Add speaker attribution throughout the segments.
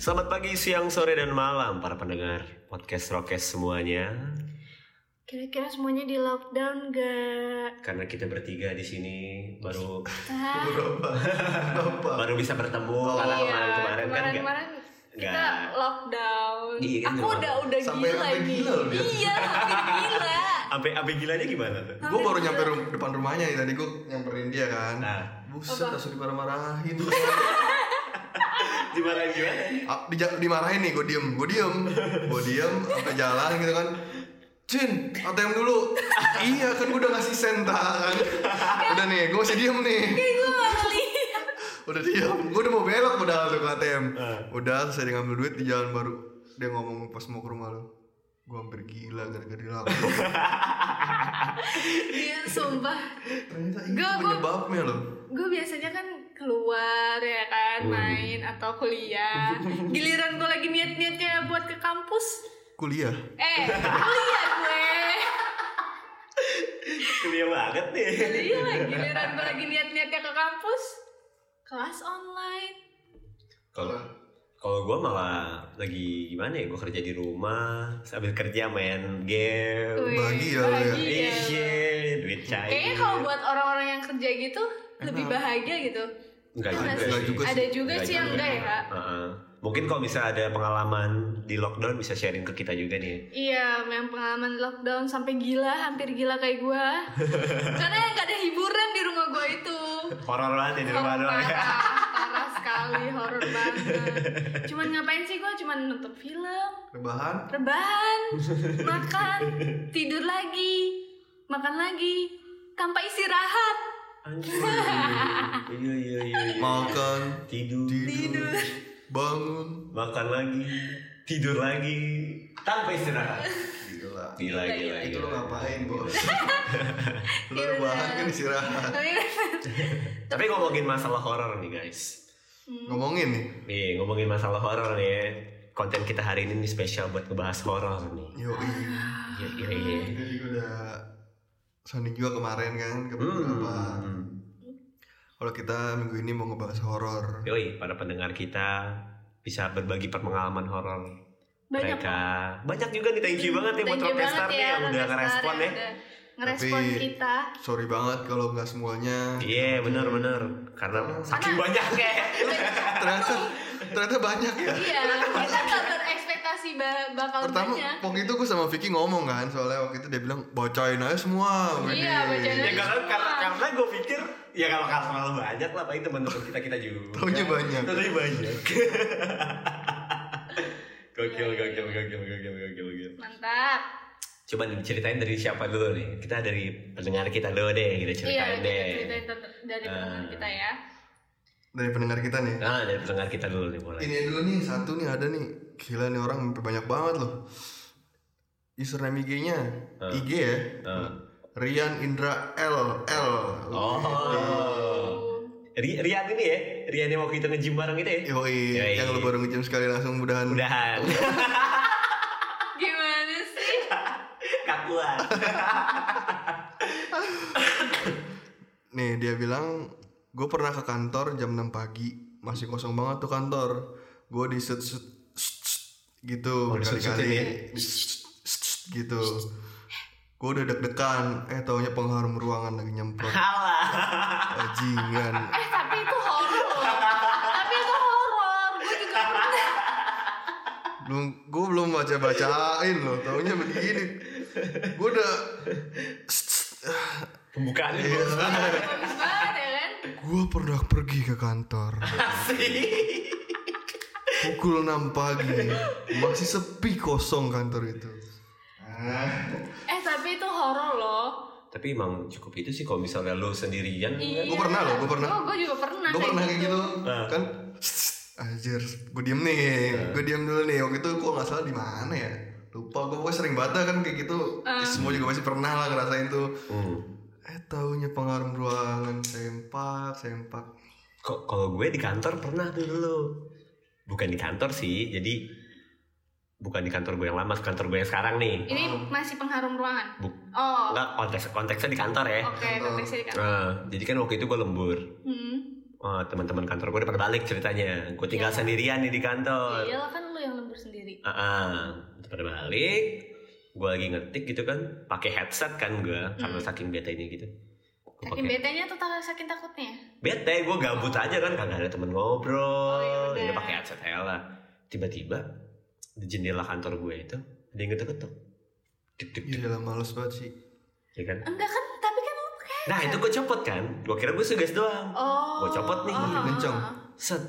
Speaker 1: Selamat pagi, siang, sore, dan malam para pendengar podcast Rokes semuanya.
Speaker 2: Kira-kira semuanya di lockdown gak?
Speaker 1: Karena kita bertiga di sini baru
Speaker 2: Ah,
Speaker 3: Berapa? Berapa?
Speaker 1: baru bisa bertemu karena
Speaker 2: iya,
Speaker 1: kemarin kemarin kan nggak-
Speaker 2: kemarin kita
Speaker 1: nggak.
Speaker 2: lockdown.
Speaker 1: Iya, kan
Speaker 2: Aku
Speaker 1: nggak
Speaker 2: udah udah
Speaker 3: Sampai
Speaker 2: gila
Speaker 3: hampir
Speaker 2: ini.
Speaker 3: gila loh dia.
Speaker 2: Iya, hampir gila.
Speaker 1: Ape ape gilanya gimana tuh?
Speaker 3: Gue baru nyampe rum- depan rumahnya ya tadi gue nyamperin dia kan.
Speaker 1: Nah.
Speaker 3: Buset
Speaker 2: Apa?
Speaker 3: langsung dimarah-marahin.
Speaker 1: Gimana gimana?
Speaker 3: Ah, dija- dimarahin nih gue diem, gue diem, gue diem sampai jalan gitu kan. Cin, ATM dulu. iya kan gue udah ngasih sen kan. Udah nih, gue masih diem nih.
Speaker 2: Kayak gue gak ngeliat.
Speaker 3: Udah diem, gue udah mau belok padahal tuh ke ATM.
Speaker 1: Eh.
Speaker 3: Udah selesai ngambil duit di jalan baru. Dia ngomong pas mau ke rumah lu. Gue hampir gila gara-gara dilakukan.
Speaker 2: Iya, sumpah.
Speaker 3: Ternyata itu
Speaker 2: Gua- gua-
Speaker 3: penyebabnya loh.
Speaker 2: Gue biasanya kan keluar ya kan, main atau kuliah. Giliran gue lagi niat-niatnya buat ke kampus.
Speaker 3: Kuliah.
Speaker 2: Eh, kuliah gue.
Speaker 1: Kuliah banget nih.
Speaker 2: Iya, giliran gue lagi niat-niatnya ke kampus. Kelas online.
Speaker 1: Kalau kalau gue malah lagi gimana ya? Gue kerja di rumah, sambil kerja main game.
Speaker 2: Wih,
Speaker 3: bahagia
Speaker 2: Iya,
Speaker 3: lu ya.
Speaker 2: bahagia lu.
Speaker 1: Iya, duit cair.
Speaker 2: Kayaknya kalau buat orang-orang yang kerja gitu lebih
Speaker 3: Enak.
Speaker 2: bahagia gitu.
Speaker 1: Enggak
Speaker 2: Enggak
Speaker 1: juga
Speaker 3: Enggak
Speaker 1: sih.
Speaker 3: juga
Speaker 2: Ada juga sih yang enggak ya, Kak.
Speaker 1: Heeh. Mungkin kalau misalnya ada pengalaman di lockdown bisa sharing ke kita juga nih.
Speaker 2: Iya, yang pengalaman lockdown sampai gila, hampir gila kayak gua. Karena yang gak ada hiburan di rumah gua itu.
Speaker 1: Horor banget ya di rumah
Speaker 3: Oh,
Speaker 2: Horor
Speaker 1: doang.
Speaker 3: iya.
Speaker 2: parah, parah sekali, horor banget. Cuman ngapain sih gua? Cuman nonton film,
Speaker 3: Rebahan.
Speaker 2: rebahan, makan, tidur lagi, makan lagi, tanpa istirahat.
Speaker 1: Anjir. Iya iya iya. iya.
Speaker 3: Makan.
Speaker 1: tidur,
Speaker 3: Tidur. Bangun.
Speaker 1: makan lagi, tidur lagi, tanpa istirahat.
Speaker 2: Iya,
Speaker 3: Gila.
Speaker 1: Gila
Speaker 2: Gila,
Speaker 1: gila.
Speaker 3: Itu lo
Speaker 1: gila.
Speaker 3: ngapain bos? lo
Speaker 2: Iya,
Speaker 3: rebahan
Speaker 2: bener. Iya.
Speaker 3: kan istirahat.
Speaker 1: Tapi ngomongin masalah horor nih guys.
Speaker 2: Hmm.
Speaker 3: Ngomongin nih.
Speaker 1: Nih ngomongin masalah horor nih. ya. Konten kita hari ini nih spesial buat ngebahas horor nih.
Speaker 3: Yo
Speaker 1: Iya iya iya.
Speaker 3: Kita juga udah sounding juga kemarin kan
Speaker 2: Ah.
Speaker 3: ke beberapa.
Speaker 1: Hmm.
Speaker 3: Kalau kita minggu ini mau ngebahas horor.
Speaker 1: Yoi, para pendengar kita bisa berbagi pengalaman horor
Speaker 2: Banyak Hmm,
Speaker 1: mereka. Banyak juga nih, thank you banget ya buat
Speaker 2: Thank you
Speaker 1: Rockstar
Speaker 2: banget
Speaker 1: nih yang udah
Speaker 2: Rockstar
Speaker 1: ngerespon ya.
Speaker 2: yang udah Ngerespon
Speaker 3: Tapi-
Speaker 2: kita.
Speaker 3: Sorry banget kalau nggak semuanya.
Speaker 1: Iya,
Speaker 2: Hmm.
Speaker 1: bener-bener. Karena saking banyaknya ya.
Speaker 3: Ternyata ternyata banyak ya.
Speaker 2: Iya, kita gak berekspektasi ba- bakal
Speaker 3: Pertama
Speaker 2: banyak.
Speaker 3: waktu itu gue sama Vicky ngomong kan soalnya waktu itu dia bilang bacain aja semua.
Speaker 2: Iya, bacain
Speaker 1: Ya
Speaker 2: aja.
Speaker 1: karena, karena, karena gue pikir, ya kalau kalau terlalu banyak lah, paling teman-teman kita-kita juga.
Speaker 3: Taunya banyak.
Speaker 1: Taunya banyak. gokil, gokil, gokil, gokil, gokil, gokil.
Speaker 2: Mantap.
Speaker 1: Coba nih, ceritain dari siapa dulu nih? Kita dari pendengar kita dulu deh, kita
Speaker 2: Iya,
Speaker 1: ceritain
Speaker 2: kita
Speaker 1: deh.
Speaker 2: ceritain tentang- dari
Speaker 1: Ah.
Speaker 2: pengalaman kita ya.
Speaker 3: Dari pendengar kita nih.
Speaker 1: Nah, dari pendengar kita dulu nih mulai.
Speaker 3: Ini dulu nih satu nih ada nih gila nih orang mimpi banyak banget loh. Username IG-nya IG ya.
Speaker 1: Eh.
Speaker 3: Rian Indra L L.
Speaker 1: Oh. Ri- Rian ini ya, Rian yang waktu kita nge-gym bareng itu ya.
Speaker 3: Yoi,
Speaker 1: Yoi.
Speaker 3: yang lu baru ngejam sekali langsung mudahan.
Speaker 1: Mudahan.
Speaker 2: Gimana sih?
Speaker 1: Kakuan.
Speaker 3: Nih dia bilang gue pernah ke kantor jam 6 pagi masih kosong banget tuh kantor. Gue di set set set- set gitu berkali-kali
Speaker 1: diset-setin ya?
Speaker 3: Di set- set- set gitu. Gue udah deg-degan, eh taunya pengharum ruangan lagi nyemprot.
Speaker 1: Salah.
Speaker 3: Bajingan.
Speaker 2: Eh, tapi itu horor. loh. tapi itu horor. Gue juga pernah.
Speaker 3: belum gue belum baca bacain loh taunya begini gue udah
Speaker 1: Pembukaannya
Speaker 2: Bagus banget ya kan?
Speaker 3: gue pernah pergi ke kantor
Speaker 1: sih.
Speaker 3: pukul 6 pagi masih sepi kosong kantor itu
Speaker 2: Eh, tapi itu horor loh.
Speaker 1: Tapi emang cukup itu sih kalau misalnya lo sendirian.
Speaker 2: Iya.
Speaker 3: Gua pernah loh, gua pernah.
Speaker 2: Gua- gua juga pernah.
Speaker 3: gue
Speaker 2: kayak
Speaker 3: pernah kayak gitu
Speaker 1: Ah.
Speaker 3: kan anjir gue diem nih gue diem dulu nih waktu itu gue nggak salah di mana ya lupa gue pokoknya sering bata kan kayak gitu semua juga pasti pernah lah ngerasain tuh
Speaker 1: Hmm.
Speaker 3: eh taunya pengaruh ruangan sempak sempak
Speaker 1: Kok kalau gue di kantor pernah tuh dulu. Bukan di kantor sih, jadi bukan di kantor gue yang lama, kantor gue yang sekarang nih.
Speaker 2: Ini
Speaker 3: Oh.
Speaker 2: masih pengharum ruangan.
Speaker 1: Bu-
Speaker 2: Oh,
Speaker 1: Enggak konteks konteksnya di kantor ya. Eh,
Speaker 2: oke, konteksnya di kantor.
Speaker 1: Nah, jadi kan waktu itu gue lembur.
Speaker 2: Hmm.
Speaker 1: oh, teman-teman kantor gue udah pada balik ceritanya gue tinggal sendirian nih di kantor
Speaker 2: Iya lah kan lu yang lembur sendiri.
Speaker 1: Ah, ah. Terus pada balik, gue lagi ngetik gitu kan, pakai headset kan gue, karena saking betenya gitu. Gue
Speaker 2: Hmm. Saking
Speaker 1: pakai
Speaker 2: betenya atau tak- saking takutnya?
Speaker 1: bete, gue gabut aja kan, karena ada temen ngobrol,
Speaker 2: Oh, ya udah.
Speaker 1: jadi pakai headset aja lah. Tiba-tiba di jendela kantor gue itu ada yang ketuk-ketuk, Dik, dik, dik,
Speaker 3: Gila males banget sih
Speaker 1: ya kan?
Speaker 2: Enggak kan, tapi kan lu pakai.
Speaker 1: Nah itu gue copot kan, gue kira gue suges doang. Gua
Speaker 2: Oh.
Speaker 1: copot nih,
Speaker 2: oh,
Speaker 3: kenceng.
Speaker 2: oh,
Speaker 1: Set,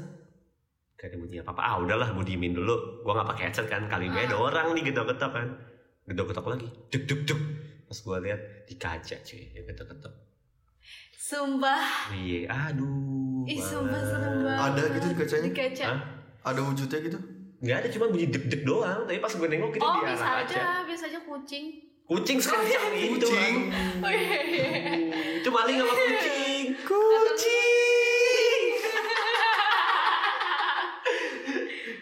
Speaker 1: gak ada bunyi apa-apa. Ah udahlah, gue diemin dulu. Gue nggak pakai headset kan, kali ini
Speaker 2: Ah.
Speaker 1: ada orang nih getok-getok kan. Getok-getok lagi, duk duk duk. Pas gue lihat di kaca cuy, dia getok-getok.
Speaker 2: oh. Sumpah,
Speaker 1: Iya, aduh.
Speaker 2: ih sumpah serem banget.
Speaker 3: Ada gitu di kacanya?
Speaker 2: Di kaca.
Speaker 1: Hah?
Speaker 3: Ada wujudnya gitu
Speaker 1: Gak ada, cuma bunyi deg deg doang. Tapi pas gue nengok itu
Speaker 2: Oh,
Speaker 1: di
Speaker 2: bisa
Speaker 1: arah kaca.
Speaker 2: aja, bisa aja kucing.
Speaker 1: Kucing sekencang gitu, itu.
Speaker 3: Kucing.
Speaker 1: Iya, aduh.
Speaker 2: Oh, iya, iya.
Speaker 1: Itu maling sama kucing.
Speaker 3: Kucing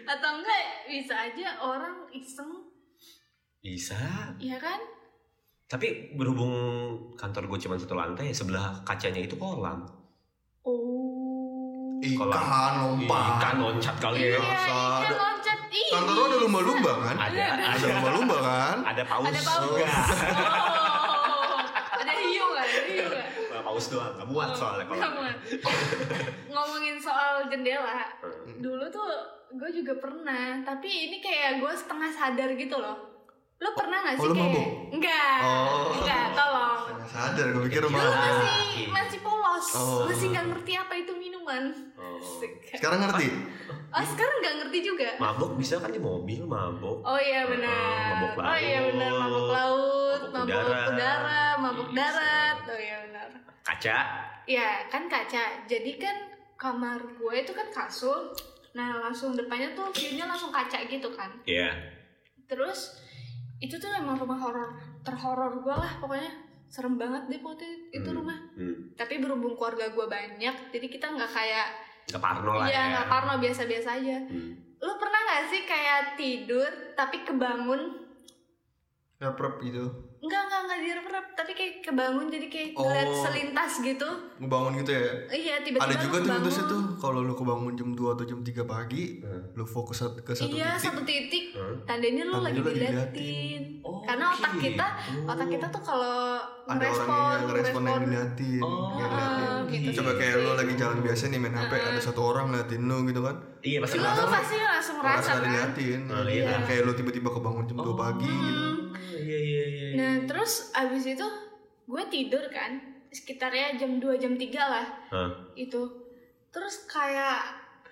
Speaker 2: Atau enggak bisa aja orang iseng,
Speaker 1: Bisa.
Speaker 2: ya kan?
Speaker 1: Tapi berhubung kantor gue cuma satu lantai, sebelah kacanya itu kolam.
Speaker 2: Oh.
Speaker 3: Ikan lompat
Speaker 1: Ikan loncat kali ya.
Speaker 2: Iya,
Speaker 3: Masa
Speaker 2: ikan
Speaker 3: ada-
Speaker 2: loncat. Ih,
Speaker 3: Kantor lo ada
Speaker 2: bisa.
Speaker 3: lumba-lumba kan?
Speaker 1: Ada,
Speaker 3: Ada
Speaker 1: ada,
Speaker 3: lumba-lumba kan?
Speaker 1: ada paus.
Speaker 2: Ada paus. Oh. Ada hiu nggak? Ada hiu nggak?
Speaker 1: Nggak paus doang, gak muat soalnya kalau.
Speaker 2: Nggak muat. Ngomongin soal jendela, dulu tuh gue juga pernah, tapi ini kayak gue setengah sadar gitu loh. Lo pernah gak sih
Speaker 3: Oh, lo
Speaker 2: kayak?
Speaker 3: mabuk?
Speaker 2: Enggak,
Speaker 3: Oh.
Speaker 2: enggak, tolong.
Speaker 3: Sadar gue pikir
Speaker 1: Iya.
Speaker 2: Dulu
Speaker 3: malah
Speaker 2: masih masih polos,
Speaker 3: Oh.
Speaker 2: masih nggak ngerti apa itu minuman.
Speaker 1: Oh.
Speaker 2: Asik.
Speaker 3: Sekarang ngerti?
Speaker 2: Oh sekarang nggak ngerti juga.
Speaker 1: Mabok bisa kan di mobil mabok.
Speaker 2: Oh iya benar.
Speaker 1: Mabuk
Speaker 2: Oh iya benar
Speaker 1: laut,
Speaker 2: mabuk laut,
Speaker 1: mabuk
Speaker 2: mabuk udara,
Speaker 1: udara.
Speaker 2: mabuk
Speaker 1: Bisa.
Speaker 2: darat. Oh iya benar.
Speaker 1: Kaca.
Speaker 2: Ya kan kaca. Jadi kan kamar gue itu kan kasur. Nah langsung depannya tuh view-nya langsung kaca gitu kan.
Speaker 1: Iya.
Speaker 2: Terus itu tuh emang rumah horor terhoror gue lah pokoknya serem banget deh pokoknya itu
Speaker 1: Hmm.
Speaker 2: rumah.
Speaker 1: Hmm.
Speaker 2: Tapi berhubung keluarga gue banyak, jadi kita nggak kayak
Speaker 1: Gak parno
Speaker 3: Oh,
Speaker 1: lah ya.
Speaker 3: iya.
Speaker 2: ya nggak parno biasa-biasa aja.
Speaker 1: Hmm.
Speaker 2: Lu pernah nggak sih kayak tidur tapi kebangun
Speaker 3: Rep-rep gitu
Speaker 2: Enggak, enggak, enggak direp-rep Tapi kayak kebangun jadi kayak
Speaker 3: Oh.
Speaker 2: ngeliat selintas gitu
Speaker 3: Ngebangun gitu ya
Speaker 2: Iya, tiba-tiba
Speaker 3: Ada
Speaker 2: lu
Speaker 3: juga tuh
Speaker 2: kebangun.
Speaker 3: putusnya tuh Kalau lu kebangun jam 2 atau jam 3 pagi
Speaker 1: Hmm.
Speaker 3: Lu fokus sat- ke satu
Speaker 2: Iya, satu
Speaker 3: titik
Speaker 2: titik
Speaker 1: Hmm.
Speaker 2: Tandanya lu
Speaker 3: Tandanya
Speaker 2: lagi
Speaker 3: lu lagi
Speaker 2: diliatin Karena
Speaker 1: Oh,
Speaker 2: otak
Speaker 1: gitu.
Speaker 2: kita, otak kita tuh kalau
Speaker 3: Ada orang yang ngerespon yang diliatin
Speaker 1: Oh,
Speaker 3: yang ngeliatin.
Speaker 2: ah, gitu.
Speaker 3: Coba kayak lu lagi jalan biasa nih main HP Ada satu orang ngeliatin lu gitu kan
Speaker 1: Iya pasti
Speaker 2: Lu, lu
Speaker 1: ngerasa.
Speaker 2: pasti langsung ngerasa
Speaker 3: Ngerasa
Speaker 2: kan
Speaker 3: diliatin
Speaker 1: Oh, iya.
Speaker 3: Yang Kayak lu tiba-tiba kebangun jam 2 pagi gitu
Speaker 1: Oh, Iya iya iya.
Speaker 2: Oh. Nah, terus abis itu gue tidur kan Sekitarnya jam 2, jam 3 lah
Speaker 1: Hah.
Speaker 2: Itu Terus kayak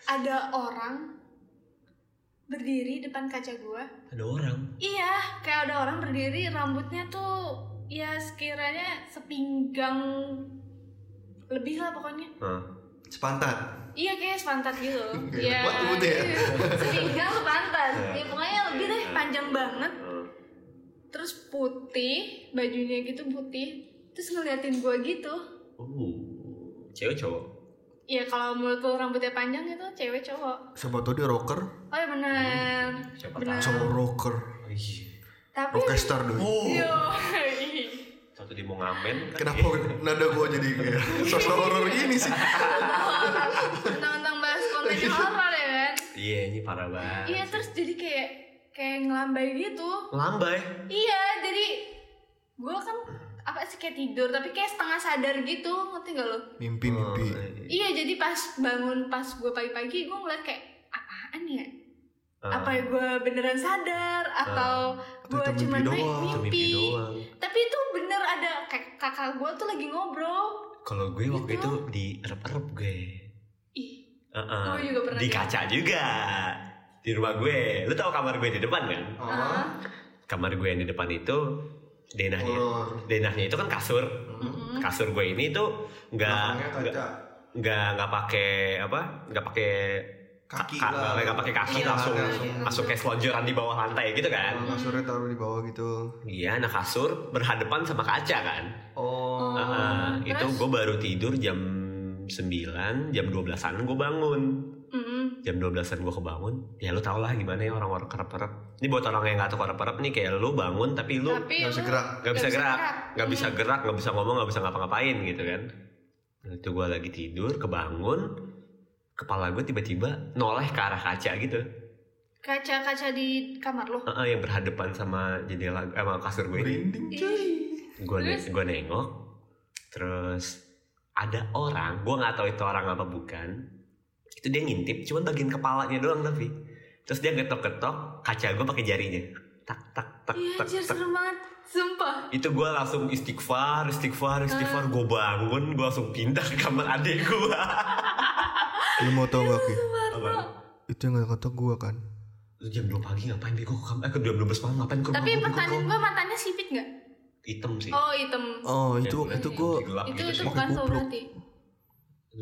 Speaker 2: ada orang berdiri depan kaca gua
Speaker 1: Ada orang.
Speaker 2: Iya, kayak ada orang berdiri rambutnya tuh ya sekiranya sepinggang lebih lah pokoknya.
Speaker 1: Hah.
Speaker 3: Sepantat
Speaker 2: Iya kayak sepantat gitu.
Speaker 3: Kayak
Speaker 2: Iya.
Speaker 3: kuat rambutnya ya?
Speaker 2: iya. sepinggang sepantat. Ya pokoknya lebih deh
Speaker 1: Iya.
Speaker 2: panjang banget.
Speaker 1: Hah.
Speaker 2: Terus putih, bajunya gitu putih. Terus ngeliatin gua gitu.
Speaker 1: Oh. Cewek cowok.
Speaker 2: Iya kalau menurut lu rambutnya panjang itu cewek cowok.
Speaker 3: Siapa tau dia rocker
Speaker 2: Oh iya benar.
Speaker 3: Hmm.
Speaker 1: Siapa
Speaker 2: Benar.
Speaker 1: tahu.
Speaker 3: Cowok rocker
Speaker 1: Ih,
Speaker 2: Tapi
Speaker 3: Rockstar doi
Speaker 2: yo. iya.
Speaker 1: Satu dia mau ngamen kan.
Speaker 3: Kenapa nada gua jadi kayak sosok horor gini sih?
Speaker 2: Tentang-tentang bahas konten horor ya kan.
Speaker 1: Iya ini parah banget.
Speaker 2: Iya terus jadi kayak kayak ngelambai gitu.
Speaker 1: Lambai.
Speaker 2: Iya jadi gue kan apa sih kayak tidur tapi kayak setengah sadar gitu ngerti gak lo?
Speaker 3: Mimpi-mimpi
Speaker 1: Oh, iya.
Speaker 2: Iya jadi pas bangun pas gue pagi-pagi gue ngeliat kayak apaan ya?
Speaker 1: Ah,
Speaker 2: Apa ya gue beneran sadar atau
Speaker 3: Atau
Speaker 2: gue
Speaker 3: itu mimpi
Speaker 2: cuma
Speaker 3: doang?
Speaker 1: itu
Speaker 2: mimpi?
Speaker 1: mimpi doang.
Speaker 2: Tapi itu bener ada kayak kakak gue tuh lagi ngobrol.
Speaker 1: Kalau gue waktu
Speaker 2: Gitu.
Speaker 1: itu di erep-erep gue.
Speaker 2: Ih,
Speaker 1: Heeh.
Speaker 2: gue juga pernah.
Speaker 1: Ah, Di kaca juga. Di rumah gue. Lu tahu kamar gue di depan kan?
Speaker 3: Ah,
Speaker 1: Kamar gue yang di depan itu denahnya.
Speaker 3: horor
Speaker 1: Denahnya itu kan kasur.
Speaker 3: Iya.
Speaker 2: Mm-mm.
Speaker 1: Kasur gue ini tuh
Speaker 3: Belakangnya
Speaker 1: nggak
Speaker 3: kaca
Speaker 1: nggak nggak pakai apa? nggak pakai
Speaker 3: Kaki
Speaker 1: ka-
Speaker 3: lah
Speaker 1: nggak pakai kaki
Speaker 2: Iya,
Speaker 1: langsung
Speaker 2: langsung.
Speaker 1: masuk kayak selonjoran di bawah lantai gitu kan.
Speaker 3: Kasurnya taruh di bawah gitu
Speaker 1: Iya, nah kasur berhadapan sama kaca kan.
Speaker 3: Oh
Speaker 2: Oh,
Speaker 1: Ah, itu
Speaker 2: terus?
Speaker 1: gue baru tidur jam 9, jam 12-an gue bangun.
Speaker 2: Mm-mm.
Speaker 1: Jam 12-an gue kebangun. Ya lu tau lah gimana ya orang-orang kerep-kerep. Ini buat orang yang gak tau kerep-kerep nih kayak lu bangun tapi lu
Speaker 2: tapi lu-
Speaker 3: Gak bisa gerak
Speaker 1: gak bisa gerak. Gak bisa
Speaker 2: Mm.
Speaker 1: gerak, gak bisa ngomong, gak bisa ngapa-ngapain gitu kan. Nah, itu gue lagi tidur, kebangun. kepala gue tiba-tiba noleh ke arah kaca gitu
Speaker 2: Kaca-kaca di kamar lo.
Speaker 1: Heeh, yang berhadapan sama jendela eh, sama kasur gue ini
Speaker 3: merinding cuy
Speaker 1: gue ne-
Speaker 2: Terus?
Speaker 1: gue nengok terus ada orang gue nggak tahu itu orang apa bukan itu dia ngintip cuman bagian kepalanya doang tapi terus dia ketok-ketok kaca gue pakai jarinya tak tak tak
Speaker 2: Iya
Speaker 1: tak
Speaker 2: anjir
Speaker 1: tak
Speaker 2: serem banget. Sumpah.
Speaker 1: itu gue langsung istighfar istighfar istighfar gue bangun gue langsung pindah ke kamar adik gue
Speaker 3: lu mau tau gak Ki?
Speaker 1: Apa?
Speaker 3: itu yang ngetok gua kan
Speaker 1: Lu jam 2 pagi ngapain bego ke kamar eh ke jam 12 malam ngapain ke kamar,
Speaker 2: Tapi
Speaker 1: bego,
Speaker 2: pertanyaan
Speaker 1: bego?
Speaker 2: gue matanya sipit gak?
Speaker 1: hitam sih
Speaker 2: Oh hitam.
Speaker 3: oh
Speaker 1: Ya,
Speaker 3: itu waktu itu gua
Speaker 1: gelap
Speaker 2: itu
Speaker 1: gitu
Speaker 2: itu
Speaker 1: sih.
Speaker 3: Pakai
Speaker 2: bukan tuh
Speaker 3: goblok.
Speaker 2: berarti.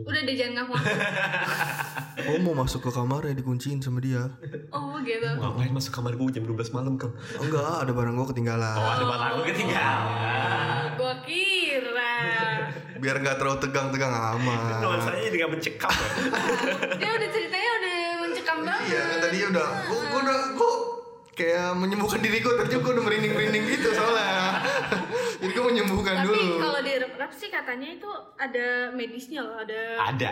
Speaker 2: Udah deh jangan ngaku.
Speaker 3: gua mau masuk ke kamarnya dikunciin sama dia
Speaker 2: Oh gitu.
Speaker 1: ngapain masuk kamar gue jam 12 malam kan
Speaker 3: enggak Oh, ada barang gua ketinggalan
Speaker 1: oh ada barang gue ketinggalan
Speaker 2: Gue kira
Speaker 3: biar nggak terlalu tegang-tegang
Speaker 2: Oh.
Speaker 3: amat
Speaker 1: nuansanya juga mencekam ya.
Speaker 2: dia udah ceritanya udah mencekam banget.
Speaker 3: iya kan tadi udah gua, gua udah gua kayak menyembuhkan diriku tapi gua udah merinding-merinding gitu soalnya jadi gua menyembuhkan
Speaker 2: Tapi
Speaker 3: kan dulu
Speaker 2: kalau direp-rep sih katanya itu ada medisnya loh, ada
Speaker 1: ada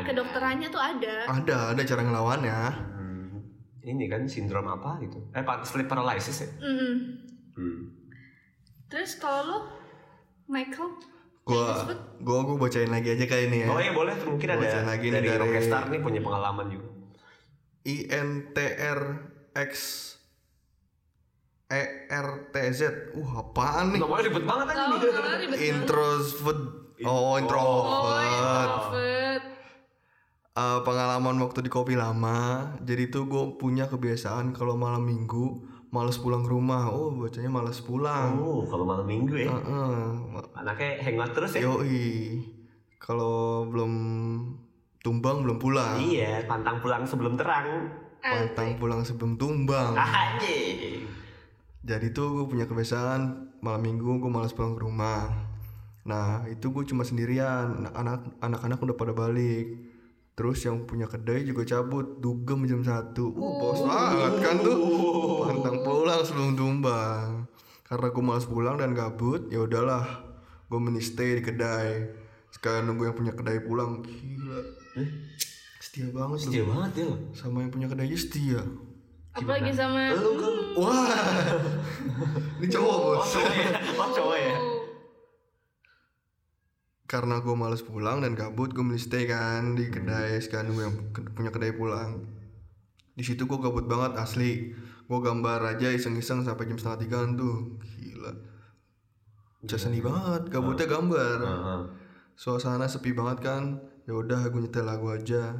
Speaker 1: ada.
Speaker 2: kedokterannya tuh ada.
Speaker 3: ada ada cara ya. ngelawannya
Speaker 1: Hmm, ini kan sindrom apa gitu eh pa- sleep paralysis ya
Speaker 2: Mm-mm.
Speaker 1: hmm.
Speaker 2: Terus kalau lo Michael
Speaker 3: gua gua gua bacain lagi aja kayak ini ya
Speaker 1: boleh Oh, iya, boleh tuh mungkin
Speaker 3: Gua
Speaker 1: ada
Speaker 3: baca lagi nih
Speaker 1: dari,
Speaker 3: dari-
Speaker 1: Rockstar nih punya pengalaman juga
Speaker 3: INTR X E ERTZ. Uh, apaan nih?
Speaker 1: namanya ribet banget kan aja nih
Speaker 2: Tahu kalau ribet banget.
Speaker 3: Introvert. Oh,
Speaker 1: Intro.
Speaker 2: Oh,
Speaker 3: introvert.
Speaker 2: introvert.
Speaker 3: Eh, pengalaman waktu di kopi lama. Jadi tuh gue punya kebiasaan kalau malam minggu males pulang ke rumah. Oh, bacanya males pulang.
Speaker 1: oh kalau malam minggu ya
Speaker 3: Heeh.
Speaker 1: anaknya hangout terus ya
Speaker 3: Yoi. Kalau belum tumbang belum pulang.
Speaker 1: iya pantang pulang sebelum terang
Speaker 2: Eh,
Speaker 3: Pantang pulang sebelum
Speaker 1: Ah,
Speaker 3: tumbang.
Speaker 1: anjing
Speaker 3: Jadi tuh gue punya kebiasaan malam minggu gue malas pulang ke rumah. Nah itu gue cuma sendirian. Anak-anak anak-anak udah pada balik. Terus yang punya kedai juga cabut dugem jam satu. Uh, bos banget kan tuh. Pantang pulang sebelum tumbang. Karena gue malas pulang dan gabut, ya udahlah. Gue mending stay di kedai. Sekalian nunggu yang punya kedai pulang. Gila.
Speaker 1: Eh?
Speaker 3: Setia banget tuh.
Speaker 1: setia banget ya lo
Speaker 3: Sama yang punya kedai aja setia.
Speaker 2: Apalagi sama
Speaker 1: lu kan
Speaker 3: Wah. Ini cowok, Bos.
Speaker 1: oh cowok ya oh cowok ya
Speaker 3: karena gue males pulang dan kabut gue beli stay kan di kedai sekarang gue yang ke- punya kedai pulang di situ gue gabut banget asli gue gambar aja iseng-iseng sampai jam setengah tiga kan tuh gila Cah seni banget gabutnya gambar
Speaker 1: Heeh.
Speaker 3: suasana sepi banget kan ya udah gue nyetel lagu aja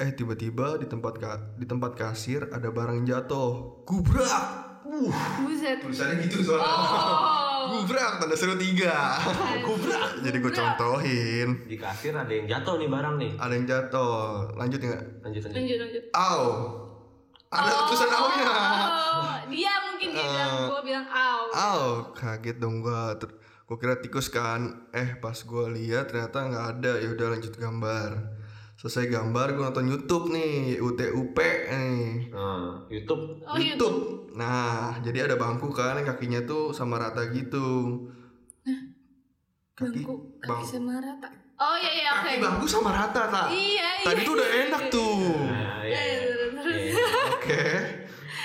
Speaker 3: eh tiba-tiba di tempat ka- di tempat kasir ada barang jatuh gubrak Uh,
Speaker 2: Buset.
Speaker 3: tulisannya gitu soalnya
Speaker 2: Oh.
Speaker 3: gubrak tanda seru tiga jadi gue contohin
Speaker 1: di kasir ada yang jatuh nih barang nih
Speaker 3: ada yang jatuh lanjut nggak
Speaker 1: lanjut lanjut
Speaker 2: Lanjut lanjut.
Speaker 3: Au. Ada tulisan aunya.
Speaker 2: Oh, dia mungkin dia bilang gue bilang au.
Speaker 3: Au, kaget dong gua. Ter- gua kira tikus kan. Eh, pas gua lihat ternyata nggak ada. Ya udah lanjut gambar. Selesai gambar gua nonton YouTube nih, UTUP nih.
Speaker 1: Nah, YouTube
Speaker 2: Oh,
Speaker 3: YouTube. Nah, jadi ada bangku kan yang kakinya tuh sama rata gitu. Kaki
Speaker 2: Bangku kaki
Speaker 3: bang-
Speaker 2: sama rata. Oh iya iya oke.
Speaker 3: kaki bangku sama rata, tak.
Speaker 2: Iya iya.
Speaker 3: Ah, Tadi tuh udah enak tuh.
Speaker 1: Nah, iya, iya. Iya.
Speaker 3: Oke.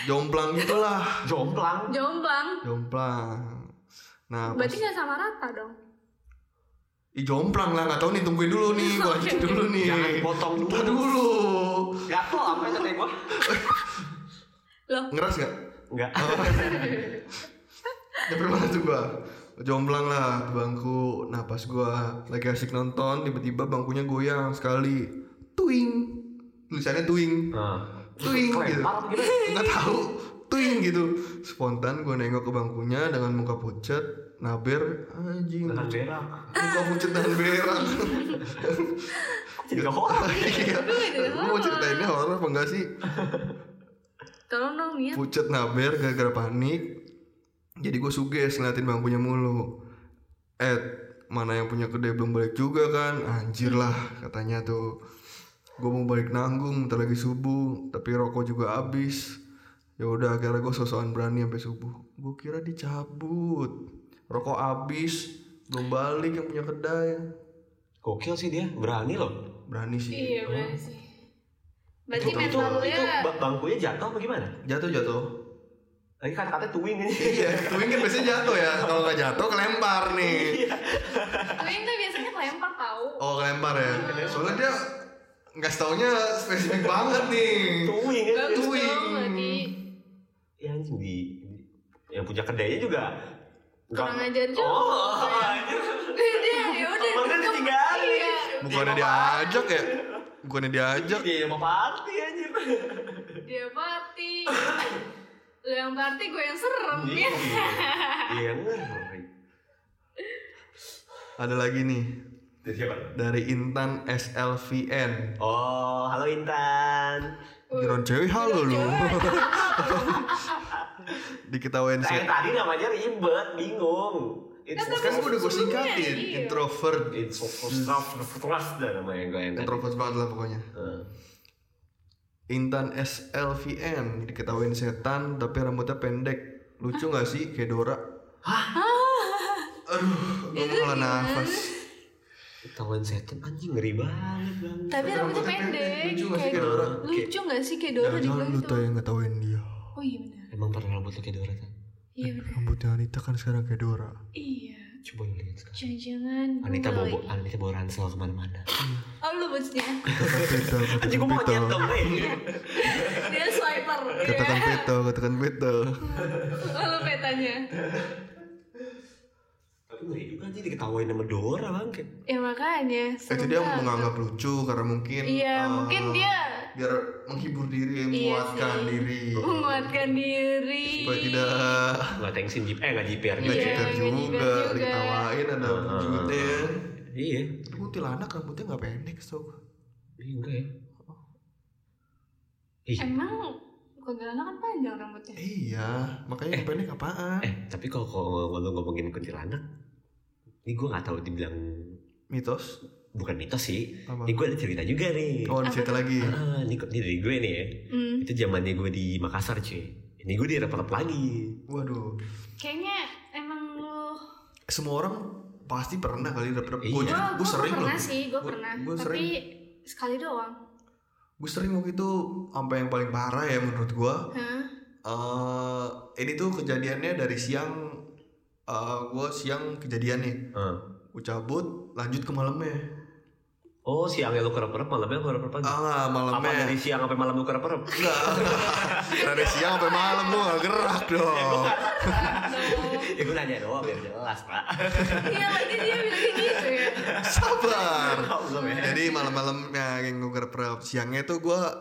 Speaker 3: Jomplang gitulah.
Speaker 1: Jomplang.
Speaker 2: Jomblang.
Speaker 3: Jomplang. Nah, pas-
Speaker 2: Berarti nggak sama rata dong.
Speaker 3: Ih jomplang lah, gak tau nih tungguin dulu nih, gua lanjutin dulu nih
Speaker 1: Jangan potong
Speaker 3: Ntar
Speaker 1: dulu.
Speaker 3: dulu
Speaker 1: Gatel apa yang tadi gua?
Speaker 2: Loh.
Speaker 3: Ngeras gak?
Speaker 1: Enggak.
Speaker 3: Nyampe mana tuh gua? Jomplang lah di bangku Nah pas gua lagi asik nonton, tiba-tiba bangkunya goyang sekali Tuing Tulisannya tuing
Speaker 1: Nah.
Speaker 3: Tuing gitu
Speaker 1: Kelempar gitu.
Speaker 3: Gak tahu Tuing gitu Spontan gua nengok ke bangkunya dengan muka pucet Naber Anjing
Speaker 1: Tahan berak.
Speaker 3: Muka pucet dan berak
Speaker 1: Jadi horor.
Speaker 3: Iya Lu mau ceritainnya horor apa enggak sih?
Speaker 2: Tolong dong Mia.
Speaker 3: pucet naber gara-gara panik jadi gue suges ngeliatin bangkunya mulu eh mana yang punya kedai belum balik juga kan anjir lah katanya tuh gue mau balik nanggung ntar lagi subuh tapi rokok juga habis ya udah akhirnya gue sosokan berani sampai subuh gue kira dicabut rokok habis belum balik yang punya kedai
Speaker 1: Gokil sih dia, berani loh.
Speaker 3: berani sih
Speaker 2: Iya berarti sih. Berarti
Speaker 3: Itu-
Speaker 1: itu,
Speaker 2: mental lu
Speaker 1: itu
Speaker 2: ya
Speaker 1: ba- bangkunya jatuh apa gimana?
Speaker 3: jatuh jatuh
Speaker 1: Lagi kan katanya tuing ini.
Speaker 3: iya tuing kan biasanya jatuh ya kalau nggak jatuh kelempar nih
Speaker 2: Twin tuh biasanya kelempar tau
Speaker 3: oh kelempar ya soalnya dia nggak taunya spesifik banget nih
Speaker 1: tuing kan.
Speaker 2: Bagus
Speaker 3: Twin.
Speaker 2: dong berarti
Speaker 1: Ya anjing di di- yang punya kedainya juga
Speaker 2: Kurang
Speaker 1: nggak-
Speaker 2: ajar juga.
Speaker 1: Oh, anjir.
Speaker 2: Dia ya udah
Speaker 1: Temennya ditinggalin.
Speaker 2: Iya.
Speaker 3: bukannya diajak ya bukannya diajak
Speaker 1: Dia yang mau party anjir.
Speaker 2: Oh, Dia party Lu yang party gue yang serem
Speaker 1: Iya.
Speaker 2: ya
Speaker 1: Iya, ngeri.
Speaker 3: ada lagi nih
Speaker 1: Dari siapa?
Speaker 3: dari Intan SLVN
Speaker 1: Oh, halo Intan.
Speaker 3: Geron cewek halo lu
Speaker 2: Cewek.
Speaker 3: diketawain
Speaker 1: Nah,
Speaker 3: sih
Speaker 1: yang tadi namanya ribet, bingung. It's
Speaker 3: kan gue udah gue singkatin
Speaker 2: Iya.
Speaker 3: introvert
Speaker 1: It's frustration dah namanya gue yang tadi.
Speaker 3: introvert banget lah pokoknya
Speaker 1: Eh,
Speaker 3: Intan SLVN diketawain setan tapi rambutnya pendek lucu nggak sih kayak Dora aduh gue
Speaker 2: Itu
Speaker 3: mau ngelah
Speaker 2: gimana?
Speaker 3: nafas
Speaker 1: Ketahuan setan anjing ngeri banget bang.
Speaker 2: Tapi rambutnya pendek
Speaker 3: lucu nggak sih kayak
Speaker 2: kayak-
Speaker 3: Dora Kayak-
Speaker 2: Lucu gak sih kayak Dora
Speaker 3: jangan-jangan
Speaker 2: dibilang
Speaker 3: lu
Speaker 2: gitu
Speaker 3: tuh yang ngetawain dia
Speaker 2: Oh iya benar
Speaker 1: Emang pernah rambut lu kayak Dora kan?
Speaker 2: Iya benar
Speaker 3: rambutnya Anita kan sekarang kayak Dora
Speaker 2: Iya
Speaker 1: Coba lu lihat sekarang.
Speaker 2: Jangan-jangan gue
Speaker 1: Anita bawa
Speaker 2: lagi-
Speaker 1: Anita bawa ransel kemana-mana.
Speaker 2: Oh lu bosnya
Speaker 3: katakan peta
Speaker 1: Anjing
Speaker 3: katakan
Speaker 1: gue mau
Speaker 3: peta
Speaker 1: nyet dong nih.
Speaker 2: Dia swiper
Speaker 3: katakan peta katakan peta
Speaker 2: Lalu petanya
Speaker 1: Tapi ngeri juga anjing diketawain sama Dora bang. Kayak,
Speaker 2: Ya makanya
Speaker 3: itu
Speaker 2: serem
Speaker 3: dia
Speaker 2: banget.
Speaker 3: Eh, menganggap lucu karena mungkin
Speaker 2: Iya
Speaker 3: eh,
Speaker 2: mungkin dia Iya
Speaker 3: biar menghibur diri
Speaker 2: sih.
Speaker 3: menguatkan diri
Speaker 2: Menguatkan diri
Speaker 3: supaya tidak
Speaker 1: Nggak tengsin jeep, eh nggak jiper.
Speaker 3: nggak
Speaker 2: Iya,
Speaker 3: jiper
Speaker 2: nggak
Speaker 3: juga
Speaker 2: jiper Iya, juga.
Speaker 3: diketawain ada
Speaker 1: Ah.
Speaker 3: wujudnya
Speaker 1: Iya.
Speaker 3: tapi kuntilanak rambutnya nggak pendek so
Speaker 1: Iya enggak ya. Ih,
Speaker 2: Emang kuntilanak kan panjang rambutnya
Speaker 3: iya makanya yang pendek apaan
Speaker 1: eh tapi kalau kalau lu ngomongin kuntilanak, ini gue nggak tahu dibilang
Speaker 3: mitos
Speaker 1: bukan mitos sih.
Speaker 3: apa
Speaker 1: Ini gue ada cerita juga nih.
Speaker 3: oh ada cerita lagi
Speaker 1: Ah, ini, ini dari gue nih ya.
Speaker 2: Hmm.
Speaker 1: Itu zamannya gue di Makassar cuy. Ini gue direpot lagi.
Speaker 3: waduh
Speaker 2: Kayaknya emang lu
Speaker 3: semua orang pasti pernah kali
Speaker 1: Iya.
Speaker 3: dapet gue
Speaker 2: Gua,
Speaker 3: juga-
Speaker 2: gua
Speaker 3: gue sering loh
Speaker 2: pernah sih, gue
Speaker 3: Gua-
Speaker 2: pernah.
Speaker 3: gua
Speaker 2: Tapi
Speaker 3: sering.
Speaker 2: sekali doang.
Speaker 3: gue sering waktu itu sampai yang paling parah ya menurut gue
Speaker 2: Hah?
Speaker 3: Eh, ini tuh kejadiannya dari siang eh gue siang kejadian nih
Speaker 1: Ah.
Speaker 3: gue cabut lanjut ke malamnya
Speaker 1: Oh siangnya lu kerep-kerep, malamnya lu kerep-kerep lagi.
Speaker 3: ah nggak,
Speaker 1: Apa
Speaker 3: malamnya
Speaker 1: dari siang sampai malam lu kerep-kerep?
Speaker 3: Enggak. Dari siang sampai malam gua gak gerak dong.
Speaker 1: ya gue nanya doang biar jelas pak.
Speaker 2: Iya, berarti dia bilang kayak gitu ya.
Speaker 3: Sabar.
Speaker 1: Oh, belum ya?
Speaker 3: Jadi malam-malamnya yang gue gerap siangnya tuh gua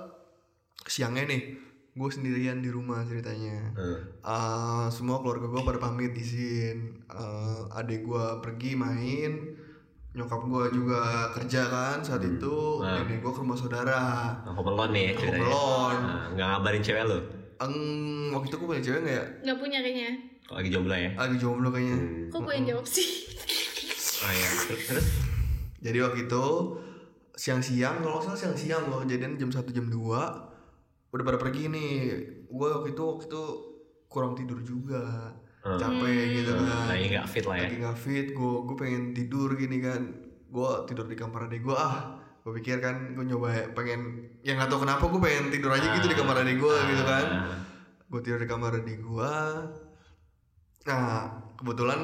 Speaker 3: siangnya nih gue sendirian di rumah ceritanya.
Speaker 1: Hmm.
Speaker 3: Eh, semua keluarga gue pada pamit izin. Eh, adik gua pergi main. Nyokap gua juga kerja kan saat itu.
Speaker 1: Ah.
Speaker 3: Nenek gue ke rumah saudara.
Speaker 1: Aku melon nih ya ceritanya.
Speaker 3: Belon.
Speaker 1: Ah, Nggak ngabarin cewek lu?
Speaker 3: Eng, waktu itu gue punya cewek nggak ya?
Speaker 2: Nggak punya kayaknya.
Speaker 1: Kalau lagi jomblo ya?
Speaker 3: Lagi jomblo kayaknya.
Speaker 1: Hmm.
Speaker 2: Kok gue yang jawab sih?
Speaker 1: Oh iya. Terus? terus?
Speaker 3: Jadi waktu itu siang-siang, kalau nggak salah siang-siang loh, kejadian jam 1 jam 2 udah pada pergi nih. Gue waktu itu waktu itu kurang tidur juga,
Speaker 1: Hmm.
Speaker 3: capek gitu kan.
Speaker 1: Lagi nggak fit lah ya?
Speaker 3: Lagi nggak fit, gue gue pengen tidur gini kan. Gue tidur di kamar adik gue ah. Gue pikir kan gue nyoba pengen yang nggak tahu kenapa gue pengen tidur aja gitu di kamar adik gue
Speaker 1: Ah.
Speaker 3: gitu kan. Gue tidur di kamar adik gue. Nah kebetulan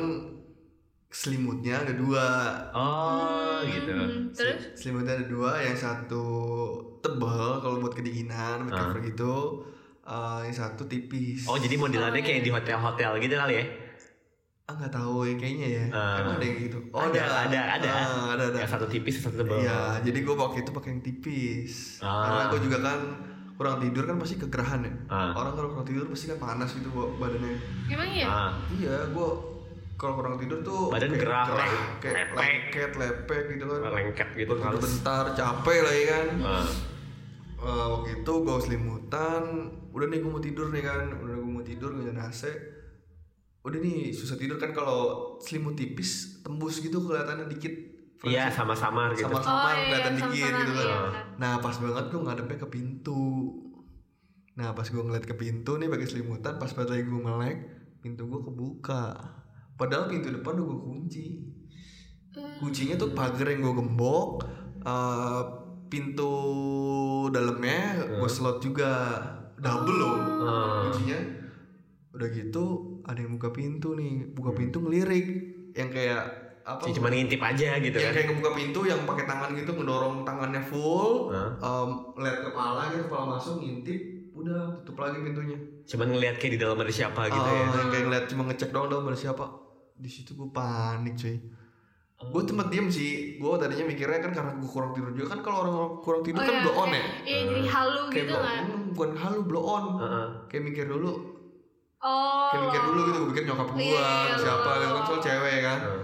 Speaker 3: selimutnya ada dua
Speaker 1: Oh gitu.
Speaker 2: Hmm, Terus?
Speaker 3: Selimutnya ada dua, yang satu tebal kalau buat kedinginan, buat
Speaker 1: Ah.
Speaker 3: cover gitu. Eh, yang satu tipis.
Speaker 1: Oh jadi modelannya
Speaker 2: Oh, iya.
Speaker 1: kayak di hotel-hotel gitu kali ya?
Speaker 3: ah nggak tahu ya kayaknya ya.
Speaker 1: Ah.
Speaker 3: Emang ada yang gitu. Oh
Speaker 1: Ada, ada, ada.
Speaker 3: Ah, ada, ada.
Speaker 1: Yang satu tipis, yang satu tebal.
Speaker 3: Iya, jadi gue waktu itu pakai yang tipis.
Speaker 1: Ah.
Speaker 3: Karena gue juga kan kurang tidur kan pasti kegerahan ya.
Speaker 1: Ah.
Speaker 3: Orang kalau kurang tidur pasti kan panas gitu Bo, badannya.
Speaker 2: Emang iya?
Speaker 1: Ah.
Speaker 3: Iya, gue kalau kurang tidur tuh
Speaker 1: Badan
Speaker 3: kayak
Speaker 1: gerah,
Speaker 3: gerah,
Speaker 1: leng-
Speaker 3: kayak
Speaker 1: lepek.
Speaker 3: lengket, lepek gitu kan.
Speaker 1: lengket gitu
Speaker 3: Tidur
Speaker 1: kan.
Speaker 3: bentar, capek lah ya kan.
Speaker 1: Ah.
Speaker 3: Eh, waktu itu gue selimutan udah nih gue mau tidur nih kan udah gue mau tidur gue AC udah nih susah tidur kan kalau selimut tipis tembus gitu kelihatannya dikit
Speaker 1: Iya sama-sama gitu.
Speaker 2: Oh,
Speaker 3: sama sama
Speaker 2: iya,
Speaker 3: kelihatan
Speaker 2: sama-sama,
Speaker 3: dikit gitu kan
Speaker 2: iya.
Speaker 3: nah pas banget gue ngadepnya ke pintu nah pas gue ngeliat ke pintu nih pakai selimutan pas pas lagi gue melek pintu gue kebuka padahal pintu depan udah gue kunci
Speaker 2: Hmm.
Speaker 3: kuncinya tuh pagar yang gue gembok eh, pintu dalamnya gue slot juga double loh
Speaker 1: Oh.
Speaker 3: kuncinya udah gitu ada yang buka pintu nih
Speaker 1: Hmm.
Speaker 3: buka pintu ngelirik yang kayak apa
Speaker 1: Cuma Eh, ngintip aja gitu kan.
Speaker 3: yang kayak ngebuka pintu yang pakai tangan gitu ngedorong tangannya full
Speaker 1: Hah?
Speaker 3: em, lihat kepala gitu kepala masuk ngintip udah tutup lagi pintunya
Speaker 1: Cuman ngeliat kayak di dalam ada siapa gitu
Speaker 3: Ah,
Speaker 1: ya.
Speaker 3: yang kayak ngeliat cuma ngecek doang doang ada siapa di situ gue panik cuy
Speaker 1: Oh,
Speaker 3: gue tempat diem sih gue tadinya mikirnya kan karena gue kurang tidur juga kan kalau orang kurang tidur kan blow on ya
Speaker 2: kayak- Oh Iya, jadi halu
Speaker 3: kayak
Speaker 2: gitu
Speaker 3: blow
Speaker 2: kan.
Speaker 3: on, bukan halu blow on
Speaker 1: Heeh.
Speaker 3: kayak mikir dulu
Speaker 2: Oh.
Speaker 3: kayak mikir dulu gitu gue pikir nyokap gue
Speaker 2: Iya, iya,
Speaker 3: siapa
Speaker 2: iya.
Speaker 3: gitu kan soal cewek kan
Speaker 1: Heeh.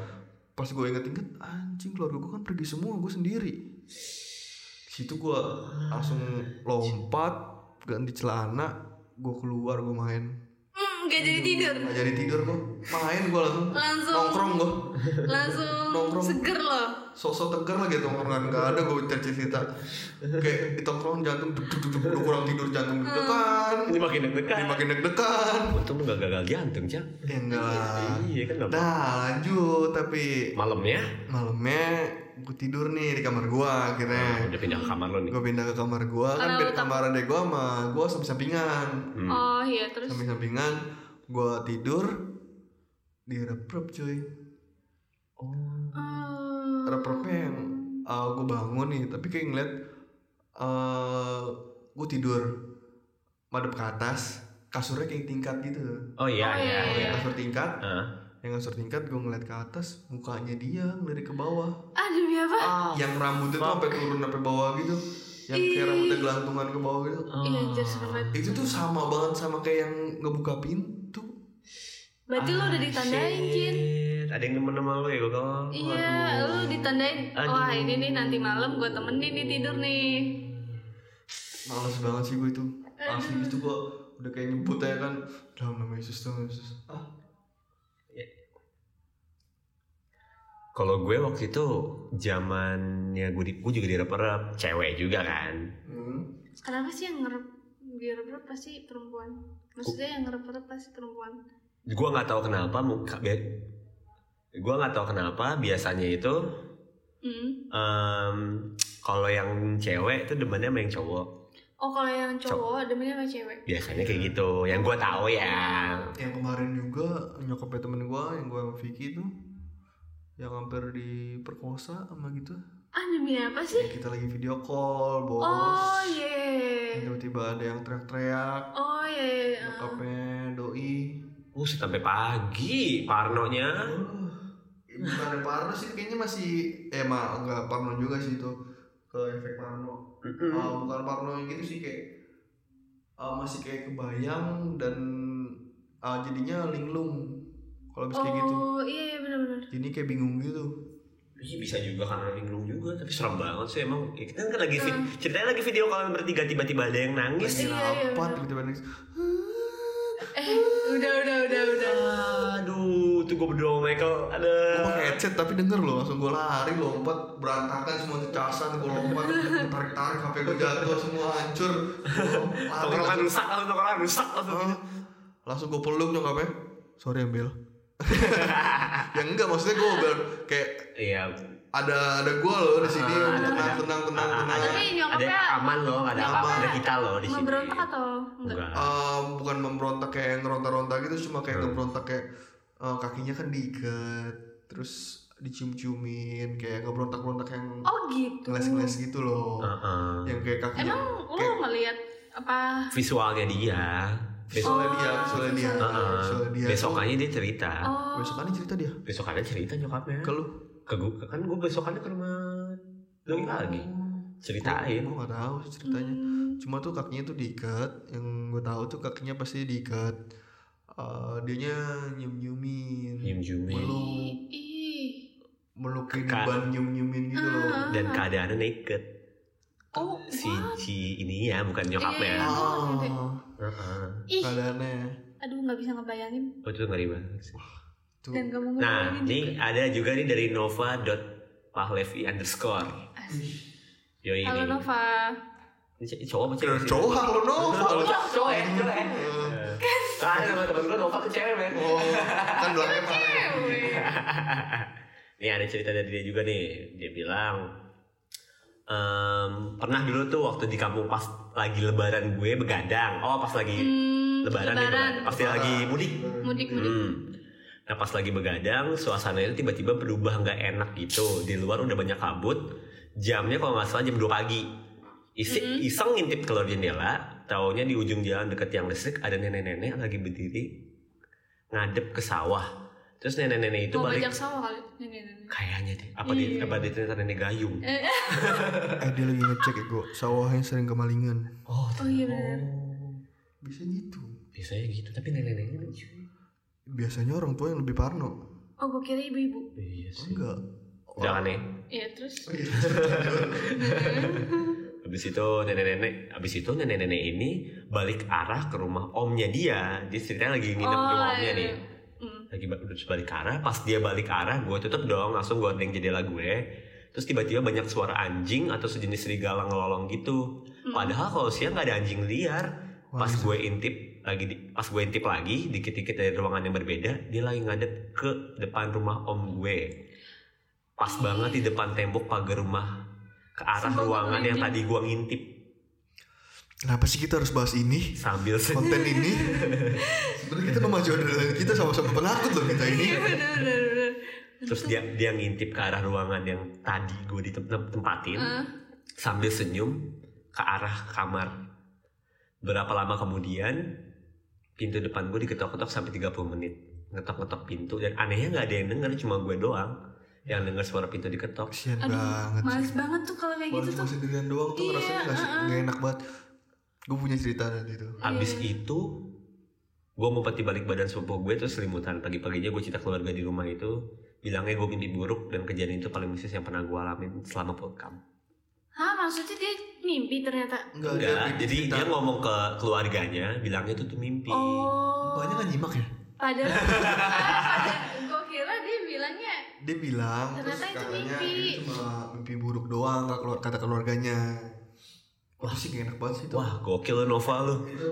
Speaker 3: pas gue inget-inget anjing keluarga gue kan pergi semua gue sendiri Di situ gue langsung lompat ganti celana gue keluar gue main
Speaker 2: Hmm, gak jadi tidur.
Speaker 3: nggak jadi tidur gue main gue langsung
Speaker 2: Langsung.
Speaker 3: nongkrong gue
Speaker 2: Langsung
Speaker 3: Nongkrong.
Speaker 2: seger loh.
Speaker 3: sosok tegar lagi tongkrongan gak ada gue cerita cerita kayak di tongkrongan jantung duk duk duk duk udah kurang tidur jantung deg-degan
Speaker 1: Ini makin
Speaker 3: ini
Speaker 1: deg-degan.
Speaker 3: makin deg-degan
Speaker 1: Untung lu gak gagal jantung, Cak.
Speaker 3: ya enggak lah
Speaker 1: Iya kan ya? gak
Speaker 3: nah lanjut tapi
Speaker 1: Malamnya
Speaker 3: malamnya gue tidur nih di kamar gue akhirnya
Speaker 1: udah pindah ke kamar lo nih.
Speaker 3: gue pindah ke kamar gue kan
Speaker 2: Karena
Speaker 3: beda
Speaker 2: lu tak-
Speaker 3: kamar adek gue sama gue samping sampingan
Speaker 1: Hmm.
Speaker 2: Oh iya, terus
Speaker 3: samping sampingan gue tidur di rep cuy Eh,
Speaker 2: Hmm.
Speaker 3: rep-repnya yang gue bangun nih tapi kayak ngeliat gue tidur madep ke atas kasurnya kayak tingkat gitu
Speaker 1: Oh iya, iya,
Speaker 2: Oh, iya,
Speaker 1: iya.
Speaker 3: yang kasur tingkat
Speaker 1: Heeh.
Speaker 3: yang kasur tingkat gue ngeliat ke atas mukanya dia ngelirik ke bawah
Speaker 2: Ah, demi apa?
Speaker 1: Ya.
Speaker 3: yang rambutnya tuh sampai turun sampai bawah gitu yang kayak
Speaker 2: Ih.
Speaker 3: rambutnya gelantungan ke bawah gitu
Speaker 2: Iya, anjir serem banget.
Speaker 3: itu tuh sama banget sama kayak yang ngebuka pintu
Speaker 2: Berarti lo udah ditandain, Jin.
Speaker 1: Ah, Shit. Ada yang nemen sama lu ya, gue
Speaker 2: Iya, lo ditandain. Wah, ini nih nanti malam gue temenin nih tidur nih.
Speaker 3: males banget sih gue itu asli itu gue udah kayak nyebut aja kan dalam nama Yesus dalam nama Yesus ah
Speaker 1: Kalau gue waktu itu zamannya gue, di- gue juga direp-rep, cewek juga kan.
Speaker 3: hmm.
Speaker 2: Kenapa sih yang ngerep ngerep pasti perempuan? Maksudnya yang ngerep pasti perempuan.
Speaker 1: Gue nggak tahu kenapa muka be- gue nggak tahu kenapa biasanya itu
Speaker 2: Hmm.
Speaker 1: em, kalau yang cewek itu demennya sama yang cowok
Speaker 2: Oh, kalau yang cowok demennya sama cewek.
Speaker 1: biasanya kayak gitu yang gue tahu ya
Speaker 3: yang kemarin juga nyokapnya temen gue yang gue sama Vicky itu yang hampir diperkosa sama gitu
Speaker 2: Ah, demi apa
Speaker 3: Yang
Speaker 2: sih?
Speaker 3: kita lagi video call bos
Speaker 2: Oh, iya.
Speaker 3: Yang tiba-tiba ada yang teriak-teriak
Speaker 2: Oh, iya.
Speaker 3: nyokapnya doi
Speaker 1: Buset sampai pagi parnonya
Speaker 3: Uh, bukan yang parno sih kayaknya masih eh mah enggak parno juga sih itu ke efek parno
Speaker 2: Hmm.
Speaker 3: Ah, bukan parno yang gitu sih kayak ah, masih kayak kebayang dan ah, jadinya linglung kalau habis kayak gitu
Speaker 2: Oh, iya, iya benar-benar.
Speaker 3: jadi kayak bingung gitu
Speaker 1: Iya bisa juga karena linglung juga tapi serem banget sih emang ya, kita kan lagi vid- ceritanya lagi video kalian bertiga tiba-tiba ada yang nangis
Speaker 2: Iya,
Speaker 3: lagi
Speaker 2: iya,
Speaker 3: rapat
Speaker 2: bener.
Speaker 3: tiba-tiba nangis.
Speaker 2: Eh, udah, udah, udah, udah.
Speaker 1: aduh tuh gue berdua sama Michael ada
Speaker 3: Gue pakai headset tapi denger loh langsung gue lari lompat berantakan semua cecasan gue lompat tarik tarik HP gue jatuh semua hancur Gua lari,
Speaker 1: tongkrongan rusak langsung tongkrongan rusak langsung
Speaker 3: Hah? langsung gue peluk nyokapnya sorry ambil ya enggak maksudnya gue bilang kayak
Speaker 1: iya
Speaker 3: ada ada gue loh di
Speaker 1: Ah,
Speaker 3: sini
Speaker 1: ada-
Speaker 3: tenang
Speaker 1: ada-
Speaker 3: tenang tenang
Speaker 1: ah,
Speaker 3: tenang
Speaker 2: Tapi
Speaker 1: ada
Speaker 2: nyokapnya
Speaker 1: aman loh ada aman ada kita loh di sini
Speaker 2: memberontak atau enggak?
Speaker 1: enggak
Speaker 3: Eh, bukan memberontak kayak ngeronta-ronta gitu cuma kayak ngeberontak kayak eh, kakinya kan diikat terus dicium-ciumin kayak ngeberontak-berontak yang
Speaker 2: Oh, gitu.
Speaker 3: ngeles-ngeles gitu loh
Speaker 1: Heeh.
Speaker 3: yang kayak kakinya
Speaker 2: Emang lo
Speaker 3: kayak-
Speaker 2: ngeliat apa?
Speaker 1: visualnya dia besok
Speaker 3: soalnya dia soalnya dia
Speaker 1: Ah,
Speaker 2: Oh.
Speaker 3: soalnya dia
Speaker 1: besokannya dia cerita
Speaker 2: Oh,
Speaker 3: besokannya cerita dia
Speaker 1: Nah, besokannya cerita nyokapnya
Speaker 3: ke lu
Speaker 1: ke gue kan gue besokannya ke rumah Doi lagi ceritain
Speaker 3: gue gak tahu sih ceritanya
Speaker 2: hmm.
Speaker 3: cuma tuh kakinya tuh diikat yang gue tahu tuh kakinya pasti diikat Eh dianya nyium nyumin
Speaker 1: nyium jumin
Speaker 2: Ih,
Speaker 3: Belum.
Speaker 2: ih.
Speaker 3: meluk kayak
Speaker 1: Kan.
Speaker 3: diban nyium nyumin gitu
Speaker 2: Ah,
Speaker 3: loh
Speaker 1: dan keadaannya naked
Speaker 2: Oh,
Speaker 1: si
Speaker 2: wah.
Speaker 1: si ini ya bukan nyokapnya
Speaker 2: Iya, iya.
Speaker 3: ah
Speaker 1: Heeh.
Speaker 2: Ih,
Speaker 3: keadaannya
Speaker 2: aduh nggak bisa ngebayangin
Speaker 1: oh itu ngeri banget sih.
Speaker 3: tuh
Speaker 2: dan kamu
Speaker 1: nah
Speaker 2: ngebayangin.
Speaker 1: ini ada juga nih dari nova dot pahlevi underscore yo ini
Speaker 2: Halo Nova.
Speaker 1: Ini c- cowok apa cewek
Speaker 3: kira
Speaker 1: sih?
Speaker 3: cowok lo no
Speaker 1: cowok cowok ya cowok ya kan sama temen gue nova ke cewek men
Speaker 3: oh kan belakangnya parah
Speaker 1: Nih ada cerita dari dia juga nih. Dia bilang em, pernah dulu tuh waktu di kampung pas lagi lebaran gue begadang. Oh, pas lagi
Speaker 2: Hmm,
Speaker 1: lebaran, nih, begadang. Pas dia lagi mudik.
Speaker 2: mudik mudik
Speaker 1: Hmm. Nah, pas lagi begadang, suasananya tiba-tiba berubah nggak enak gitu. Di luar udah banyak kabut. Jamnya kalau nggak salah jam 2 pagi. Isi,
Speaker 2: Hmm.
Speaker 1: Iseng ngintip keluar jendela, taunya di ujung jalan deket yang listrik ada nenek-nenek lagi berdiri ngadep ke sawah. Terus nenek-nenek itu
Speaker 2: mau
Speaker 1: balik
Speaker 2: bajak sawah kali nenek nenek
Speaker 1: kayaknya deh apa di
Speaker 2: Oh, Iya.
Speaker 1: apa di ternyata nenek gayung
Speaker 2: eh,
Speaker 3: Eh dia lagi ngecek ya gue Sawahnya sering kemalingan
Speaker 1: oh,
Speaker 2: Oh, iya benar.
Speaker 3: Bisa gitu
Speaker 1: biasanya gitu tapi nenek-neneknya lucu
Speaker 3: Biasanya orang tua yang lebih parno
Speaker 2: oh gue kira ibu-ibu
Speaker 1: iya sih
Speaker 3: Enggak Oh, iya.
Speaker 1: jangan ya
Speaker 2: ya terus
Speaker 1: Hmm, habis itu nenek-nenek habis itu nenek-nenek ini balik arah ke rumah omnya dia dia ceritanya lagi nginep di rumah omnya
Speaker 2: iya.
Speaker 1: nih
Speaker 2: Hmm.
Speaker 1: lagi ba- terus balik arah pas dia balik arah gue tutup dong langsung gorden jendela gue terus tiba-tiba banyak suara anjing atau sejenis serigala ngelolong gitu
Speaker 2: Hmm.
Speaker 1: padahal kalau siang nggak ada anjing liar
Speaker 3: Wah,
Speaker 1: pas gue intip lagi di- pas gue intip lagi dikit-dikit dari ruangan yang berbeda dia lagi ngadep ke depan rumah om gue pas banget di depan tembok pagar rumah ke arah
Speaker 2: Sumpah,
Speaker 1: ruangan yang
Speaker 2: merinding.
Speaker 1: tadi gue ngintip
Speaker 3: Kenapa sih kita harus bahas ini?
Speaker 1: sambil sedih
Speaker 3: Konten ini Sebenernya kita memacu adrenalin kita sama-sama penakut loh kita ini
Speaker 2: iya benar benar benar
Speaker 1: terus dia dia ngintip ke arah ruangan yang tadi gue ditempatin
Speaker 2: Ah.
Speaker 1: sambil senyum ke arah kamar berapa lama kemudian pintu depan gue diketok-ketok sampai 30 menit ngetok-ngetok pintu dan anehnya nggak ada yang denger cuma gue doang yang denger suara pintu diketok
Speaker 3: Kasian
Speaker 2: aduh
Speaker 3: banget
Speaker 2: males banget tuh kalau kayak
Speaker 3: Kalau
Speaker 2: gitu
Speaker 3: cuma
Speaker 2: tuh
Speaker 3: sendirian doang tuh
Speaker 2: Iya,
Speaker 3: rasanya gak, sih-
Speaker 2: uh-uh.
Speaker 3: gak enak banget Gue punya cerita nanti itu
Speaker 1: abis
Speaker 2: Iya.
Speaker 1: itu gue ngumpet di balik badan sepupu gue terus selimutan pagi-paginya gue cerita keluarga di rumah itu bilangnya gue mimpi buruk dan kejadian itu paling mistis yang pernah gue alamin selama pulkam
Speaker 2: Hah maksudnya dia mimpi ternyata
Speaker 3: Enggak,
Speaker 1: Enggak, jadi dia ngomong ke keluarganya, bilangnya itu tuh mimpi.
Speaker 2: oh
Speaker 3: Banyak kan nyimak ya?
Speaker 2: padahal gue kira dia bilangnya
Speaker 3: Dia bilang
Speaker 2: Ternyata
Speaker 3: terus
Speaker 2: itu
Speaker 3: katanya
Speaker 2: mimpi.
Speaker 3: ini cuma mimpi buruk doang kata keluar- kata keluarganya Wah sih gak enak banget sih itu
Speaker 1: Wah, gokil lo Nova lo.
Speaker 3: Itu,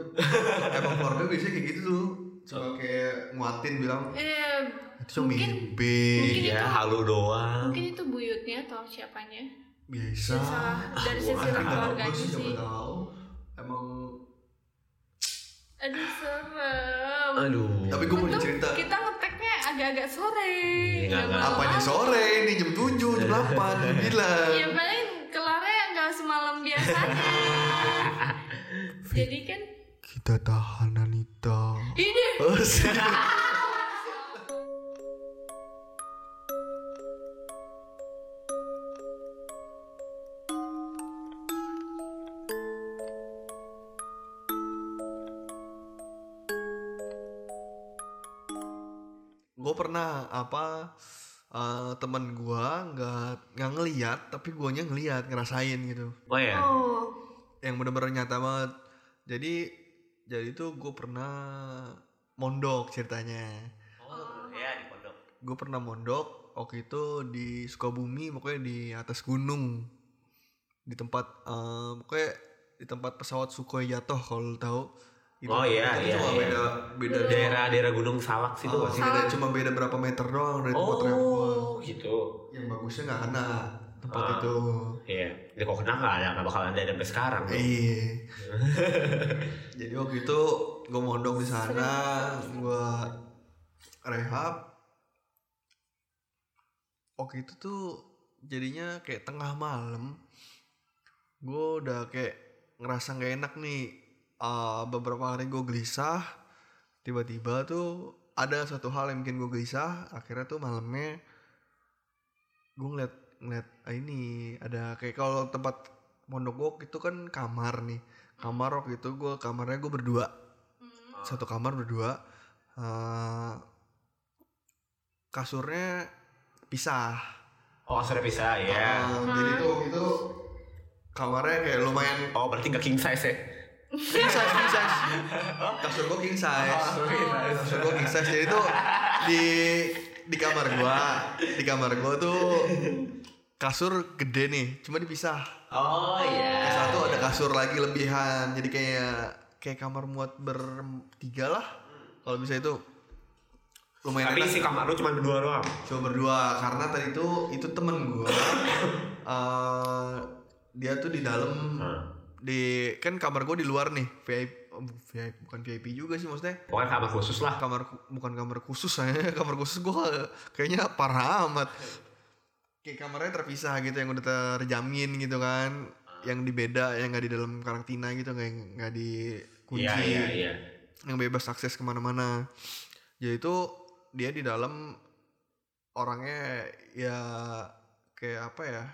Speaker 3: Emang keluarga biasanya kayak gitu tuh Cuma kayak nguatin bilang
Speaker 2: eh
Speaker 3: Itu cuma
Speaker 2: Mungkin-
Speaker 3: mimpi
Speaker 2: mungkin
Speaker 1: Iya,
Speaker 2: itu-
Speaker 1: halu doang.
Speaker 2: mungkin itu buyutnya atau siapanya
Speaker 3: Biasa
Speaker 2: Salah
Speaker 1: Ah, gua
Speaker 2: dari sisi
Speaker 1: nggak tahu,
Speaker 2: keluarganya
Speaker 3: Gue sih
Speaker 2: sih
Speaker 3: siapa tau Emang
Speaker 2: aduh serem
Speaker 1: Aduh.
Speaker 3: Tapi gue punya
Speaker 2: Untung
Speaker 3: cerita
Speaker 2: kita ngeteknya agak-agak sore
Speaker 1: Iya, nggak- nggak.
Speaker 2: malam-malam.
Speaker 3: Apanya sore ini jam 7, jam 8 Dia bilang
Speaker 2: ya paling kelarnya nggak semalam biasanya jadi kan
Speaker 3: Kita tahan Anita
Speaker 2: ini
Speaker 3: gue pernah apa eh, temen gue nggak nggak ngeliat tapi guanya ngeliat ngerasain gitu
Speaker 1: Oh ya.
Speaker 2: oh
Speaker 3: yang bener-bener nyata banget jadi jadi tuh gue pernah mondok ceritanya
Speaker 1: Oh, ya di pondok.
Speaker 3: gue pernah mondok waktu itu di Sukabumi pokoknya di atas gunung di tempat eh, pokoknya di tempat pesawat Sukhoi jatuh kalau lu tahu Itu-
Speaker 1: Oh, iya, iya,
Speaker 3: itu cuma
Speaker 1: iya.
Speaker 3: beda beda
Speaker 1: Daerah-daerah Gunung Salak situ
Speaker 3: Oh,
Speaker 1: pasti.
Speaker 3: beda, cuma beda berapa meter doang dari tempat teriak gua.
Speaker 1: Oh, gitu.
Speaker 3: yang bagusnya nggak kena tempat
Speaker 1: Ah.
Speaker 3: itu
Speaker 1: Iya. Jadi kok kena nggak ada, nggak bakal ada sampai sekarang. tuh.
Speaker 3: iya jadi waktu itu gue mondok di sana gue rehab waktu itu tuh jadinya kayak tengah malam gue udah kayak ngerasa nggak enak nih Ah, beberapa hari gue gelisah tiba-tiba tuh ada satu hal yang bikin gue gelisah akhirnya tuh malamnya gue ngeliat ngeliat ah, ini ada kayak kalau tempat mondok gue itu kan kamar nih kamar waktu itu gue kamarnya gue berdua
Speaker 2: Hmm.
Speaker 3: satu kamar berdua Eh, kasurnya pisah
Speaker 1: Oh, sudah bisa ya.
Speaker 3: Eh, jadi tuh waktu itu kamarnya kayak lumayan
Speaker 1: Oh, berarti nggak king size ya?
Speaker 3: king size king size kasur gue king size kasur gue king size jadi tuh di di kamar gua di kamar gua tuh kasur gede nih cuma dipisah
Speaker 1: Oh
Speaker 3: yang
Speaker 1: iya.
Speaker 3: satu ada kasur lagi lebihan jadi kayak kayak kamar muat bertiga lah kalau bisa itu lumayan
Speaker 1: Tapi
Speaker 3: enak
Speaker 1: isi kamar lu cuma berdua doang.
Speaker 3: coba berdua karena tadi itu itu temen gua Eh, dia tuh di dalam
Speaker 1: Heeh.
Speaker 3: di kan kamar gue di luar nih VIP, oh, bu- VIP bukan VIP juga sih maksudnya
Speaker 1: Pokoknya kamar khusus lah.
Speaker 3: kamar ku- bukan kamar khusus saya kamar khusus gue kayaknya parah amat kayak kamarnya terpisah gitu yang udah terjamin gitu kan yang di beda yang nggak di dalam karantina gitu nggak nggak dikunci
Speaker 1: Iya, iya, iya.
Speaker 3: yang bebas akses kemana-mana jadi itu dia di dalam orangnya ya kayak apa ya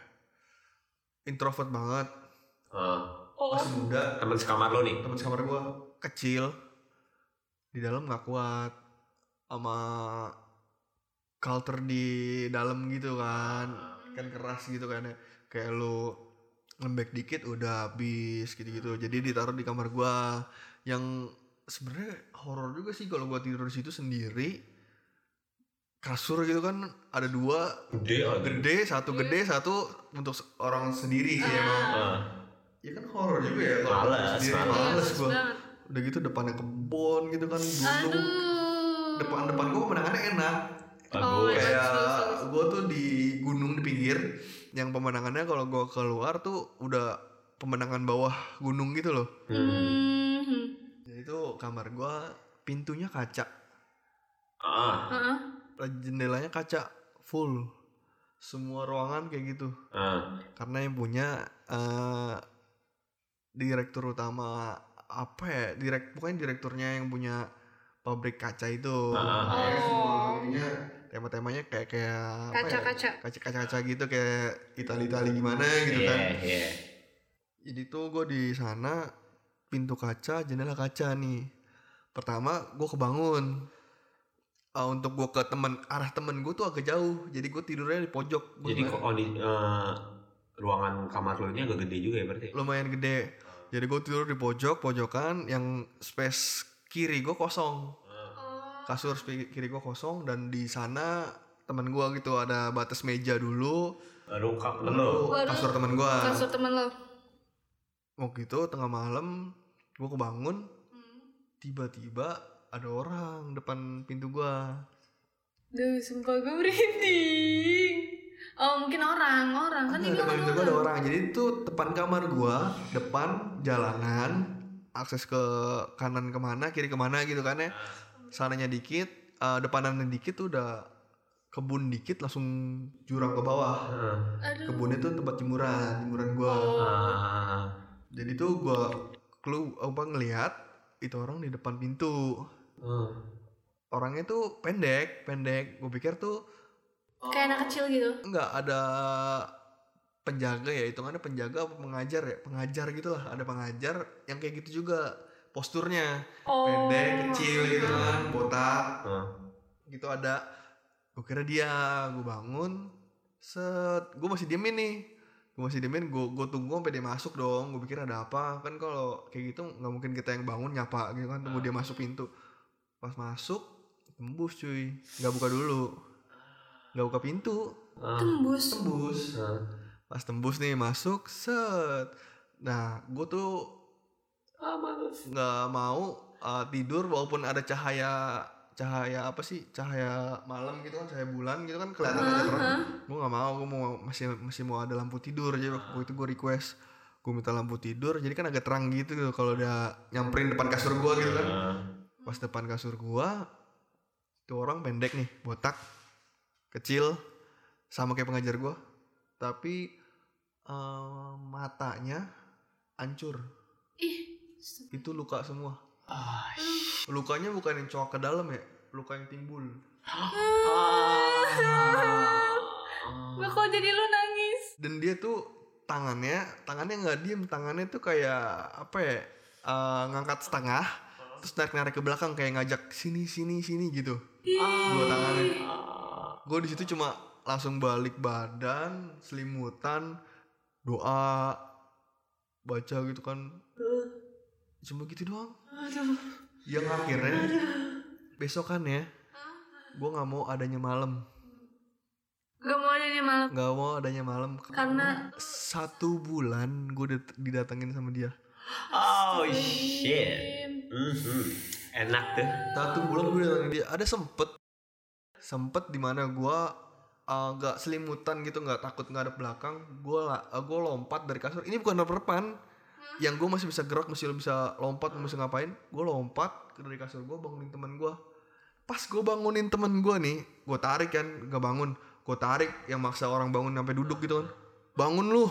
Speaker 3: introvert banget
Speaker 1: Heeh.
Speaker 2: Oh,
Speaker 3: masih muda
Speaker 1: Temen sekamar lo nih.
Speaker 3: teman sekamar gua kecil di dalam nggak kuat sama culture di dalam gitu kan kan keras gitu kan ya kayak lu lembek dikit udah habis gitu-gitu jadi ditaruh di kamar gua yang sebenarnya horor juga sih kalau gua tidur di situ sendiri kasur gitu kan ada dua
Speaker 1: Gede, oh. gede.
Speaker 3: gede satu gede satu untuk se- orang sendiri sih emang
Speaker 1: Heeh.
Speaker 3: ya kan horor juga ya kalau
Speaker 1: Males,
Speaker 3: gua sendiri.
Speaker 1: males.
Speaker 3: males gua
Speaker 2: banget.
Speaker 3: udah gitu depannya kebun gitu kan gunung
Speaker 2: Aduh.
Speaker 3: depan depan gue pemandangannya enak
Speaker 2: Oh,
Speaker 1: Bagus.
Speaker 2: iya.
Speaker 3: kayak
Speaker 2: bagus, bagus.
Speaker 3: gue tuh di gunung di pinggir yang pemandangannya kalau gue keluar tuh udah pemandangan bawah gunung gitu loh
Speaker 1: Hmm.
Speaker 2: Hmm.
Speaker 3: jadi tuh kamar gue pintunya kaca
Speaker 1: Heeh.
Speaker 2: Heeh.
Speaker 3: jendelanya kaca full semua ruangan kayak gitu
Speaker 1: Heeh.
Speaker 3: karena yang punya eh direktur utama apa ya direk pokoknya direkturnya yang punya pabrik kaca itu
Speaker 1: Ah, ah.
Speaker 3: Ya,
Speaker 2: Oh.
Speaker 3: jadinya tema-temanya kayak kayak apa ya,
Speaker 2: Kaca-kaca.
Speaker 3: kaca-kaca-kaca gitu kayak Itali-Itali gimana
Speaker 1: Iya,
Speaker 3: gitu kan
Speaker 1: iya.
Speaker 3: jadi tuh gue di sana pintu kaca jendela kaca nih pertama gue kebangun Ah, untuk gue ke temen arah temen gue tuh agak jauh jadi gue tidurnya di pojok Gua
Speaker 1: Jadi
Speaker 3: nggak-
Speaker 1: kok di eh, ruangan kamar lo ini agak gede juga ya berarti?
Speaker 3: lumayan gede. Jadi gue tidur di pojok pojokan yang space kiri gue kosong,
Speaker 2: Oh.
Speaker 3: kasur spi- kiri gue kosong dan di sana teman gue gitu ada batas meja dulu,
Speaker 1: Lu kap lo.
Speaker 3: lalu
Speaker 2: Baru
Speaker 3: kasur teman gue.
Speaker 2: Kasur temen lo.
Speaker 3: Mau gitu tengah malam gue kebangun
Speaker 2: Hmm.
Speaker 3: tiba-tiba ada orang depan pintu gue.
Speaker 2: Duh, sumpah gue merinding. Oh, mungkin orang, orang kan ini
Speaker 3: depan
Speaker 2: orang.
Speaker 3: pintu gue ada orang. Jadi itu depan kamar gue, depan jalanan, akses ke kanan kemana, kiri kemana gitu kan ya. sananya dikit, eh, depanannya dikit tuh udah kebun dikit langsung jurang ke bawah.
Speaker 1: Heeh.
Speaker 2: Aduh.
Speaker 3: Kebunnya tuh tempat jemuran, jemuran gua.
Speaker 2: Oh.
Speaker 1: Ah.
Speaker 3: Jadi tuh gua kelu apa ngelihat itu orang di depan pintu.
Speaker 1: Heeh.
Speaker 3: Orangnya tuh pendek, pendek. Gue pikir tuh
Speaker 2: Kayak anak kecil gitu.
Speaker 3: nggak ada penjaga ya, hitungannya penjaga apa pengajar ya, pengajar gitu lah. Ada pengajar yang kayak gitu juga posturnya
Speaker 2: Oh.
Speaker 3: pendek, kecil gitu kan, botak.
Speaker 1: Heeh.
Speaker 3: gitu ada gue kira dia gue bangun set gue masih diemin nih gue masih diemin gue gue tunggu sampai dia masuk dong gue pikir ada apa kan kalau kayak gitu nggak mungkin kita yang bangun nyapa gitu kan tunggu dia masuk pintu pas masuk tembus cuy nggak buka dulu nggak buka pintu
Speaker 1: Heeh.
Speaker 2: Tembus.
Speaker 3: tembus
Speaker 1: Heeh.
Speaker 3: pas tembus nih masuk set nah gue tuh
Speaker 1: Ah, males.
Speaker 3: nggak mau uh, tidur walaupun ada cahaya cahaya apa sih cahaya malam gitu kan cahaya bulan gitu kan kelihatan ada terang
Speaker 2: Heeh.
Speaker 3: gue nggak mau gue mau masih masih mau ada lampu tidur jadi waktu itu gue request gue minta lampu tidur jadi kan agak terang gitu tuh kalau udah nyamperin depan kasur gue gitu kan
Speaker 1: Heeh.
Speaker 3: pas depan kasur gue tuh orang pendek nih botak kecil sama kayak pengajar gue tapi eh, matanya hancur
Speaker 2: Ih.
Speaker 3: itu luka semua
Speaker 1: Ah,
Speaker 3: lukanya bukan yang cowok ke dalam ya luka yang timbul
Speaker 2: Gue Oh. kok jadi lu nangis.
Speaker 3: dan dia tuh tangannya tangannya nggak diem tangannya tuh kayak apa ya eh, ngangkat setengah terus narik narik ke belakang kayak ngajak sini sini sini gitu dua tangannya gue di situ cuma langsung balik badan selimutan doa baca gitu kan cuma gitu doang yang akhirnya besokannya gue ya, nggak mau adanya malam
Speaker 2: Gue mau jadi malam
Speaker 3: nggak mau adanya malam
Speaker 2: karena
Speaker 3: satu bulan gue didatengin sama dia
Speaker 1: Oh shit. Mhm. Enak tuh.
Speaker 3: satu bulan gue didatengin dia ada sempet sempet dimana gue eh, nggak selimutan gitu nggak takut ngadep belakang gue lah gue lompat dari kasur ini bukan repan yang gue masih bisa gerak masih bisa lompat masih ngapain gue lompat dari kasur gue bangunin teman gue pas gue bangunin temen gue nih gue tarik kan nggak bangun gue tarik yang maksa orang bangun sampai duduk gitu kan bangun lu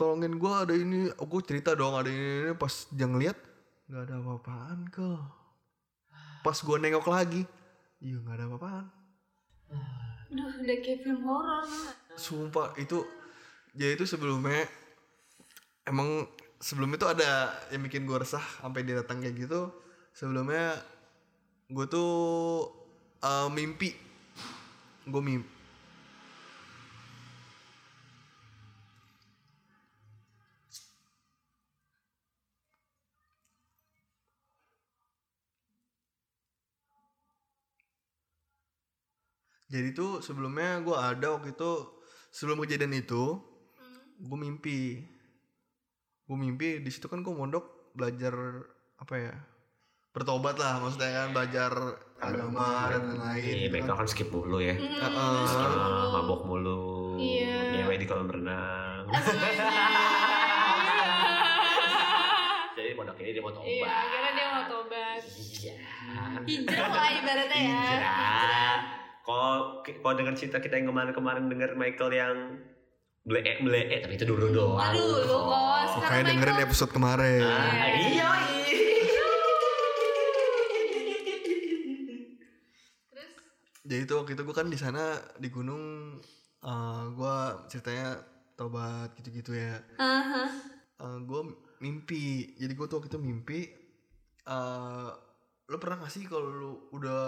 Speaker 3: tolongin gue ada ini gue cerita dong ada ini, ini. pas dia ngeliat nggak ada apa-apaan kok pas gue nengok lagi iya nggak ada apa-apaan
Speaker 2: Duh, udah kayak film horor. tau nggak?
Speaker 3: Sumpah itu jadi itu sebelumnya emang sebelum itu ada yang bikin gue resah sampai dia datang kayak gitu. Sebelumnya gue tuh eh, mimpi gue mimpi Jadi tuh sebelumnya gue ada waktu itu sebelum kejadian itu gue mimpi gue mimpi di situ kan gue mondok belajar apa ya bertobat lah maksudnya kan belajar agama dan
Speaker 1: Iya,
Speaker 3: lain-lain gitu kan.
Speaker 1: baik kan skip mulu ya.
Speaker 2: Hmm,
Speaker 3: Heeh.
Speaker 2: skip
Speaker 1: Ah,
Speaker 2: dulu.
Speaker 1: mabok mulu.
Speaker 2: Iya.
Speaker 1: Nyewe di kolam renang. Jadi pondok ini dia mau tobat.
Speaker 2: Iya, akhirnya dia mau tobat.
Speaker 1: Iya.
Speaker 2: Hijrah lah ibaratnya ya.
Speaker 1: Hijrah. Kalau kalau dengar cerita kita yang kemarin-kemarin dengar Michael yang bleek bleek tapi itu dulu doang. Oh.
Speaker 2: Aduh, lu bos. Karena
Speaker 3: Makanya dengerin
Speaker 2: Michael-
Speaker 3: episode kemarin.
Speaker 1: Ah, iya.
Speaker 2: Terus
Speaker 3: Jadi itu waktu itu gue kan di sana di gunung eh gue ceritanya tobat gitu-gitu ya.
Speaker 2: aha.
Speaker 3: gue mimpi. Jadi gue tuh waktu itu mimpi. eh lo pernah gak sih kalau lu udah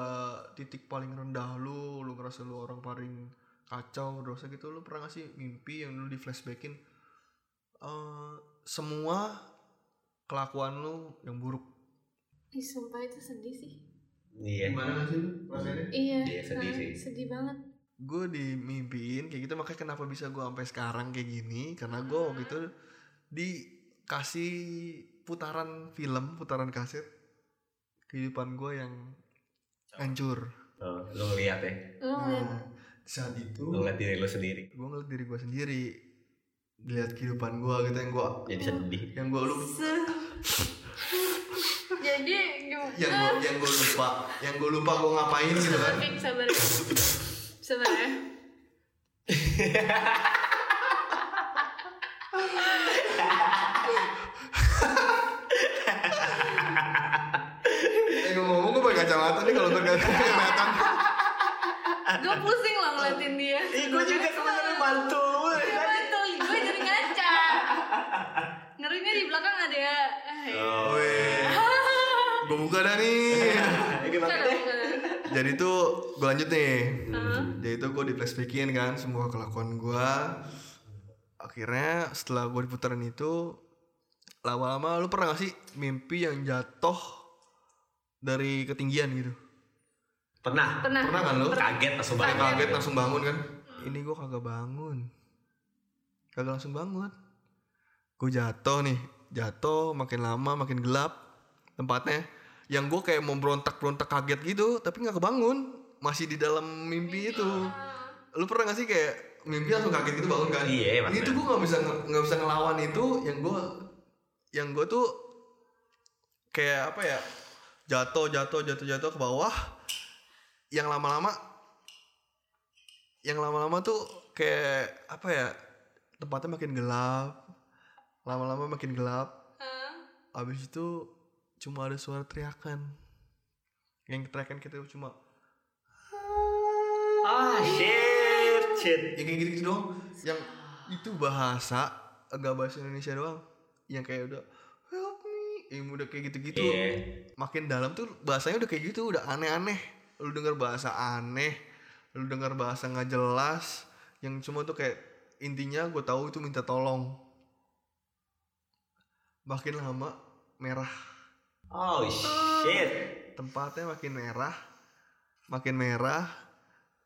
Speaker 3: titik paling rendah lu, lu ngerasa lu orang paling kacau, dosa gitu, lu pernah gak sih mimpi yang lu di flashbackin eh semua kelakuan lu yang buruk?
Speaker 2: Ih, sumpah itu sedih sih.
Speaker 1: Iya.
Speaker 3: Gimana sih rasanya?
Speaker 2: Iya.
Speaker 1: Iya, sedih
Speaker 2: nah,
Speaker 1: sih.
Speaker 2: Sedih banget.
Speaker 3: gue dimimpiin kayak gitu makanya kenapa bisa gue sampai sekarang kayak gini karena gue waktu itu
Speaker 1: Hmm.
Speaker 3: dikasih putaran film putaran kaset kehidupan gue yang hancur
Speaker 1: Oh, lu ngeliat ya.
Speaker 2: Lu ngeliat
Speaker 3: nah, di saat itu
Speaker 1: Lu ngeliat diri lu sendiri.
Speaker 3: gue ngeliat diri gue sendiri lihat kehidupan gue gitu yang gue
Speaker 1: Jadi sedih.
Speaker 3: yang gue lupa
Speaker 2: Se- Jadi gimana?
Speaker 3: yang gue yang gue lupa yang gue lupa gue ngapain gitu kan
Speaker 2: Sabar, Vic, Eh, sabar. Sabar ya.
Speaker 3: eh ngomong-ngomong gue pakai kacamata nih kalau ntar nggak kelihatan
Speaker 2: Gue pusing loh ngeliatin dia.
Speaker 1: sebenarnya mantul.
Speaker 2: Iya, betul. Gue jadi ngaca. Ngerinya di belakang ada ya. Ah, iya.
Speaker 1: Oh.
Speaker 3: gue buka dah nih
Speaker 2: Bukan,
Speaker 1: Gimana?
Speaker 2: bukan.
Speaker 3: jadi tuh gue lanjut nih
Speaker 2: Heeh.
Speaker 3: jadi tuh gue di flashbackin kan semua kelakuan gue akhirnya setelah gue putaran itu lama-lama lu pernah gak sih mimpi yang jatuh dari ketinggian gitu
Speaker 1: Pernah.
Speaker 2: Pernah. Hmm.
Speaker 3: pernah kan lu
Speaker 1: Kaget langsung banget.
Speaker 3: kaget langsung bangun kan ini gue kagak bangun kagak langsung bangun gue jatuh nih jatuh makin lama makin gelap tempatnya yang gue kayak mau berontak berontak kaget gitu tapi nggak kebangun masih di dalam mimpi itu lu pernah gak sih kayak mimpi langsung kaget gitu bangun kan
Speaker 1: Iya, pernah.
Speaker 3: ini tuh gue nggak bisa nggak bisa ngelawan itu yang gue yang gue tuh kayak apa ya jatuh jatuh jatuh jatuh ke bawah yang lama-lama yang lama-lama tuh kayak apa ya tempatnya makin gelap lama-lama makin gelap
Speaker 2: Heeh.
Speaker 3: abis itu cuma ada suara teriakan yang teriakan kita cuma
Speaker 1: Ah, shit, shit.
Speaker 3: yang ya kayak gitu-gitu doang yang itu bahasa enggak bahasa Indonesia doang yang kayak udah help me yang udah kayak gitu-gitu
Speaker 1: Iya.
Speaker 3: makin dalam tuh bahasanya udah kayak gitu udah aneh-aneh lu denger bahasa aneh lu denger bahasa nggak jelas yang cuma tuh kayak intinya gue tahu itu minta tolong makin lama merah
Speaker 1: Oh, shit.
Speaker 3: tempatnya makin merah makin merah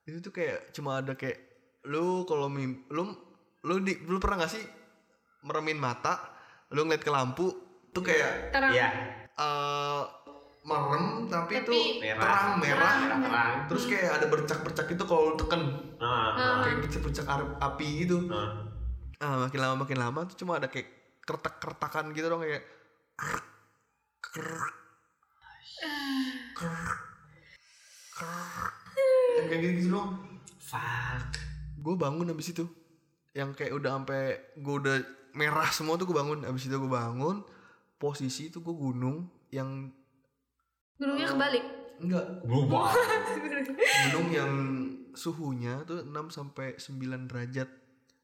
Speaker 3: itu tuh kayak cuma ada kayak lu kalau mim lu lu di lu pernah gak sih meremin mata lu ngeliat ke lampu tuh kayak
Speaker 2: Terang.
Speaker 1: Iya.
Speaker 3: eh merem tapi,
Speaker 2: Tapi
Speaker 3: tuh terang merah
Speaker 1: Terang.
Speaker 3: terus kayak ada bercak-bercak itu kalau lu tekan
Speaker 1: Ah, Ah,
Speaker 3: kayak puncak-puncak ar- api gitu
Speaker 1: ah.
Speaker 3: ah makin lama makin lama tuh cuma ada kayak kertak kertakan gitu dong kayak krrrk, krrrk, krrrk, krrrk. kayak gitu gitu dong
Speaker 1: Fuck.
Speaker 3: gue bangun abis itu yang kayak udah sampai gue udah merah semua tuh gue bangun abis itu gue bangun posisi itu gue gunung yang
Speaker 2: Gunungnya kebalik.
Speaker 3: enggak
Speaker 1: Berubah.
Speaker 3: gunung yang suhunya tuh 6 sampai 9 derajat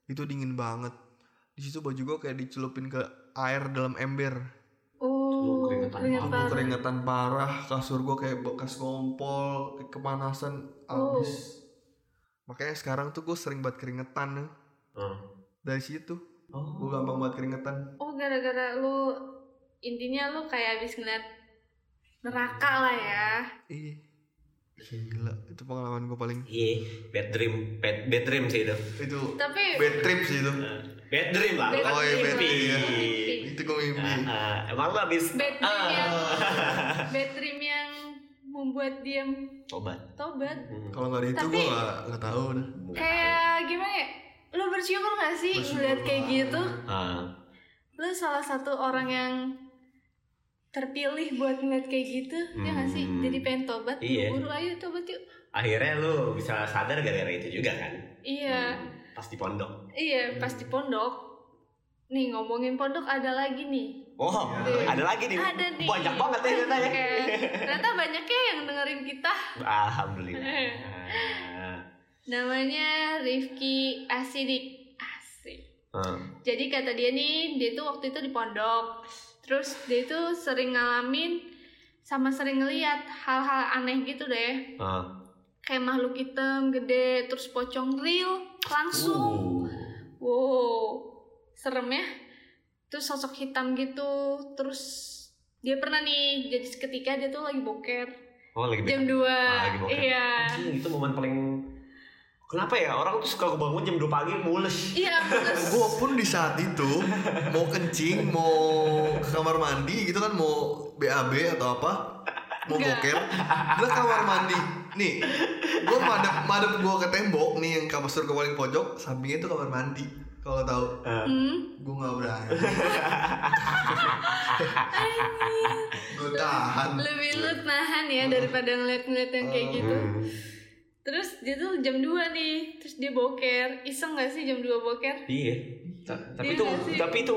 Speaker 3: itu dingin banget di situ baju gue kayak dicelupin ke air dalam ember
Speaker 1: Lu
Speaker 2: Oh,
Speaker 1: keringetan
Speaker 2: keringet
Speaker 1: banget.
Speaker 3: Aku
Speaker 2: parah.
Speaker 3: keringetan parah, kasur gue kayak bekas kompol, kayak kepanasan abis.
Speaker 2: Oh.
Speaker 3: Makanya sekarang tuh gue sering banget keringetan ya.
Speaker 1: Hmm.
Speaker 3: Dari situ gue
Speaker 1: Oh.
Speaker 3: gampang banget keringetan.
Speaker 2: Oh, gara-gara lu intinya lu kayak habis ngeliat neraka lah ya.
Speaker 3: Ih, ya gila itu pengalaman gue paling.
Speaker 1: Iya, bad dream, bad, bad dream sih itu.
Speaker 3: Itu
Speaker 2: Tapi
Speaker 3: bad trip sih itu.
Speaker 1: Eh, Bad dream lah.
Speaker 2: Bad
Speaker 1: bukan
Speaker 3: Oh, iya, bad
Speaker 1: mimpi.
Speaker 3: dream,
Speaker 2: ya.
Speaker 3: Itu gue mimpi.
Speaker 1: Ah, ah. Emang lu habis
Speaker 2: bad dream
Speaker 1: Ah.
Speaker 2: yang bad dream yang membuat dia
Speaker 1: Tobat.
Speaker 2: tobat.
Speaker 1: Hmm.
Speaker 3: Kalau nggak ada itu
Speaker 2: Tapi-
Speaker 3: gue nggak nggak tahu dah.
Speaker 2: Kayak gimana ya? Lu bersyukur gak sih
Speaker 3: Bersyukur
Speaker 2: ngeliat kayak
Speaker 3: banget.
Speaker 2: gitu?
Speaker 1: Ah.
Speaker 2: Lu salah satu orang yang terpilih buat ngeliat kayak gitu ya gak sih
Speaker 1: Hmm.
Speaker 2: jadi pengen tobat
Speaker 1: Iya.
Speaker 2: buru ayo tobat yuk
Speaker 1: Akhirnya lu bisa sadar gara-gara itu juga kan?
Speaker 2: iya
Speaker 1: Hmm, Pas di pondok.
Speaker 2: iya pas di pondok nih ngomongin pondok ada lagi nih
Speaker 1: Oh,
Speaker 2: Iya.
Speaker 1: ada lagi nih.
Speaker 2: ada nih
Speaker 1: Banyak banget ya ceritanya.
Speaker 2: Kayak, ternyata banyaknya yang dengerin kita
Speaker 1: Alhamdulillah.
Speaker 2: Iya.
Speaker 1: Ah.
Speaker 2: namanya Rifki Asidik asik
Speaker 1: Hmm.
Speaker 2: Jadi kata dia nih, dia tuh waktu itu di pondok. Terus dia tuh sering ngalamin sama sering ngeliat hal-hal aneh gitu deh.
Speaker 1: Ah.
Speaker 2: Kayak makhluk hitam gede, terus pocong real langsung.
Speaker 1: Uh.
Speaker 2: Wow, serem ya. Terus sosok hitam gitu, terus dia pernah nih jadi seketika dia tuh lagi boker
Speaker 1: Oh, lagi
Speaker 2: jam 2
Speaker 1: lagi boker.
Speaker 2: iya
Speaker 1: Anjing, itu momen paling Kenapa ya orang tuh suka bangun jam 2 pagi mules.
Speaker 2: iya terus
Speaker 3: Gue pun di saat itu mau kencing, mau ke kamar mandi gitu kan, mau BAB atau apa, mau
Speaker 2: Enggak.
Speaker 3: boker, gue ke kamar mandi. Nih, gue madep madep gue ke tembok nih yang kamar sur ke paling pojok, sampingnya itu kamar mandi. Kalau tahu,
Speaker 2: hmm,
Speaker 3: gue nggak berani. gue tahan.
Speaker 2: lebih lu nahan ya daripada ngeliat-ngeliat yang kayak gitu
Speaker 1: Hmm.
Speaker 2: Terus dia tuh jam 2 nih, terus dia boker. Iseng gak sih jam 2 boker?
Speaker 1: Iya. Ta- tapi itu
Speaker 2: Iya nggak sih?
Speaker 1: tapi itu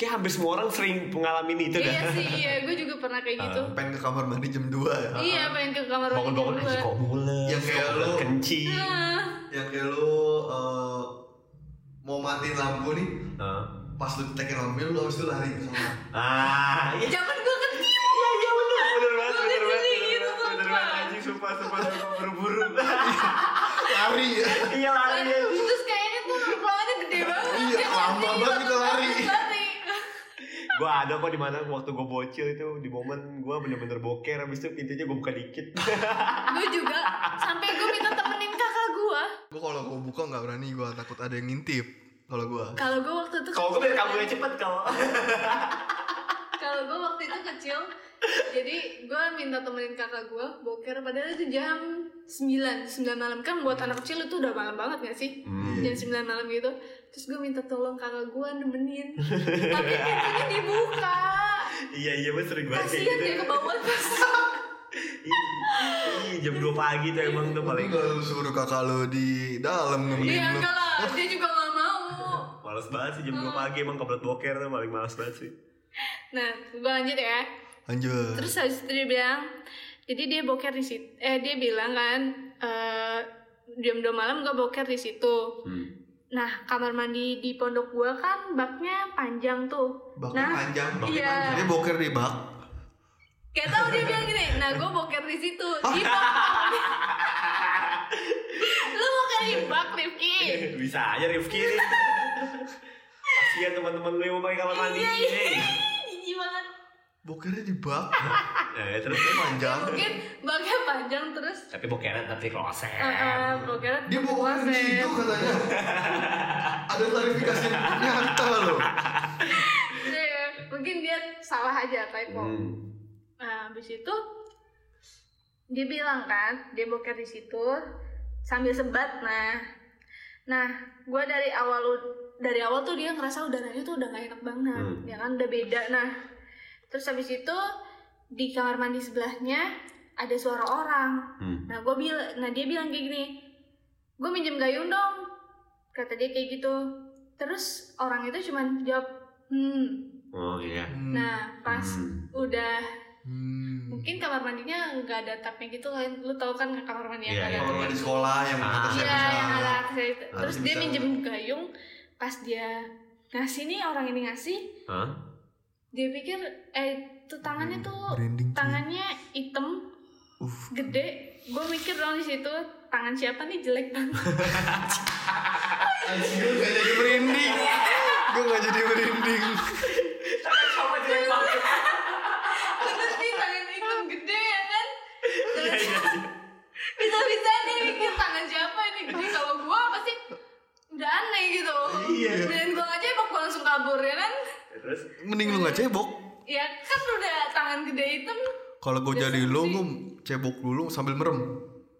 Speaker 1: kayak hampir semua orang sering mengalami itu
Speaker 2: iya
Speaker 1: dah.
Speaker 2: sih, iya, gue juga pernah kayak gitu.
Speaker 3: Pengen ke kamar mandi jam 2 ya.
Speaker 2: iya, pengen ke kamar
Speaker 1: Ah.
Speaker 2: mandi jam
Speaker 1: Bangun-bangun aja kok Iya. mules.
Speaker 3: Yang Iya, kayak
Speaker 1: kok berat
Speaker 3: lu-
Speaker 1: kencing.
Speaker 2: Ah,
Speaker 3: Yang kayak lu eh, mau matiin lampu nih,
Speaker 1: Ah.
Speaker 3: pas lu tekin lampu lu habis itu lari ke sana.
Speaker 1: Ah, iya.
Speaker 2: Zaman gue kecil.
Speaker 1: Iya, iya bener bener banget bener
Speaker 2: Gue kecil
Speaker 1: banget
Speaker 2: kayak
Speaker 1: bener
Speaker 2: gitu,
Speaker 1: banget bener banget
Speaker 2: sumpah.
Speaker 1: anjing sumpah sumpah sumpah buru-buru.
Speaker 3: lari ya
Speaker 1: Iya lari ya.
Speaker 2: Terus kayaknya tuh nongkrongannya gede banget.
Speaker 3: Iya,
Speaker 2: Zaman kecil,
Speaker 3: lama banget kita lari.
Speaker 2: lari.
Speaker 1: Gua ada kok di mana waktu gua bocil itu di momen gua bener-bener boker habis itu pintunya gua buka dikit.
Speaker 2: gue juga sampai gue minta temenin kakak gue.
Speaker 3: gue kalau gue buka nggak berani gue takut ada yang ngintip kalau gue
Speaker 2: Kalau gue waktu itu
Speaker 1: Kalau gua biar kabulnya cepet kalau.
Speaker 2: Kalau gue waktu itu kecil, jadi gue minta temenin kakak gue boker padahal itu jam 9, 9 malam kan buat anak kecil itu udah malam banget gak sih? Jam 9 malam gitu. Terus gue minta tolong kakak gue nemenin. Tapi pintunya dibuka.
Speaker 1: Iya iya bener sering banget kayak
Speaker 2: Kasihan
Speaker 1: gitu.
Speaker 2: dia ke bawah terus. ya.
Speaker 1: Ih, ih, jam 2 pagi tuh emang tuh
Speaker 3: paling
Speaker 1: paling
Speaker 3: kalau lu suruh kakak lu di dalam nemenin
Speaker 2: Iya
Speaker 3: lu
Speaker 2: enggak lah, dia juga gak mau. Hmm.
Speaker 1: Males banget sih jam 2 pagi emang kebelet boker tuh paling males banget sih
Speaker 2: Nah, gue lanjut ya.
Speaker 3: lanjut
Speaker 2: Terus habis itu dia bilang, jadi dia boker di situ. Eh dia bilang kan, eh, jam 2 malam gue boker di situ.
Speaker 1: Hmm.
Speaker 2: Nah, kamar mandi di pondok gua kan baknya panjang tuh.
Speaker 3: baknya
Speaker 2: Nah,
Speaker 3: panjang
Speaker 2: baknya iya. panjang.
Speaker 3: ini boker di bak
Speaker 2: Kayak tau dia bilang gini, nah gua boker di situ. Di bak. Lu boker di bak, Rifki.
Speaker 1: Iya, Bisa aja Rifki ini Kasian teman-teman lu yang mau pakai kamar mandi
Speaker 2: Iya, iya.
Speaker 1: Hey.
Speaker 2: Jijik banget.
Speaker 3: bokernya di bak
Speaker 1: Nah, terus
Speaker 3: panjang
Speaker 2: Mungkin baknya panjang terus
Speaker 1: Tapi bokeran tapi kloset
Speaker 2: eh, eh, bokernya
Speaker 3: dia boker di
Speaker 2: kloset.
Speaker 3: situ katanya ada klarifikasi nyata loh
Speaker 2: Iya, iya. Mungkin dia salah aja typo.
Speaker 1: Hmm.
Speaker 2: Nah, habis itu dia bilang kan, dia boker di situ. sambil sebat nah nah gue dari awal dari awal tuh dia ngerasa udaranya tuh udah gak enak banget
Speaker 1: Hmm.
Speaker 2: ya kan udah beda nah terus habis itu di kamar mandi sebelahnya ada suara orang
Speaker 1: Hmm.
Speaker 2: nah gue bil nah dia bilang kayak gini gue minjem gayung dong kata dia kayak gitu terus orang itu cuman jawab hmm
Speaker 1: Oh iya.
Speaker 3: Hmm.
Speaker 2: nah pas
Speaker 1: Hmm.
Speaker 2: udah
Speaker 3: Hmm.
Speaker 2: mungkin kamar mandinya nggak ada tapnya gitu kan lu tau kan kamar mandi
Speaker 1: Iya, iya,
Speaker 2: yang ada
Speaker 1: iya.
Speaker 3: Kamar mandi sekolah yang
Speaker 1: Ah.
Speaker 2: iya
Speaker 3: atasnya bisa.
Speaker 2: yang ada akses itu.
Speaker 3: Harus
Speaker 2: terus dia
Speaker 3: bisa.
Speaker 2: minjem gayung pas dia ngasih nih orang ini ngasih
Speaker 1: Hah? Hmm.
Speaker 2: dia pikir eh tuh tangannya tuh
Speaker 3: Branding cuy.
Speaker 2: tangannya hitam
Speaker 3: Uff.
Speaker 2: gede gue mikir dong di situ tangan siapa nih jelek banget
Speaker 3: Anjing gue gak jadi merinding Gue gak jadi merinding
Speaker 2: terus nih tangan hitam gede ya kan terus bisa bisa nih mikir tangan siapa ini gede kalau gue pasti udah aneh gitu
Speaker 3: Iya.
Speaker 2: dan gue aja emang gue langsung kabur ya kan
Speaker 1: Terus?
Speaker 3: Mending lu gak cebok
Speaker 2: ya kan udah tangan gede hitam
Speaker 3: Kalau gue
Speaker 2: Biasa
Speaker 3: jadi lu
Speaker 2: sih.
Speaker 3: gue cebok dulu sambil merem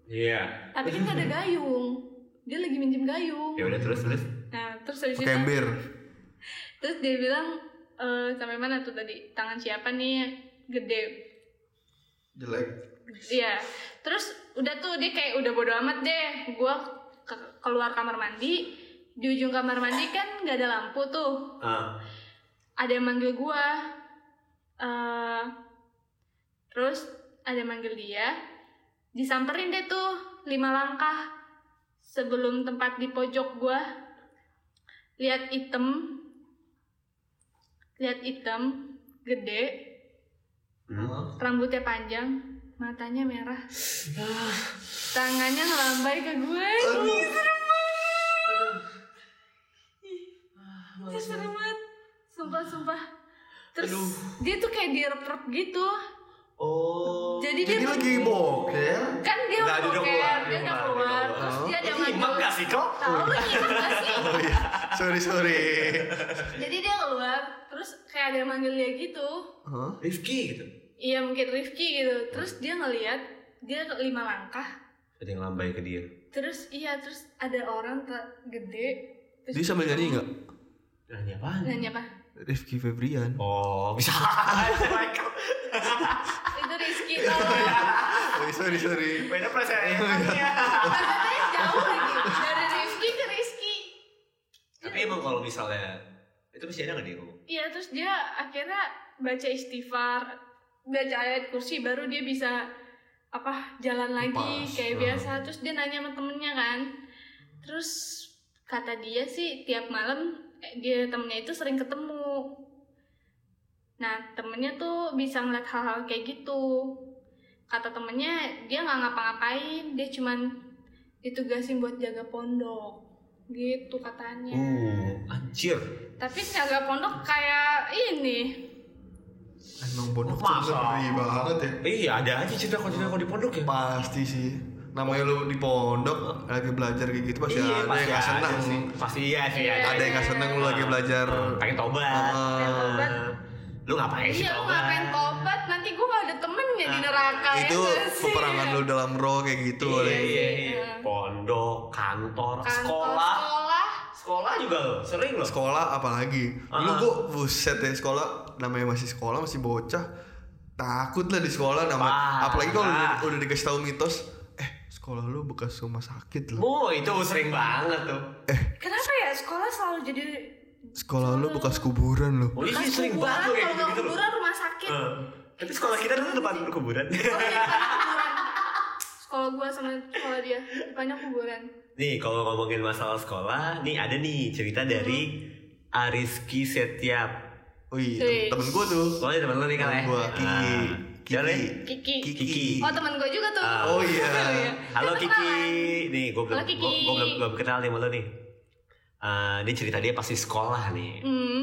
Speaker 1: Iya.
Speaker 2: tapi kan gak ada gayung dia lagi minjem gayung
Speaker 1: Ya udah terus terus.
Speaker 2: nah terus habis
Speaker 3: Pakai
Speaker 2: itu
Speaker 3: ember
Speaker 2: terus dia bilang "Eh, sampai mana tuh tadi tangan siapa nih gede
Speaker 3: Jelek
Speaker 2: iya terus udah tuh dia kayak udah bodo amat deh gua ke- keluar kamar mandi di ujung kamar mandi kan gak ada lampu tuh
Speaker 1: Ah.
Speaker 2: ada yang manggil gua Eh, terus ada yang manggil dia disamperin deh tuh lima langkah sebelum tempat di pojok gua lihat item lihat item gede
Speaker 1: Hmm.
Speaker 2: rambutnya panjang matanya merah Ah, tangannya ngelambai ke gue Ih, serem banget Ih, serem banget sumpah sumpah terus
Speaker 1: Aduh.
Speaker 2: dia tuh kayak direp-rep gitu
Speaker 1: Oh.
Speaker 2: jadi dia
Speaker 3: Jadi lagi boker
Speaker 2: kan dia
Speaker 1: Nggak,
Speaker 2: udah
Speaker 1: dia udah
Speaker 2: boker
Speaker 1: keluar,
Speaker 2: dia
Speaker 1: dia
Speaker 2: udah
Speaker 1: keluar, dia
Speaker 2: keluar
Speaker 1: keluar.
Speaker 2: terus dia ada
Speaker 1: Ini emang gak Oh, iya, sih kok?
Speaker 2: tahu lu nyimak gak sih
Speaker 3: Oh, iya. Sorry sorry
Speaker 2: jadi dia keluar terus kayak ada yang manggil dia gitu
Speaker 3: Hah?
Speaker 1: Rifki gitu.
Speaker 2: Iya mungkin Rifki gitu. Terus dia ngeliat dia lima langkah.
Speaker 1: Ada yang lambai ke dia.
Speaker 2: Terus iya terus ada orang tak gede. Terus
Speaker 3: Dia sambil nyanyi gak?
Speaker 1: Nanya apaan?
Speaker 2: Nanya apa?
Speaker 3: Rifki Febrian
Speaker 1: Oh, bisa aja Michael.
Speaker 2: Itu Rizky tolong.
Speaker 3: Oh, Sorry sorry
Speaker 1: Beda perasaannya.
Speaker 2: Maksudnya jauh lagi dari Rifki ke Rizky.
Speaker 1: Tapi emang kalau misalnya itu masih ada nggak dia ngomong?
Speaker 2: Iya terus dia akhirnya baca istighfar, baca ayat kursi baru dia bisa apa jalan lagi
Speaker 3: Lepas.
Speaker 2: kayak
Speaker 1: Ah.
Speaker 2: biasa. Terus dia nanya sama temennya kan. Terus kata dia sih tiap malam eh, dia temennya itu sering ketemu. Nah temennya tuh bisa ngeliat hal-hal kayak gitu. Kata temennya dia nggak ngapa-ngapain, dia cuman ditugasin buat jaga pondok gitu katanya
Speaker 1: Uh, anjir.
Speaker 2: tapi jaga pondok kayak ini
Speaker 3: Emang bodoh tuh
Speaker 1: Masa?
Speaker 3: ngeri banget ya
Speaker 1: Iya, ada aja cerita kalau cerita kalau di pondok ya.
Speaker 3: Iya, Pasti sih Namanya lu di pondok Lagi belajar kayak gitu Pasti ada yang gak
Speaker 1: Iya, ada
Speaker 3: senang
Speaker 1: sih. Pasti iya sih.
Speaker 2: Iya.
Speaker 1: Ada.
Speaker 3: Ada yang gak senang lu lagi belajar
Speaker 1: Pengen tobat.
Speaker 3: Ah,
Speaker 1: iya.
Speaker 2: tobat.
Speaker 1: Lu
Speaker 3: Nah,
Speaker 1: ngapain sih
Speaker 2: iya lu
Speaker 1: tobat?
Speaker 2: ngapain tobat nanti gue gak ada temennya di neraka
Speaker 3: itu
Speaker 2: ya nggak sih?
Speaker 3: peperangan lu dalam roh kayak gitu
Speaker 1: Iya,
Speaker 3: oleh
Speaker 1: iya, iya.
Speaker 2: Iya.
Speaker 1: Pondok, kantor,
Speaker 2: Kantor,
Speaker 1: sekolah.
Speaker 2: sekolah
Speaker 1: Sekolah juga lo, sering lo.
Speaker 3: sekolah apalagi dulu
Speaker 1: Ah.
Speaker 3: gua buset ya sekolah namanya masih sekolah masih bocah takut lah di sekolah namanya
Speaker 1: Parah.
Speaker 3: apalagi kalau udah, udah dikasih tahu mitos eh sekolah lu bekas rumah sakit loh
Speaker 1: Oh, itu sering banget tuh.
Speaker 2: kenapa ya sekolah selalu jadi
Speaker 3: sekolah lu bekas kuburan loh
Speaker 1: Oh, iya
Speaker 2: bekas
Speaker 1: sering
Speaker 2: kuburan
Speaker 1: banget
Speaker 2: kan kalau nggak
Speaker 1: gitu.
Speaker 2: kuburan rumah sakit
Speaker 1: Eh, Tapi sekolah kita dulu depan kuburan.
Speaker 2: Oh, iya, depannya kuburan sekolah gue sama sekolah dia banyak kuburan
Speaker 1: Nih kalau ngomongin masalah sekolah, nih ada nih cerita
Speaker 2: Hmm.
Speaker 1: dari Ariski Setiap.
Speaker 3: wih
Speaker 2: Wih.
Speaker 3: tem- temen gua tuh
Speaker 1: Oh ya temen lu nih kan ya?
Speaker 3: gua Kiki
Speaker 1: Ah,
Speaker 3: Kiki
Speaker 1: Siapa nih?
Speaker 2: Kiki.
Speaker 1: Kiki.
Speaker 2: oh teman gue juga tuh
Speaker 1: Ah.
Speaker 3: Oh, iya.
Speaker 1: Halo
Speaker 2: Kita
Speaker 1: Kiki.
Speaker 2: kenalan.
Speaker 1: Nih gue belum
Speaker 2: Halo, Kiki.
Speaker 1: gue gue belum belum kenal nih sama lu nih. Eh, dia cerita dia pasti sekolah nih.
Speaker 2: hmm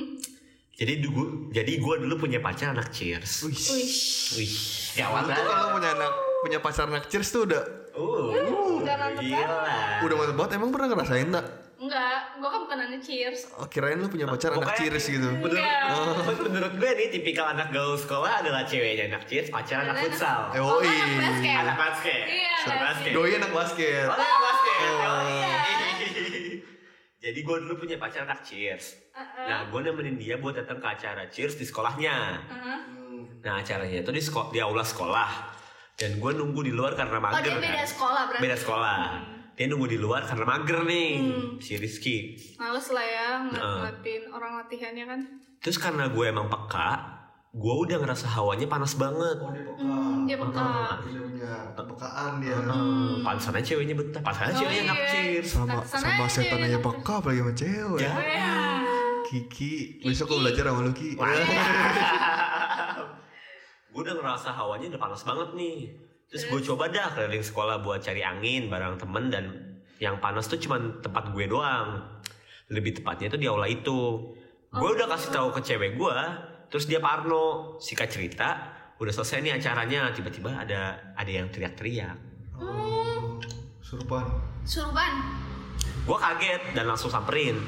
Speaker 1: Jadi dulu jadi gue dulu punya pacar anak cheers.
Speaker 3: wih
Speaker 2: wih
Speaker 1: Wih,
Speaker 3: lu
Speaker 1: gawat
Speaker 3: tuh
Speaker 1: banget.
Speaker 3: kalau punya anak punya pacar anak cheers tuh udah
Speaker 1: Uh,
Speaker 2: udah mantep
Speaker 1: gila.
Speaker 3: udah mantep banget emang pernah ngerasain tak
Speaker 2: enggak gue kan bukan anak cheers
Speaker 3: Oh, kirain lu punya pacar anak
Speaker 1: Pokoknya- Iya.
Speaker 3: cheers gitu
Speaker 1: Menurut, Oh, menurut gue nih tipikal anak gaul sekolah adalah ceweknya anak cheers, pacar anak
Speaker 2: Anak-
Speaker 1: futsal.
Speaker 3: Eh,
Speaker 2: Oh,
Speaker 3: woi.
Speaker 2: anak basket.
Speaker 1: Anak basket.
Speaker 2: Iya, Iya.
Speaker 1: Anak
Speaker 2: nggak
Speaker 1: basket.
Speaker 2: sih?
Speaker 3: doi anak basket
Speaker 1: Oh, anak basket. Jadi gue dulu punya pacar anak Cheers.
Speaker 2: Heeh.
Speaker 1: Nah, gue nemenin dia buat datang ke acara Cheers di sekolahnya.
Speaker 2: Heeh.
Speaker 1: Nah, acaranya itu di, seko- di aula sekolah. Dan gue nunggu di luar karena
Speaker 2: Oh,
Speaker 1: mager
Speaker 2: dia beda
Speaker 1: kan.
Speaker 2: sekolah berarti.
Speaker 1: Beda sekolah. Dia nunggu di luar karena mager nih,
Speaker 2: Hmm.
Speaker 1: si Rizky.
Speaker 2: Males lah ya ngel-
Speaker 1: Heeh.
Speaker 2: ngeliatin orang latihannya kan.
Speaker 1: Terus karena gue emang peka, gue udah ngerasa hawanya panas banget.
Speaker 3: Oh, dia peka.
Speaker 2: Hmm, dia peka.
Speaker 3: Dia punya kepekaan Mm, dia.
Speaker 1: Hmm. Pantesan aja ceweknya betah, pantesan aja
Speaker 2: Oh,
Speaker 1: ceweknya anak
Speaker 2: iya.
Speaker 1: Cheers.
Speaker 3: Sama
Speaker 2: Pantesan
Speaker 3: sama
Speaker 2: aja dia
Speaker 3: setan aja ya,
Speaker 2: enak.
Speaker 3: peka apalagi sama cewek.
Speaker 1: Ya.
Speaker 2: Wah.
Speaker 3: Kiki,
Speaker 2: Kiki.
Speaker 3: besok gue belajar sama lu Ki.
Speaker 1: gue udah ngerasa hawanya udah panas banget nih terus gue coba dah keliling sekolah buat cari angin bareng temen dan yang panas tuh cuman tempat gue doang lebih tepatnya itu di aula itu gue udah kasih tahu ke cewek gue terus dia Parno sikat cerita udah selesai nih acaranya tiba-tiba ada ada yang teriak-teriak
Speaker 3: Oh, surupan.
Speaker 2: Surban.
Speaker 1: gue kaget dan langsung samperin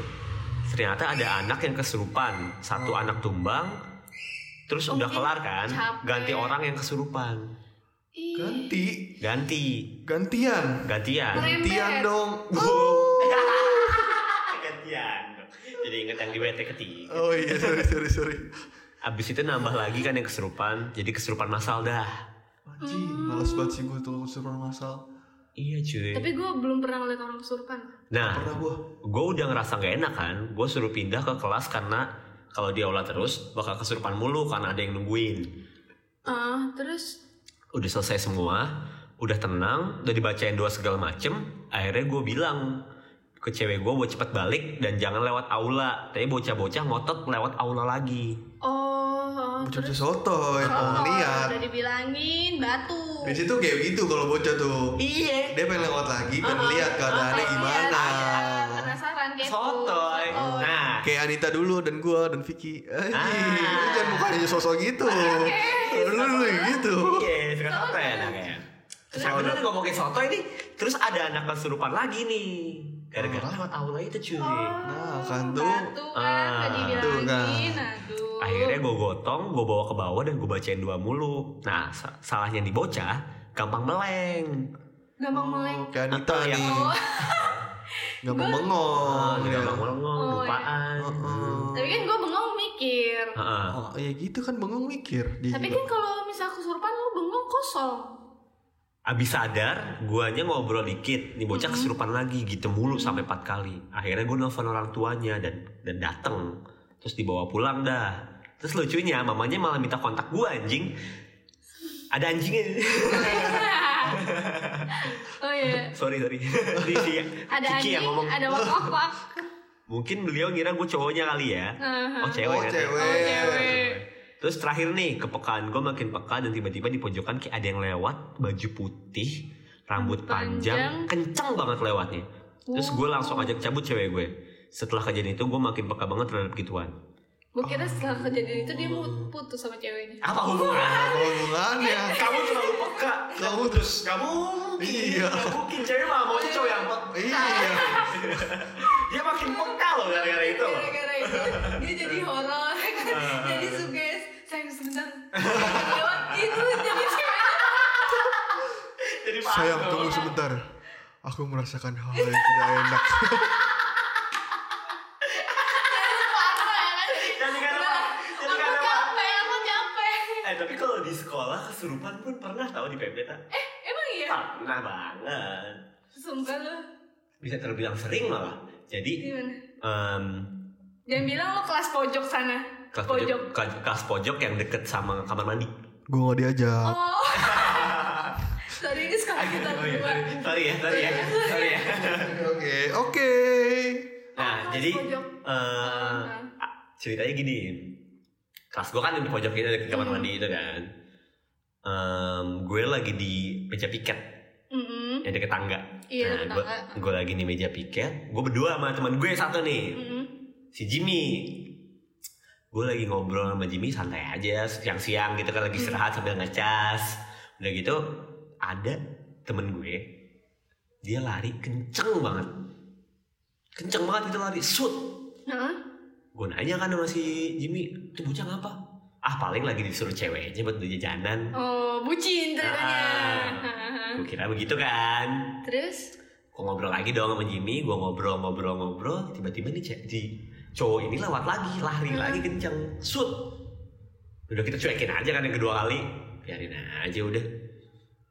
Speaker 1: ternyata ada anak yang kesurupan satu anak tumbang terus
Speaker 2: Oh,
Speaker 1: udah
Speaker 2: mungkin
Speaker 1: kelar kan
Speaker 2: capek.
Speaker 1: ganti orang yang kesurupan
Speaker 2: Ih.
Speaker 3: Kan Ganti,
Speaker 1: ganti
Speaker 3: gantian.
Speaker 1: gantian
Speaker 3: Gantian
Speaker 2: Rembet.
Speaker 3: dong. Oh.
Speaker 1: gantian jadi inget yang di WT ketiga
Speaker 3: Oh iya, sorry sorry sorry.
Speaker 1: abis itu nambah lagi kan yang keserupan jadi keserupan masal dah
Speaker 3: Anji, males banget sih gue tuh surupan masal.
Speaker 1: iya cuy
Speaker 2: Tapi gue belum pernah ngeliat orang kesurupan.
Speaker 1: nah
Speaker 3: Pernah gue.
Speaker 1: gue udah ngerasa gak enak kan gue suruh pindah ke kelas karena kalau di aula terus bakal kesurupan mulu karena ada yang nungguin
Speaker 2: Ah, terus
Speaker 1: udah selesai semua udah tenang udah dibacain doa segala macem akhirnya gue bilang ke cewek gue buat cepet balik dan jangan lewat aula tapi bocah-bocah ngotot lewat aula lagi
Speaker 2: oh, oh
Speaker 3: Bocah
Speaker 2: terus
Speaker 3: soto,
Speaker 2: Oh,
Speaker 3: orang lihat.
Speaker 2: udah dibilangin batu.
Speaker 3: Di situ kayak gitu kalau bocah tuh.
Speaker 1: iya
Speaker 3: Dia pengen lewat lagi, pengen lihat keadaannya
Speaker 2: Iya,
Speaker 3: gimana.
Speaker 2: ada.
Speaker 3: iya.
Speaker 2: Penasaran gitu.
Speaker 1: Sotoy.
Speaker 2: Sotoy.
Speaker 1: Nah,
Speaker 3: Kayak Anita dulu dan gue dan Vicky. Anji,
Speaker 1: Ah.
Speaker 3: lu jangan mukanya sosok gitu. Lu lu gitu.
Speaker 1: iya, suka soto ya anaknya. Terus aku tadi ngomongin soto ini, terus ada anak kesurupan lagi nih. Gara-gara lewat aula itu cuy.
Speaker 3: Nah, kan tuh.
Speaker 2: Oh, Batu kan,
Speaker 1: Ah,
Speaker 2: udah
Speaker 3: tuh kan.
Speaker 2: dibilangin. Aduh.
Speaker 1: Akhirnya gue gotong, gue bawa ke bawah dan gue bacain dua mulu. Nah, sa- salahnya di bocah, gampang meleng.
Speaker 2: Gampang meleng.
Speaker 3: Kayak Anita
Speaker 1: Yang-
Speaker 3: nih.
Speaker 2: Oh,
Speaker 3: Gampang
Speaker 1: Oh,
Speaker 3: bengong.
Speaker 1: dia
Speaker 3: ya.
Speaker 1: gampang melengong,
Speaker 2: Oh,
Speaker 1: lupaan.
Speaker 3: Heeh.
Speaker 2: tapi kan gue bengong mikir.
Speaker 1: Heeh.
Speaker 3: Oh, ya gitu kan bengong mikir. Dia
Speaker 2: Tapi
Speaker 3: juga.
Speaker 2: kan kalau misal kesurupan lu bengong kosong.
Speaker 1: Abis sadar, guanya ngobrol dikit. Nih bocah kesurupan lagi gitu mulu sampai empat kali. Akhirnya gue nelfon orang tuanya dan dan dateng. Terus dibawa pulang dah. Terus lucunya mamanya malah minta kontak gue anjing. Ada anjingnya.
Speaker 2: oh iya.
Speaker 1: sorry sorry. Ini si
Speaker 2: Ada
Speaker 1: Kiki
Speaker 2: anjing,
Speaker 1: yang ngomong.
Speaker 2: ada wak-wak.
Speaker 1: Mungkin beliau ngira gue cowoknya kali ya. Oh cewek.
Speaker 3: Oh,
Speaker 1: kan?
Speaker 3: cewek.
Speaker 2: Oh, cewek.
Speaker 1: Terus terakhir nih kepekaan gue makin peka dan tiba-tiba di pojokan kayak ada yang lewat baju putih, rambut panjang, kenceng banget lewatnya. Terus gue langsung ajak cabut cewek gue. Setelah kejadian itu gue makin peka banget terhadap gituan.
Speaker 2: Gue kira setelah kejadian itu dia mau putus sama ceweknya.
Speaker 1: Apa hubungan?
Speaker 3: Apa hubungannya?
Speaker 1: Kamu terlalu peka.
Speaker 3: Kamu terus.
Speaker 1: Kamu mungkin.
Speaker 3: Iya.
Speaker 1: Nggak mungkin cewek mah maunya cowok yang peka.
Speaker 3: Iya.
Speaker 1: Dia makin peka loh gara-gara itu. loh.
Speaker 2: Gara-gara itu dia jadi horor, jadi suges. Sayang sebentar. Lewat gitu jadi cewek.
Speaker 1: Jadi paham
Speaker 3: Sayang
Speaker 1: dong.
Speaker 3: tunggu sebentar. Aku merasakan hal yang tidak enak.
Speaker 2: Parah ya kan? Jadi-
Speaker 1: Jadi kan-
Speaker 2: Nah,
Speaker 1: jadi
Speaker 2: aku
Speaker 1: kan-
Speaker 2: capek, aku capek.
Speaker 1: Eh tapi kalau di sekolah kesurupan pun pernah tahu di PMDT.
Speaker 2: Eh, emang iya?
Speaker 1: Pernah banget.
Speaker 2: Sumpah lu.
Speaker 1: Bisa terbilang sering malah. Jadi
Speaker 2: Gimana?
Speaker 1: em,
Speaker 2: Jangan bilang lo kelas pojok sana.
Speaker 1: kelas pojok, kelas- kelas pojok yang deket sama kamar mandi.
Speaker 3: Gue gak diajak.
Speaker 2: Oh. Sorry ini sekarang kita
Speaker 1: Oh,
Speaker 2: berdua.
Speaker 1: sorry ya, sorry ya, sorry ya.
Speaker 3: Oke, oke.
Speaker 1: Nah,
Speaker 2: Kelas
Speaker 1: jadi
Speaker 2: pojok.
Speaker 1: eh, a- ceritanya gini. Kelas gue kan di pojok itu deket kamar mandi
Speaker 2: Hmm.
Speaker 1: itu kan. Em, gue lagi di meja piket
Speaker 2: Mm-mm.
Speaker 1: yang deket tangga.
Speaker 2: Mm-hmm. Iya, deket
Speaker 1: gue,
Speaker 2: tangga.
Speaker 1: gue lagi di meja piket. Gue berdua sama teman gue satu nih,
Speaker 2: Mm-mm.
Speaker 1: si Jimmy. Gue lagi ngobrol sama Jimmy santai aja siang-siang gitu kan lagi istirahat sambil ngecas. Udah gitu ada temen gue dia lari kenceng banget. Kenceng banget itu lari, shoot.
Speaker 2: Nah,
Speaker 1: Gue nanya kan sama si Jimmy, itu bocah apa? Ah paling lagi disuruh ceweknya buat beli jajanan.
Speaker 2: oh bucin ceritanya.
Speaker 1: Ah. Gue kira begitu kan.
Speaker 2: Terus?
Speaker 1: Kok ngobrol lagi dong sama Jimmy gue ngobrol ngobrol ngobrol tiba-tiba nih ce- si cowok ini lewat lagi lari lagi kenceng shoot udah kita cuekin aja kan yang kedua kali biarin aja udah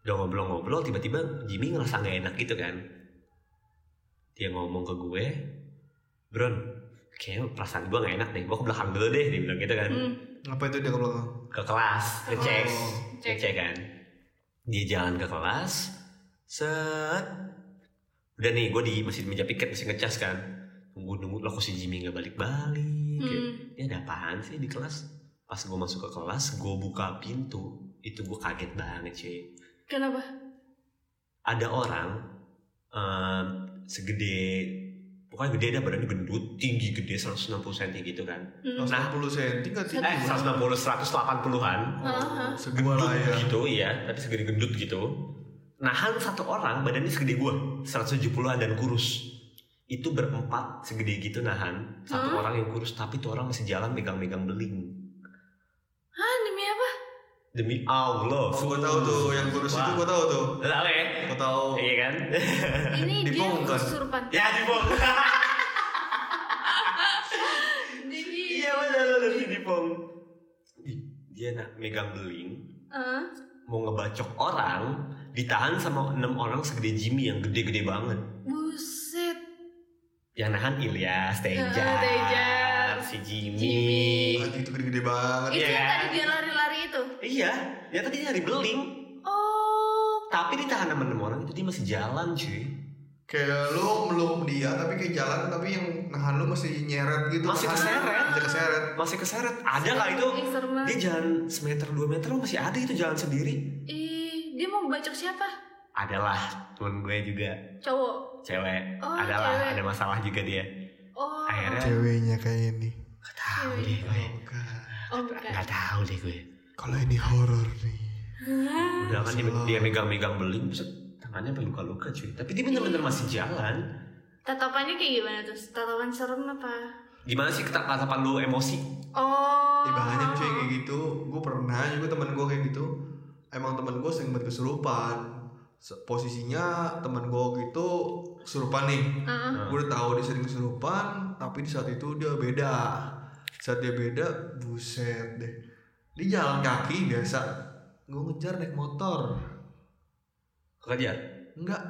Speaker 1: udah ngobrol-ngobrol tiba-tiba Jimmy ngerasa nggak enak gitu kan dia ngomong ke gue Bron kayaknya perasaan gue nggak enak deh gue ke belakang dulu deh dia bilang gitu kan
Speaker 2: Hmm.
Speaker 3: Apa itu dia ke belakang?
Speaker 1: ke kelas ngecek
Speaker 3: Oh.
Speaker 2: Cek.
Speaker 1: ngecek kan dia jalan ke kelas set udah nih gue di masih di meja piket masih ngecas kan nunggu nunggu loh kok si Jimmy nggak balik balik
Speaker 2: Hmm.
Speaker 1: ini ada apaan sih di kelas pas gue masuk ke kelas gue buka pintu itu gue kaget banget cuy
Speaker 2: Kenapa?
Speaker 1: ada orang em, segede pokoknya gede dah badannya gendut tinggi gede 160 cm gitu kan
Speaker 2: Hmm.
Speaker 3: 160 cm nggak sih?
Speaker 1: eh 160 180-an
Speaker 2: Aha.
Speaker 3: Segua
Speaker 1: gendut
Speaker 3: lah ya.
Speaker 1: gitu ya tapi segede gendut gitu nahan satu orang badannya segede gua 170-an dan kurus itu berempat segede gitu nahan satu
Speaker 2: Hah?
Speaker 1: orang yang kurus tapi tuh orang masih jalan megang-megang beling
Speaker 2: Hah, Ah, demi apa?
Speaker 1: demi Allah
Speaker 3: Oh, gue tahu tuh yang kurus itu gue tahu Oh. tuh.
Speaker 1: tahu ya
Speaker 3: Gue tahu.
Speaker 1: iya kan
Speaker 2: Ini dia
Speaker 3: Dibongkar.
Speaker 2: kesurupan.
Speaker 1: ya dibong
Speaker 2: Jadi
Speaker 1: Iya benar benar si Dipong. Di- Dia nak megang beling,
Speaker 2: Eh,
Speaker 1: mau ngebacok orang, ditahan sama enam orang segede Jimmy yang gede-gede banget.
Speaker 2: buset.
Speaker 1: Yang nahan Ilyas, Tejar,
Speaker 2: Eh, Tejar,
Speaker 1: si Jimmy.
Speaker 2: Jimmy.
Speaker 3: Anjing itu gede-gede banget.
Speaker 2: Itu yang
Speaker 1: Iya.
Speaker 2: tadi dia lari-lari itu.
Speaker 1: Iya, dia tadi nyari beling,
Speaker 2: Oh,
Speaker 1: tapi ditahan sama enam orang itu dia masih jalan cuy.
Speaker 3: Kayak lu meluk dia tapi kayak jalan tapi yang nahan lu masih nyeret gitu.
Speaker 1: Masih
Speaker 3: nahan.
Speaker 1: keseret.
Speaker 3: Masih keseret.
Speaker 1: Masih keseret, ada kali itu.
Speaker 2: Oh, ih serem banget.
Speaker 1: Dia jalan semeter dua meter oh, masih ada itu jalan sendiri.
Speaker 2: Ih, dia mau bacok siapa?
Speaker 1: Adalah temen gue juga
Speaker 2: Cowok.
Speaker 1: cewek,
Speaker 2: Oh,
Speaker 1: adalah
Speaker 2: cewek.
Speaker 1: ada masalah juga dia.
Speaker 2: Oh.
Speaker 1: Akhirnya
Speaker 3: Iya. Ceweknya kayak ini.
Speaker 1: Gak tahu deh gue.
Speaker 3: Oh, bukan.
Speaker 2: Oh, bukan.
Speaker 1: Gak tahu deh gue.
Speaker 3: Kalau ini horor nih.
Speaker 2: Hah?
Speaker 1: Udah kan dia,
Speaker 3: Salah.
Speaker 1: dia megang-megang beling, set, tangannya sampai luka-luka cuy. Tapi dia bener-bener masih jalan.
Speaker 2: Tatapannya kayak gimana tuh? Tatapan serem apa?
Speaker 1: Gimana sih kata katapan lu emosi?
Speaker 2: Oh.
Speaker 3: Ya banyak cuy kayak gitu. Gue pernah juga teman gue kayak gitu. Emang teman gue sering banget kesurupan. Se- Posisinya teman gue gitu kesurupan nih.
Speaker 2: Heeh.
Speaker 3: Gue udah tahu dia sering kesurupan, tapi di saat itu dia beda. Saat dia beda, buset deh. Dia jalan kaki biasa. Gue ngejar naik motor.
Speaker 1: Kejar.
Speaker 3: Enggak,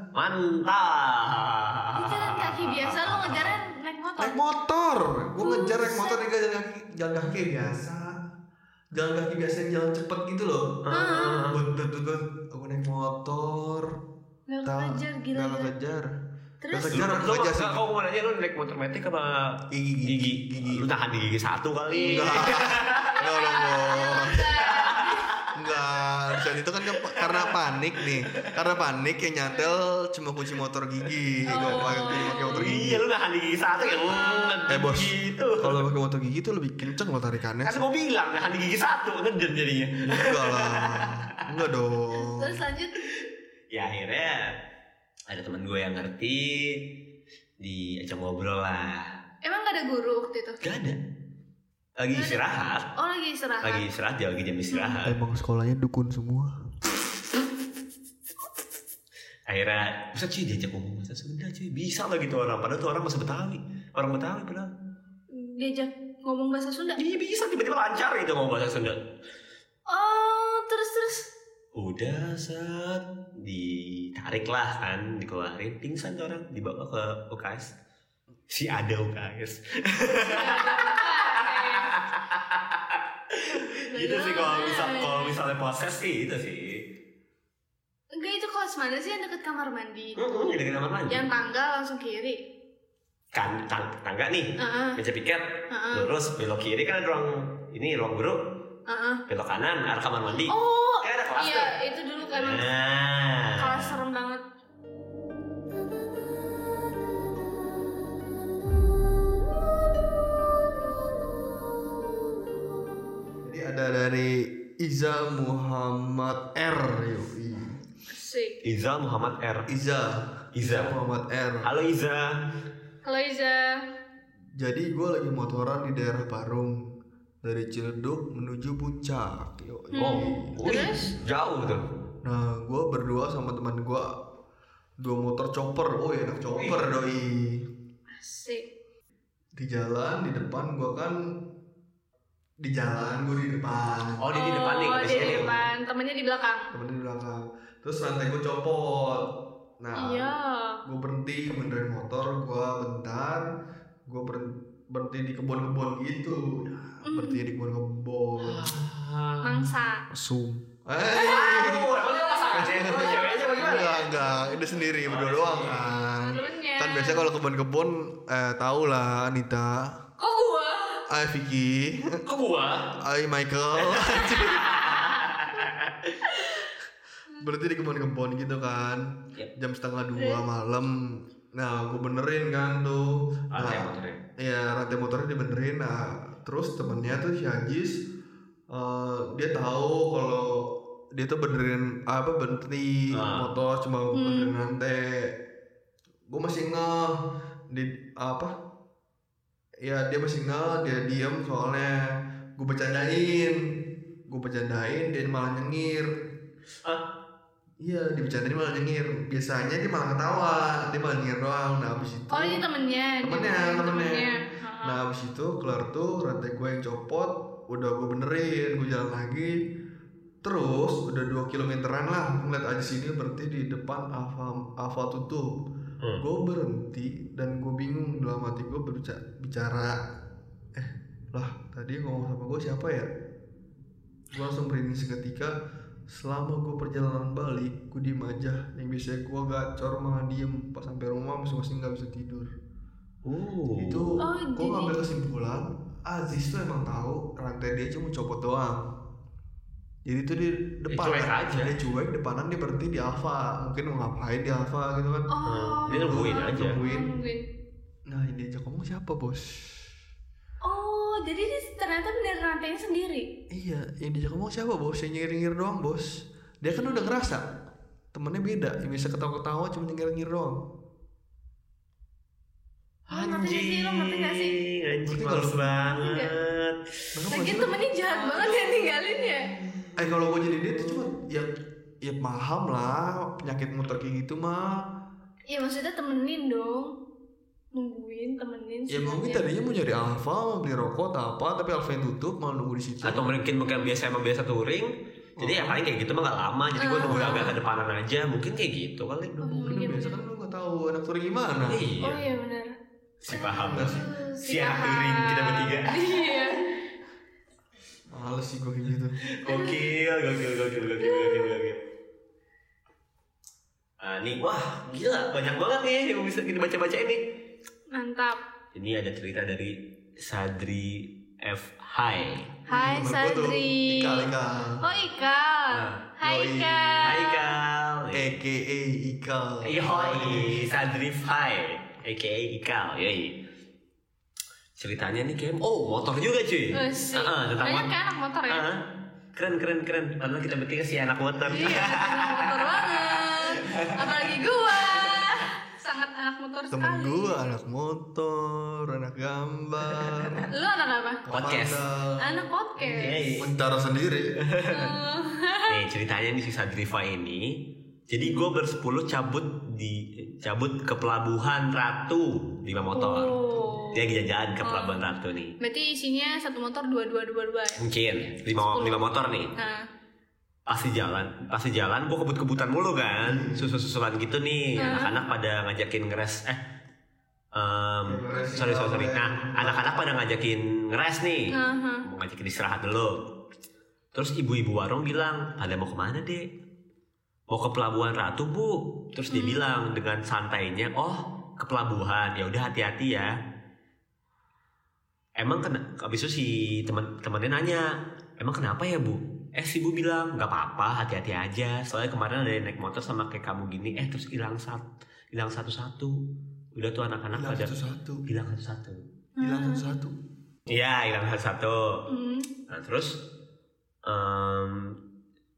Speaker 2: Ini jalan
Speaker 1: Mantap.
Speaker 2: kaki biasa lo ngejaran naik motor.
Speaker 3: naik motor. Gue ngejar naik motor dia jalan kaki, jalan kaki biasa. Jalan kaki biasa yang jalan cepet gitu loh.
Speaker 1: Heeh.
Speaker 3: Gue gue naik motor.
Speaker 2: Gak
Speaker 3: Tahu,
Speaker 2: ngejar gila.
Speaker 3: nggak
Speaker 2: gila.
Speaker 3: ngejar.
Speaker 2: Terus
Speaker 1: Lu-
Speaker 3: Kejar,
Speaker 1: lu-
Speaker 3: kejar sih.
Speaker 1: nggak, Kau mau nanya lu naik motor metik apa
Speaker 3: Gigi,
Speaker 1: gigi? Iya.
Speaker 3: gigi.
Speaker 1: Lu tahan di gigi satu kali.
Speaker 3: Enggak, enggak dong, Bos.
Speaker 2: Enggak.
Speaker 3: Enggak, saat itu kan ke- karena panik nih. Karena panik yang nyantel cuma kunci motor gigi. Enggak
Speaker 2: Oh.
Speaker 3: pakai kunci pakai motor gigi.
Speaker 1: Iya lu nahan di gigi satu ya.
Speaker 3: Eh, Bos.
Speaker 1: Gitu.
Speaker 3: Kalau pakai motor gigi tuh lebih kenceng loh tarikannya.
Speaker 1: Kan gua bilang nahan di gigi satu ngeden jadinya.
Speaker 3: Enggak lah. Enggak dong.
Speaker 2: Terus lanjut.
Speaker 1: ya akhirnya ada teman gue yang ngerti diajak ngobrol lah
Speaker 2: Emang gak ada guru waktu itu?
Speaker 1: gak ada lagi
Speaker 2: Gak ada.
Speaker 1: istirahat
Speaker 2: Oh lagi istirahat.
Speaker 1: lagi istirahat dia lagi jam istirahat
Speaker 3: Emang sekolahnya dukun semua.
Speaker 1: akhirnya bisa cuy diajak ngomong bahasa Sunda cuy bisa lah gitu orang padahal tuh orang masih Betawi orang Betawi padahal
Speaker 2: Diajak ngomong bahasa Sunda.
Speaker 1: iya bisa tiba-tiba lancar gitu ngomong bahasa Sunda
Speaker 2: Oh terus terus.
Speaker 1: udah saat ditarik lah kan dikeluarin pingsan tuh orang dibawa ke UKS si ada UKS gitu sih kalau misal kalau misalnya proses sih itu sih
Speaker 2: Enggak itu kelas mana sih yang deket kamar mandi?
Speaker 1: Mm-mm, jadi kenapa lagi
Speaker 2: Yang tangga langsung kiri.
Speaker 1: kan tang- tangga nih
Speaker 2: Heeh.
Speaker 1: meja piket
Speaker 2: Heeh.
Speaker 1: lurus belok kiri kan ada ruang ini ruang guru
Speaker 2: Heeh.
Speaker 1: belok kanan arah kamar mandi
Speaker 2: Oh
Speaker 1: kan ada kelas tuh
Speaker 2: iya itu dulu kan emang
Speaker 1: nah
Speaker 2: kelas serem banget.
Speaker 3: Jadi ada dari Iza Muhammad R. Yoi.
Speaker 2: Asik.
Speaker 1: Iza Muhammad R
Speaker 3: Iza.
Speaker 1: Iza.
Speaker 3: Muhammad R.
Speaker 1: halo Iza
Speaker 2: Halo Iza.
Speaker 3: Jadi gue lagi motoran di daerah Parung dari Ciledug menuju Puncak. Yoi.
Speaker 2: Hmm.
Speaker 1: wih,
Speaker 2: Terus?
Speaker 1: jauh gitu. tuh
Speaker 3: Nah, gue berdua sama teman gue dua motor chopper oh enak chopper doi
Speaker 2: Asik.
Speaker 3: di jalan di depan gua kan di jalan gua di depan
Speaker 1: Oh, dia di depan nih,
Speaker 2: dia di
Speaker 1: kondisinya.
Speaker 2: depan, temennya di belakang.
Speaker 3: temennya di belakang terus rantai gua copot nah
Speaker 2: Iya.
Speaker 3: gue berhenti benerin motor gue bentar gue berhenti di kebun-kebun gitu berhenti di kebun-kebun
Speaker 2: Mangsa.
Speaker 3: sum
Speaker 1: Aduh, emang dia pasangan ya? Emang cewek aja apa gimana?
Speaker 3: Eh, enggak enggak itu sendiri berdua doang kan
Speaker 2: Serunya.
Speaker 3: kan biasanya kalau kebun-kebun eh tau lah Nita
Speaker 2: Kok Oh, gua?
Speaker 3: Hai Vicky
Speaker 1: Kok gua?
Speaker 3: Hai Michael berhenti di kebun-kebun gitu kan
Speaker 1: Yep.
Speaker 3: jam setengah dua malam nah gue benerin kan tuh
Speaker 1: Ada
Speaker 3: nah,
Speaker 1: yang motornya.
Speaker 3: Iya rantai motornya dibenerin nah terus temennya tuh si Hajis eh, dia tahu kalau dia tuh benerin apa berhenti
Speaker 1: Ah.
Speaker 3: motor cuma
Speaker 2: Hmm.
Speaker 3: benerin rantai gue masih ngeh di apa ya dia masih ngeh dia diem soalnya gue bercandain gue bercandain dia malah nyengir
Speaker 1: Hah?
Speaker 3: Iya, dibercandain dia malah nyengir. Biasanya dia malah ketawa, dia malah nyengir doang. Nah, abis itu
Speaker 2: Oh ini temennya. dia
Speaker 3: Temennya,
Speaker 2: bilang
Speaker 3: temennya.
Speaker 2: Heeh.
Speaker 3: Nah abis itu kelar tuh rantai gue yang copot Udah gue benerin, gue jalan lagi Terus udah 2 kilometeran lah Gue ngeliat aja sini berhenti di depan Alfa, Alfa tutup
Speaker 1: Hmm.
Speaker 3: Gue berhenti dan gue bingung dalam hati gue berbicara bicara, Eh lah tadi yang ngomong sama gue siapa ya Gue langsung merinding seketika Selama gue perjalanan balik Gue diem aja Yang biasanya gue gacor malah diem Pas sampai rumah masing-masing gak bisa tidur
Speaker 1: Uh.
Speaker 3: itu
Speaker 2: Oh,
Speaker 3: Gitu.
Speaker 2: jadi-
Speaker 3: gua ngambil kesimpulan Aziz tuh emang tahu rantai dia cuma copot doang jadi tuh di depan
Speaker 1: cuek aja.
Speaker 3: dia cuek depanan dia berhenti di Alfa mungkin mau ngapain di Alfa gitu kan
Speaker 2: Oh.
Speaker 1: Dia nungguin ya? aja.
Speaker 3: Nungguin.
Speaker 2: Nungguin.
Speaker 3: nah yang diajak ngomong siapa bos
Speaker 2: Oh jadi dia ternyata bener rantainya sendiri.
Speaker 3: iya yang diajak ngomong siapa bos yang nyengir nyengir doang bos dia kan udah ngerasa temennya beda yang bisa ketawa ketawa cuma nyengir nyengir doang
Speaker 2: Lo Ah, ngerti gak sih? Lo ngerti gak sih?
Speaker 1: anjing
Speaker 3: Ngerti
Speaker 1: males
Speaker 3: gak?
Speaker 1: banget.
Speaker 3: Nah,
Speaker 2: Lagian
Speaker 3: maksudnya-
Speaker 2: temennya jahat banget ya ninggalin ya.
Speaker 3: Eh kalau gue jadi dia tuh cuma ya ya paham lah penyakit muter kayak gitu mah.
Speaker 2: Ya maksudnya temenin dong. Nungguin, temenin.
Speaker 3: Ya mungkin
Speaker 2: semuanya.
Speaker 3: tadinya mau nyari Alfa mau beli rokok atau apa tapi Alfa yang tutup malah nunggu di situ.
Speaker 1: Atau mungkin bukan biasa emang biasa touring. Jadi ya paling kayak gitu mah gak lama. Jadi gue
Speaker 2: Ah.
Speaker 1: nunggu agak ke depanan aja. Mungkin kayak gitu kali.
Speaker 3: Aduh, mungkin
Speaker 2: Iya,
Speaker 3: biasa
Speaker 2: bener.
Speaker 3: kan lu nggak tahu anak touring gimana.
Speaker 1: Iya.
Speaker 2: Oh iya benar.
Speaker 1: Si paham lah.
Speaker 2: Aduh,
Speaker 1: Si anak touring, kita bertiga.
Speaker 2: Iya.
Speaker 3: Males sih gue kayak gitu.
Speaker 1: Gokil, gokil, gokil, gokil, gokil, gokil. Ah, nih, wah, gila, banyak banget nih yang bisa kita baca-baca ini.
Speaker 2: Mantap.
Speaker 1: Ini ada cerita dari Sadri F.
Speaker 2: Hai
Speaker 3: Temen gua tuh,
Speaker 2: Sadri.
Speaker 3: Ikal Ikal.
Speaker 2: Oh Ikal.
Speaker 1: Nah,
Speaker 2: Hai
Speaker 3: yoi.
Speaker 2: Ikal.
Speaker 1: Hai Kal.
Speaker 3: Eh, EKE Ikal.
Speaker 2: Iya,
Speaker 1: Yoi, Sadri Fai, aka Ikal, yoi. Ceritanya nih kayak, oh motor juga cuy.
Speaker 2: Oh, sih.
Speaker 1: Ah, ah, tentang
Speaker 2: Banyak
Speaker 1: motor.
Speaker 2: kan anak motor ya?
Speaker 1: Ah, keren keren keren. Padahal kita bertiga sih anak motor.
Speaker 2: Iya, anak motor banget. Apalagi gua. Sangat anak motor
Speaker 3: Temen
Speaker 2: sekali.
Speaker 3: gue anak motor, anak gambar,
Speaker 2: Lu anak apa?
Speaker 1: Podcast.
Speaker 3: kepandang.
Speaker 2: Anak podcast.
Speaker 1: Yoi.
Speaker 3: Mencara sendiri.
Speaker 1: Nih ceritanya nih si Sadrifa ini. Jadi gue bersepuluh cabut di cabut ke pelabuhan Ratu lima motor. Iya.
Speaker 2: Oh.
Speaker 1: Dia lagi jalan ke pelabuhan Ratu nih.
Speaker 2: Berarti isinya satu motor dua dua dua dua. ya?
Speaker 1: Mungkin lima lima motor nih.
Speaker 2: Nah,
Speaker 1: pasti jalan pasti jalan gue kebut-kebutan mulu kan susu-susulan gitu nih
Speaker 2: Hmm.
Speaker 1: anak-anak pada ngajakin ngeres eh em,
Speaker 3: Ngeres,
Speaker 1: sorry sorry sorry
Speaker 3: ngeres.
Speaker 1: nah anak-anak pada ngajakin ngeres
Speaker 2: Nah,
Speaker 1: nih
Speaker 2: Aha.
Speaker 1: mau
Speaker 3: Ah.
Speaker 1: ngajakin istirahat dulu terus ibu-ibu warung bilang pada mau kemana deh mau ke pelabuhan ratu bu terus dia
Speaker 3: Hmm.
Speaker 1: bilang dengan santainya oh ke pelabuhan ya udah hati-hati ya emang kena abis itu si teman temannya nanya emang kenapa ya bu eh si bu bilang nggak apa-apa hati-hati aja soalnya kemarin ada yang naik motor sama kayak kamu gini eh terus hilang satu hilang satu-satu udah tuh anak-anak
Speaker 3: Hilang
Speaker 1: pada
Speaker 3: satu-satu.
Speaker 1: hilang satu-satu
Speaker 3: Hilang satu-satu.
Speaker 1: iya hilang satu-satu
Speaker 2: hmm.
Speaker 1: Nah terus em,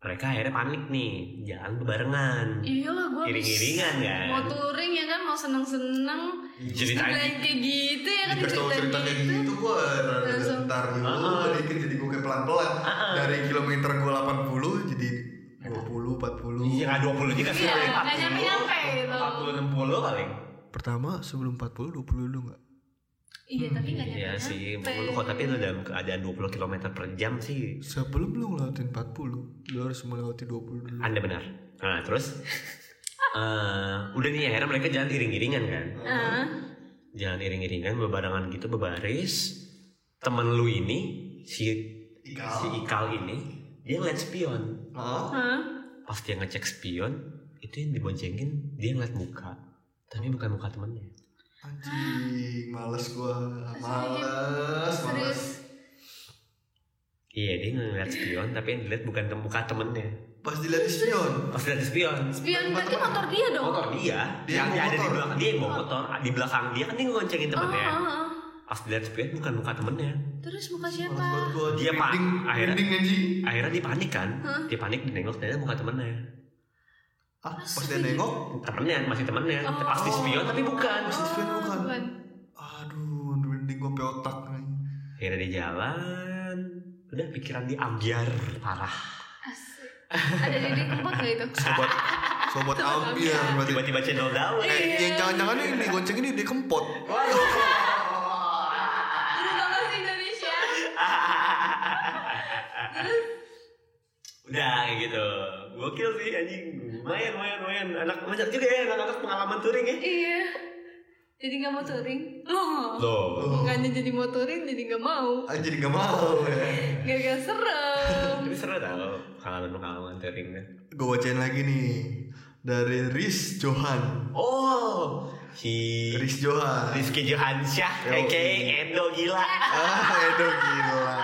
Speaker 1: mereka akhirnya panik nih, jalan bebarengan,
Speaker 2: iyalah gua habis
Speaker 1: iring-iringan kan.
Speaker 2: mau touring ya kan, mau seneng seneng.
Speaker 1: Jadi tadi,
Speaker 2: Kayak gitu ya kan
Speaker 3: Bertemu cerita kayak
Speaker 2: gitu.
Speaker 3: gitu gue rada
Speaker 2: Langsung.
Speaker 3: gentar dulu
Speaker 1: Ah.
Speaker 3: dikit jadi gue kayak pelan-pelan dari kilometer gue 80 jadi 20, 40
Speaker 1: Iya, nggak 20 juga sih.
Speaker 2: Iya,
Speaker 1: paling.
Speaker 2: nggak Iya, nyampe-nyampe gitu.
Speaker 1: 40, 60 paling.
Speaker 3: Pertama sebelum 40, 20 dulu nggak?
Speaker 2: Iya, tapi nggak nyampe.
Speaker 1: Iya sih, 40 kok tapi lu dalam keadaan 20 km per jam sih.
Speaker 3: Sebelum lu ngelewatin 40, lu harus melewati 20 dulu
Speaker 1: Anda benar. Nah, terus eh, udah nih akhirnya mereka jalan iring-iringan kan.
Speaker 2: Ah,
Speaker 1: Jalan iring-iringan berbarengan gitu berbaris. Temen lu ini si si Ikal ini dia ngeliat spion.
Speaker 3: Ah.
Speaker 2: ah.
Speaker 1: Pas dia ngecek spion, itu yang diboncengin dia ngeliat muka. Tapi bukan muka temennya.
Speaker 3: Anjing, males gua Males, males
Speaker 2: Serius.
Speaker 1: Iya, dia ngeliat spion tapi yang dilihat bukan tem- muka temennya.
Speaker 3: Pas dilihat di spion
Speaker 1: Pas lihat spion,
Speaker 2: Spion berarti Iya, motor dia dong.
Speaker 1: motor dia,
Speaker 3: Dia
Speaker 1: yang
Speaker 3: yang bawa
Speaker 1: ada di
Speaker 3: motor.
Speaker 1: belakang dia yang bawa motor, di belakang dia kan dia ngoncengin
Speaker 2: Ah,
Speaker 1: temennya.
Speaker 2: ah, ah.
Speaker 1: Pas dilihat spion bukan muka temennya.
Speaker 2: Terus muka
Speaker 3: Males banget
Speaker 2: siapa?
Speaker 3: gua
Speaker 1: Dia, Pak.
Speaker 3: Merinding,
Speaker 1: Akhirnya.
Speaker 3: merinding, anjing
Speaker 1: Akhirnya dia panik kan,
Speaker 2: Hah?
Speaker 1: dia panik dia nengok ternyata bukan temennya.
Speaker 3: Ah, pas dia
Speaker 2: Astaga.
Speaker 3: nengok
Speaker 1: Temennya masih temennya,
Speaker 2: Oh.
Speaker 1: pasti spion tapi bukan.
Speaker 3: Pasti spion
Speaker 2: Oh,
Speaker 3: bukan
Speaker 2: bukan.
Speaker 3: Aduh, merinding gua sampe otak nih
Speaker 1: Akhirnya dia jalan, udah pikiran dia ambiar parah.
Speaker 2: Asik. Ada jadi tempat nggak itu?
Speaker 3: Sobat, sobat ambiar berarti
Speaker 1: Tiba-tiba cendol daun.
Speaker 3: Eh,
Speaker 2: Iya.
Speaker 3: yang jangan-jangan ini digonceng ini dia kempot
Speaker 2: Aduh, banget sih Indonesia.
Speaker 1: udah kayak gitu. Gokil sih anjing. Lumayan, lumayan, lumayan. Anak banyak juga ya anak-anak pengalaman touring ya.
Speaker 2: Iya. Jadi nggak mau touring? Loh.
Speaker 1: Loh.
Speaker 2: Bukannya jadi mau touring, jadi nggak mau.
Speaker 3: Anjir, gak Ah, mau ya
Speaker 2: Gak-gak serem.
Speaker 1: Tapi seru tau pengalaman-pengalaman touringnya.
Speaker 3: Gue bacain lagi nih Dari Riz Johan
Speaker 1: Oh, si
Speaker 3: Riz Johan
Speaker 1: Rizky Johansyah,
Speaker 3: Yo.
Speaker 1: aka Edo gila.
Speaker 3: Ah, Edo gila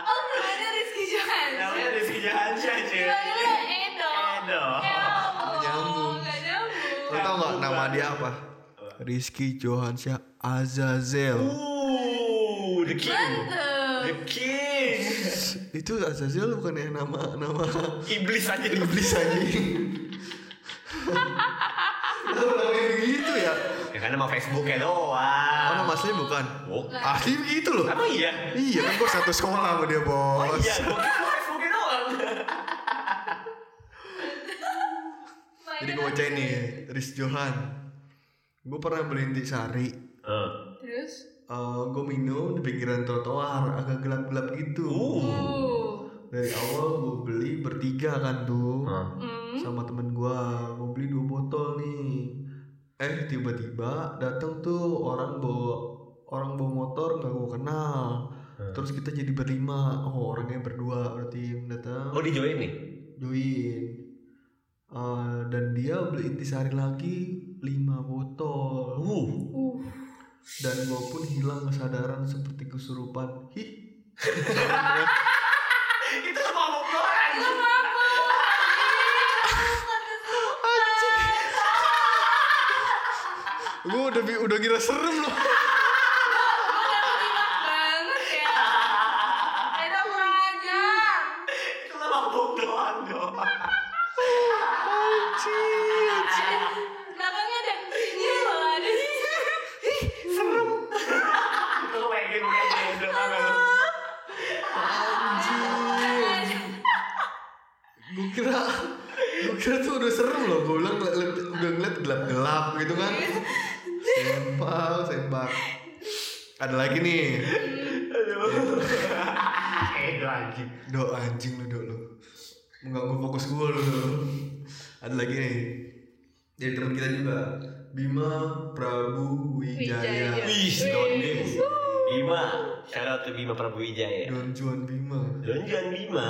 Speaker 2: Oh, namanya Rizky Johan.
Speaker 1: Namanya Rizky Johansyah cuy.
Speaker 2: Namanya Edo.
Speaker 1: Edo.
Speaker 2: Ya Allah,
Speaker 3: Nyambung.
Speaker 2: nggak nyambung.
Speaker 3: Lo tau gak nama dia apa? Rizky Johansyah Azazel
Speaker 1: Uh, the king,
Speaker 2: Mantep.
Speaker 1: the king.
Speaker 3: Itu Azazel bukan ya nama nama
Speaker 1: Iblis aja
Speaker 3: iblis anjing Kenapa namanya begitu ya?
Speaker 1: Ya kan nama Facebooknya
Speaker 3: Oh
Speaker 1: doang.
Speaker 3: nama aslinya bukan?
Speaker 1: Bukan.
Speaker 3: Asli begitu loh
Speaker 1: Emang iya?
Speaker 3: Iya kan gue satu sekolah sama dia
Speaker 1: Oh
Speaker 3: bos
Speaker 1: iya, gue kira Facebooknya doang.
Speaker 3: Jadi gue bacain nih Riz Johan Gue pernah beli intisari
Speaker 1: Eh.
Speaker 2: Terus?
Speaker 3: Eh Gue minum di pinggiran trotoar Agak gelap-gelap gitu
Speaker 1: Uh.
Speaker 2: Uh.
Speaker 3: Dari awal gue beli bertiga kan tuh
Speaker 1: Hah.
Speaker 2: Hmm.
Speaker 3: sama temen gua mau beli dua botol nih eh tiba-tiba datang tuh orang bawa orang bawa motor nggak gua kenal
Speaker 1: Hmm.
Speaker 3: terus kita jadi berlima oh orangnya berdua berarti yang datang
Speaker 1: Oh dijoin nih?
Speaker 3: join Eh, dan dia beli intisari lagi lima botol
Speaker 1: Uh.
Speaker 2: Uh.
Speaker 3: dan gua pun hilang kesadaran seperti kesurupan hih
Speaker 1: Itu semua mau keluar anjing.
Speaker 3: gua udah udah kira serem loh
Speaker 2: Banget ya. Edo kurang ajar.
Speaker 1: Itu lah mabuk doang dong.
Speaker 2: Belakangnya ada bunyi loh, ada.
Speaker 1: Gue pengen aja itu
Speaker 3: anjing gue kira gue kira tuh udah serem loh gue bilang ngeliat, ngeliat- udah ngeliat gelap gelap gitu kan sembak sembak ada lagi nih
Speaker 1: Aduh. Edo anjing.
Speaker 3: do anjing lu do lu mengganggu fokus gue lu ada lagi nih dari teman kita juga Bima Prabu Wijaya,
Speaker 2: Wijaya.
Speaker 1: Wih, Doni. Bima, shout out to Bima Prabu Wijaya.
Speaker 3: Don Juan Bima
Speaker 1: Donjuan Bima.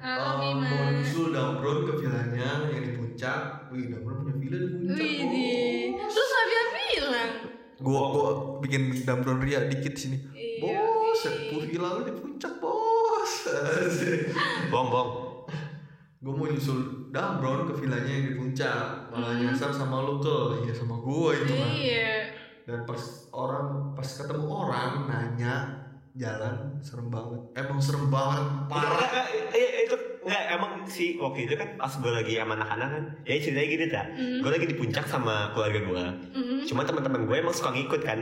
Speaker 2: Halo,
Speaker 3: Um,
Speaker 2: Bima.
Speaker 3: mohon nyusul Damron ke vilanya yang di puncak. Wih, Damron punya villa di puncak.
Speaker 2: Widih. Lu nggak bilang-bilang.
Speaker 3: Bos. Gua gua bikin Damron ria dikit sini.
Speaker 2: Iya,
Speaker 3: Bos,
Speaker 2: widih.
Speaker 3: sepuluh villa lu di puncak, Bos. Asik.
Speaker 1: Bong, bong.
Speaker 3: gua mau nyusul Damron ke villanya yang di puncak. Malah nyasar sama lu ke. Iya, sama gua itu kan.
Speaker 2: Hmm. Iya.
Speaker 3: Dan pas orang pas ketemu orang nanya jalan serem banget. Emang serem banget. Parah.
Speaker 1: Enggak, enggak, eh, itu enggak emang si waktu itu kan pas gue lagi sama anak-anak kan ya ceritanya gini tak
Speaker 2: Hmm.
Speaker 1: gue lagi di puncak sama keluarga gue
Speaker 2: Mhm.
Speaker 1: cuma teman-teman gue emang suka ngikut kan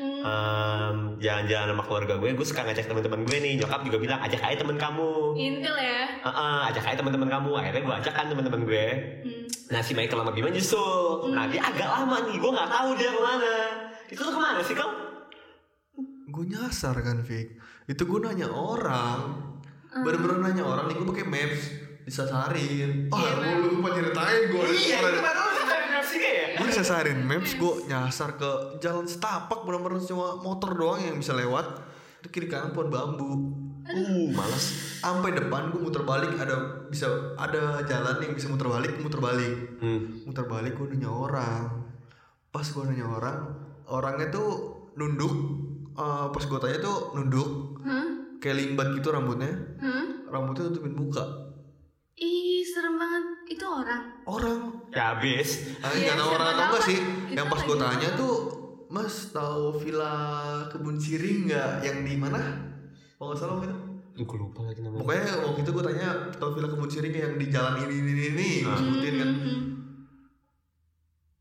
Speaker 1: em, jalan-jalan sama keluarga gue gue suka ngajak teman-teman gue nih nyokap juga bilang ajak aja teman kamu
Speaker 2: Intel ya.
Speaker 1: Heeh, ajak aja teman-teman kamu akhirnya gue ajak kan teman-teman gue
Speaker 2: Hmm.
Speaker 1: nah si Michael sama Bima nyusul nah dia agak lama nih gue nggak tahu dia kemana itu tuh kemana sih kau
Speaker 3: gue nyasar kan Vic itu gue nanya orang
Speaker 2: Hmm.
Speaker 3: bener-bener nanya orang nih gue pakai maps disasarin
Speaker 2: Iya,
Speaker 3: ah
Speaker 2: Bang. Iya,
Speaker 3: lu lupa nyeritain gue
Speaker 1: Iya, kemana lu sampai nafsi ya
Speaker 3: gue disasarin maps gue nyasar ke jalan setapak bener-bener cuma motor doang yang bisa lewat itu kiri kanan pohon bambu
Speaker 1: uh males
Speaker 3: sampai depan gue muter balik ada bisa ada jalan yang bisa muter balik muter balik
Speaker 1: hmm.
Speaker 3: muter balik gue nanya orang pas gue nanya orang orangnya tuh nunduk Eh, pas gue tanya tuh nunduk
Speaker 2: Hah?
Speaker 3: kayak limbat gitu rambutnya
Speaker 2: Hah?
Speaker 3: rambutnya tutupin muka
Speaker 2: Ih, serem banget. Itu orang.
Speaker 3: orang
Speaker 1: ya habis
Speaker 3: ah,
Speaker 2: Iya,
Speaker 3: nggak tahu
Speaker 2: siapa
Speaker 3: orang atau
Speaker 2: tahu
Speaker 3: enggak
Speaker 2: kan?
Speaker 3: sih
Speaker 2: Kita
Speaker 3: yang pas gue
Speaker 2: lagi
Speaker 3: tanya
Speaker 2: ngomong.
Speaker 3: tuh mas tahu villa kebun sirih nggak yang di mana kalau nggak salah waktu itu
Speaker 1: gue lupa lagi namanya
Speaker 3: pokoknya waktu itu gue tanya tahu villa kebun sirih nggak yang di jalan ini ini ini, ini Gua sebutin kan
Speaker 2: Hmm.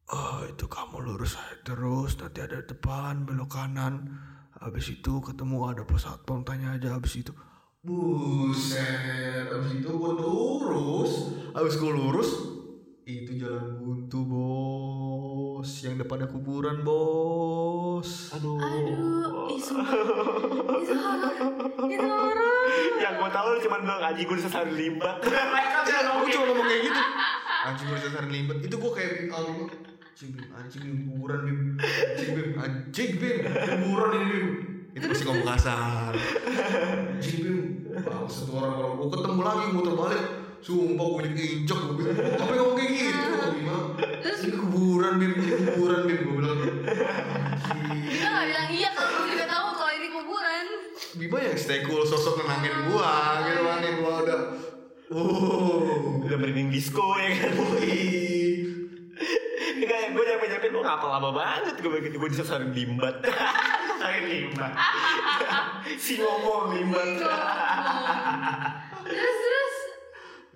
Speaker 3: Oh, itu kamu lurus aja terus nanti ada depan belok kanan habis itu ketemu ada pos satpam tanya aja habis itu buset habis itu gue lurus habis gue lurus itu jalan buntu bos yang depannya kuburan bos
Speaker 1: aduh,
Speaker 2: Aduh, ih sumpah. Itu horor. Itu horor.
Speaker 1: yang gue tahu cuma bilang aji gue sesar limbat mereka
Speaker 3: Ya, gue cuma ngomong kayak gitu anjing gue disasarin limpet itu gue kayak um, anjing bim anjing bim kuburan bim anjing bim anjing bim kuburan ini bim itu pasti ngomong kasar anjing bim bang satu orang orang gue ketemu lagi muter balik sumpah gue diinjek gue bilang apa yang ngomong kayak gitu bim ini kuburan bim ini kuburan bim gue bilang anjing.
Speaker 2: Kita nggak bilang iya kalau kamu juga tahu kalau ini kuburan.
Speaker 3: Bima yang stay cool sosok nenangin gua gitu kan yang gua udah uh
Speaker 1: udah merinding disco ya kan Enggak, gue nyampe nyampe gue ngapa lama banget gue begitu gue disasarin limbat disasarin limbat si ngomong limbat
Speaker 2: Terus terus.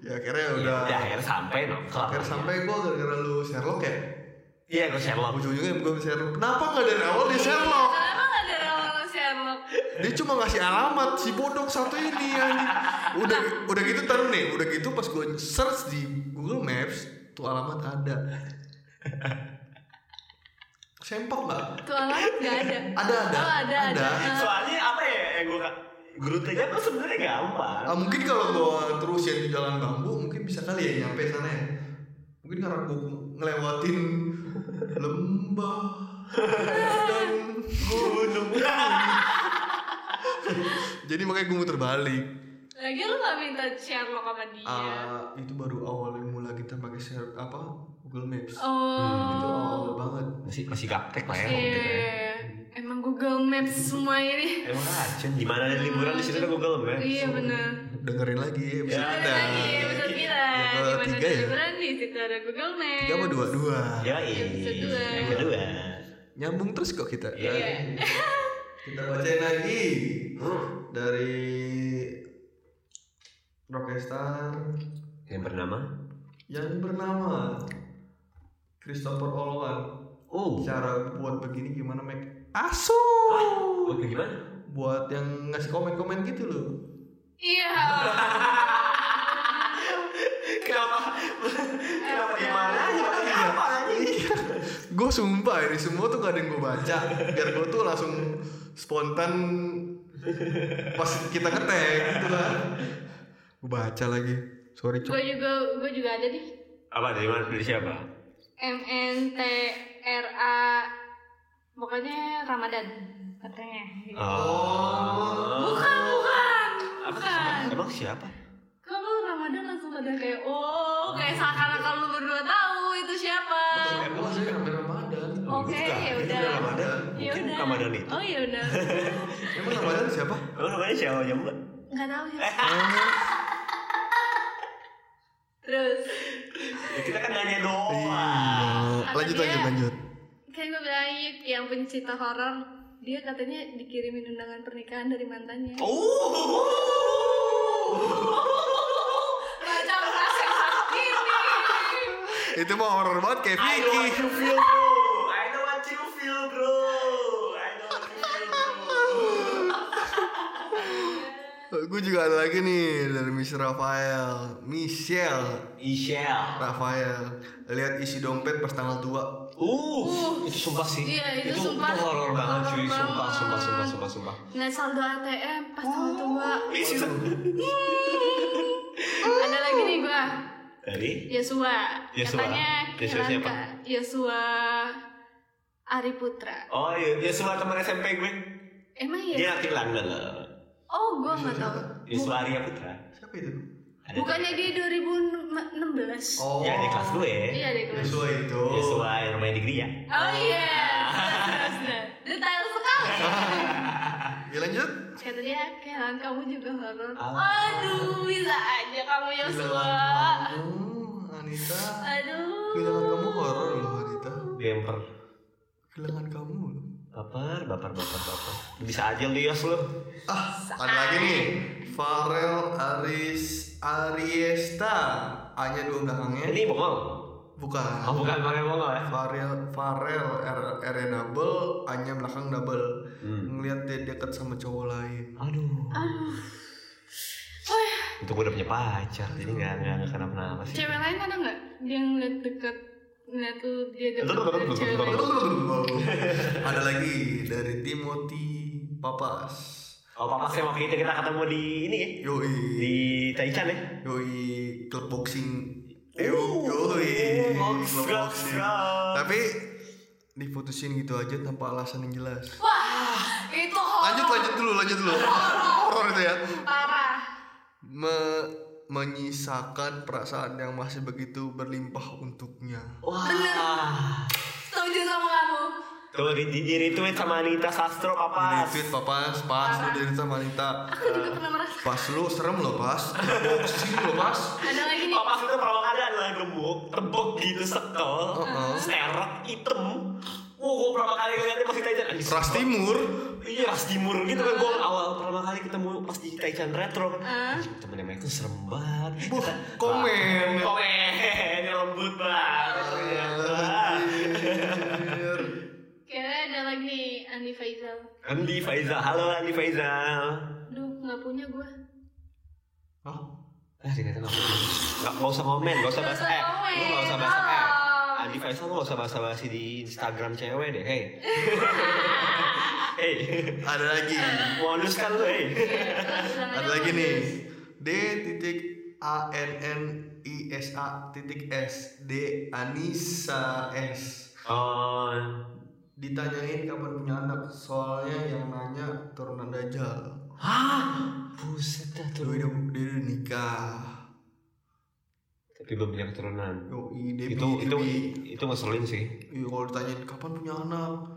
Speaker 3: ya akhirnya udah
Speaker 1: ya akhirnya sampai nongkrong
Speaker 3: Akhirnya sampai gue gara-gara lu Sherlock ya
Speaker 1: iya gue Sherlock Iya.
Speaker 3: Ujung-ujungnya gue Sherlock Kenapa gak dari awal dia Sherlock?
Speaker 2: Kenapa nggak dari awal Sherlock?
Speaker 3: Dia cuma ngasih alamat si bodok satu ini anjing Udah udah gitu taruh nih Udah gitu pas gue search di Google Maps Tuh alamat ada Sempak gak?
Speaker 2: Tuh alamat nggak ada.
Speaker 3: Ada ada
Speaker 2: Oh, ada, ada.
Speaker 3: Ah.
Speaker 1: soalnya apa ya yang gue Gerutenya tuh sebenarnya gampang
Speaker 3: Ah, mungkin kalau gue terusin di jalan bambu mungkin bisa kali ya nyampe sana ya mungkin karena gue ngelewatin lembah dan
Speaker 1: gunung
Speaker 3: jadi makanya gue muter balik
Speaker 2: Lagi lu nggak minta Sherlock sama dia.
Speaker 3: Ah, itu baru awal mula kita pakai share apa Google Maps itu
Speaker 2: oh.
Speaker 3: awal banget
Speaker 1: masih masih gaptek
Speaker 3: Hmm,
Speaker 1: lah ya waktu itu ya.
Speaker 2: Iya. Emang Google Maps semua ini.
Speaker 1: emang racun gimana ada liburan di situ ada Google Maps
Speaker 2: Iya benar.
Speaker 3: dengerin lagi episode
Speaker 1: Ya.
Speaker 3: kita
Speaker 2: Iya, Lagi episode kita.
Speaker 3: Yang
Speaker 2: Di mana
Speaker 3: ketiga ya?
Speaker 2: liburan di situ ada Google Maps.
Speaker 3: tiga apa dua dua
Speaker 1: ya
Speaker 2: Episode dua.
Speaker 1: yang kedua
Speaker 3: nyambung terus kok kita
Speaker 1: Iya.
Speaker 3: kita bacain lagi dari rockstar
Speaker 1: yang bernama
Speaker 3: yang bernama Christopher Oloan.
Speaker 1: oh
Speaker 3: Cara buat begini gimana, Mac? Asu.
Speaker 1: Oh, gimana
Speaker 3: Buat yang ngasih komen-komen gitu loh.
Speaker 2: Iya.
Speaker 1: Kenapa? Kenapa gimana? Kenapa anjing?
Speaker 3: gue sumpah ini semua tuh gak ada yang gue baca. Biar gue tuh langsung spontan pas kita ngetek gitu kan. Gue baca lagi. Sorry, cok.
Speaker 2: Gue juga gue juga ada nih.
Speaker 1: Apa dari mana? Dari siapa?
Speaker 2: M N T R A pokoknya Ramadan katanya.
Speaker 1: Oh.
Speaker 2: Bukan, bukan.
Speaker 1: Apa?
Speaker 2: Bukan.
Speaker 1: Emang siapa?
Speaker 2: Kamu Ramadan langsung pada kayak oh, kayak seakan-akan lu berdua tahu itu siapa.
Speaker 3: Emang saya hampir Ramadan.
Speaker 2: Oke,
Speaker 1: Bukan.
Speaker 2: ya
Speaker 1: Ini
Speaker 2: udah.
Speaker 1: bukan Ramadan.
Speaker 2: Ya
Speaker 1: Mungkin
Speaker 2: udah.
Speaker 1: Ramadan itu.
Speaker 2: Oh ya udah.
Speaker 3: Emang Ramadan siapa?
Speaker 1: Emang namanya siapa juga?
Speaker 2: Enggak tahu ya. Terus
Speaker 1: Ya, kita kan nanya doang.
Speaker 3: Iya. Lanjut, lanjut, lanjut.
Speaker 2: kayak gue bilangin yang pencinta horor dia katanya dikirimin undangan pernikahan dari mantannya.
Speaker 1: Oh.
Speaker 2: Baca bahasa yang sakit ini.
Speaker 3: Itu mah horor banget kayak
Speaker 1: I know
Speaker 3: Vicky.
Speaker 1: what you feel, bro. I know what you feel, bro. I know what you
Speaker 3: gue juga ada lagi nih dari Miss Rafael Michelle
Speaker 1: Michelle.
Speaker 3: Rafael lihat isi dompet pas tanggal tua
Speaker 1: Uh, itu sumpah sih.
Speaker 2: Iya, itu
Speaker 1: itu
Speaker 2: sumpah.
Speaker 1: horor banget cuy, sumpah,
Speaker 2: Horor banget.
Speaker 1: sumpah, sumpah, sumpah, sumpah.
Speaker 2: Nggak saldo ATM pas tanggal tua.
Speaker 1: Isi
Speaker 2: Ada lagi nih gua.
Speaker 1: Dari
Speaker 2: Yosua.
Speaker 1: Yosua.
Speaker 2: Katanya
Speaker 1: Yosua
Speaker 2: Kiran
Speaker 1: siapa?
Speaker 2: Ka- Yosua Ari Putra.
Speaker 1: Oh iya, ya semua teman SMP gue.
Speaker 2: Emang
Speaker 1: Dia
Speaker 2: ya?
Speaker 1: nanti langgal loh.
Speaker 2: Oh, gua nggak tahu.
Speaker 1: Yusuf Arya Putra.
Speaker 3: siapa itu
Speaker 1: Ada
Speaker 2: Bukannya
Speaker 1: teman-
Speaker 2: dia 2016?
Speaker 3: oh
Speaker 1: Ya di kelas gue.
Speaker 2: Iya deh kelas.
Speaker 3: Joshua itu
Speaker 1: Yosua yang ya. main di Gria.
Speaker 2: Oh iya. Benar, benar. Detail sekali.
Speaker 3: ya lanjut
Speaker 2: Katanya kehilangan kamu juga horor.
Speaker 1: Ah.
Speaker 2: Aduh, bisa aja kamu Yosua.
Speaker 3: Kehilangan kamu Anita
Speaker 2: Aduh.
Speaker 3: kehilangan kamu horor loh Anita
Speaker 1: Bemper.
Speaker 3: kehilangan kamu loh
Speaker 1: Baper, baper, baper, baper. Bisa aja lu Yos lu.
Speaker 3: ah ada lagi nih Farel Aris Ariesta hanya dua belakangnya
Speaker 1: Ini bongol.
Speaker 3: bukan
Speaker 1: Oh bukan pakai bongol ya?
Speaker 3: Farel Farel R R double hanya belakang double
Speaker 1: Hmm.
Speaker 3: ngelihat dia dekat sama cowok lain
Speaker 1: Aduh.
Speaker 2: Aduh. Oh, iya.
Speaker 1: Untuk gue udah punya pacar, jadi nggak nggak nggak kenapa-napa sih.
Speaker 2: Cewek lain ada nggak dia ngeliat deket ngeliat tuh dia deket
Speaker 1: Bentar, bentar,
Speaker 2: dari
Speaker 1: bentar,
Speaker 2: cewek
Speaker 1: bentar,
Speaker 2: lain?
Speaker 3: ada lagi dari Timothy Papas
Speaker 1: Oh papa saya waktu itu kita ketemu di ini ya
Speaker 3: yoi
Speaker 1: di Taichan ya.
Speaker 3: yoi klub boxing
Speaker 1: Oh,
Speaker 3: Ew,
Speaker 1: Box,
Speaker 3: yoi klub
Speaker 1: box,
Speaker 3: boxing
Speaker 1: box.
Speaker 3: tapi diputusin gitu aja tanpa alasan yang jelas
Speaker 2: Wah, itu horor.
Speaker 3: lanjut lanjut dulu lanjut dulu horor itu ya
Speaker 2: Parah.
Speaker 3: Me- menyisakan perasaan yang masih begitu berlimpah untuknya
Speaker 1: Wah.
Speaker 2: Setuju sama kamu.
Speaker 1: Tuh di, di, di retweet sama Anita Sastro papa.
Speaker 3: Retweet papas pas lu diri sama wanita
Speaker 2: Aku juga pernah merasa.
Speaker 3: pas lu serem lo pas boxing lo pas
Speaker 2: Ada lagi nih.
Speaker 1: Papas itu perawakannya adalah gemuk, tebok gitu sekel,
Speaker 3: Uh-uh.
Speaker 1: sterok, hitam. Wah, gue pertama kali ngeliatnya pas di Taichan. Anjir,
Speaker 3: ras timur
Speaker 1: Iya, Ras Timur gitu kan. Gue awal pertama kali ketemu pas di Taichan Retro.
Speaker 2: Ah.
Speaker 1: Anjing, Temennya Michael serem banget.
Speaker 3: Buh, komen.
Speaker 1: Komen, ya. lembut banget.
Speaker 3: Anjir.
Speaker 2: Kayaknya ada lagi nih Andi Faizal.
Speaker 1: Andi Faizal, halo Andi Faizal.
Speaker 2: Duh, nggak punya gua.
Speaker 3: Hah?
Speaker 1: Ah, ternyata nggak perlu. Nggak nggak usah komen, nggak usah
Speaker 2: Nggak
Speaker 1: bahas
Speaker 2: usah Oh.
Speaker 1: eh, lu nggak usah bahas
Speaker 2: komen,
Speaker 1: eh.
Speaker 2: tolong.
Speaker 1: Andi Faizal lu nggak usah bahas bahas di Instagram cewek deh, hey. hey,
Speaker 3: ada lagi
Speaker 1: modus kan lu, hey.
Speaker 3: ada lagi nih d titik a n n i s a titik s d anisa s
Speaker 1: Oh,
Speaker 3: ditanyain kapan punya anak soalnya yang nanya turunan dajal
Speaker 1: hah, buset dah
Speaker 3: dia
Speaker 1: tuh.
Speaker 3: udah dia udah nikah
Speaker 1: Tapi belum punya keturunan.
Speaker 3: yoi dia
Speaker 1: Itu
Speaker 3: bi- dia
Speaker 1: itu
Speaker 3: bi-
Speaker 1: itu ngeselin sih.
Speaker 3: Iya kalau ditanyain kapan punya anak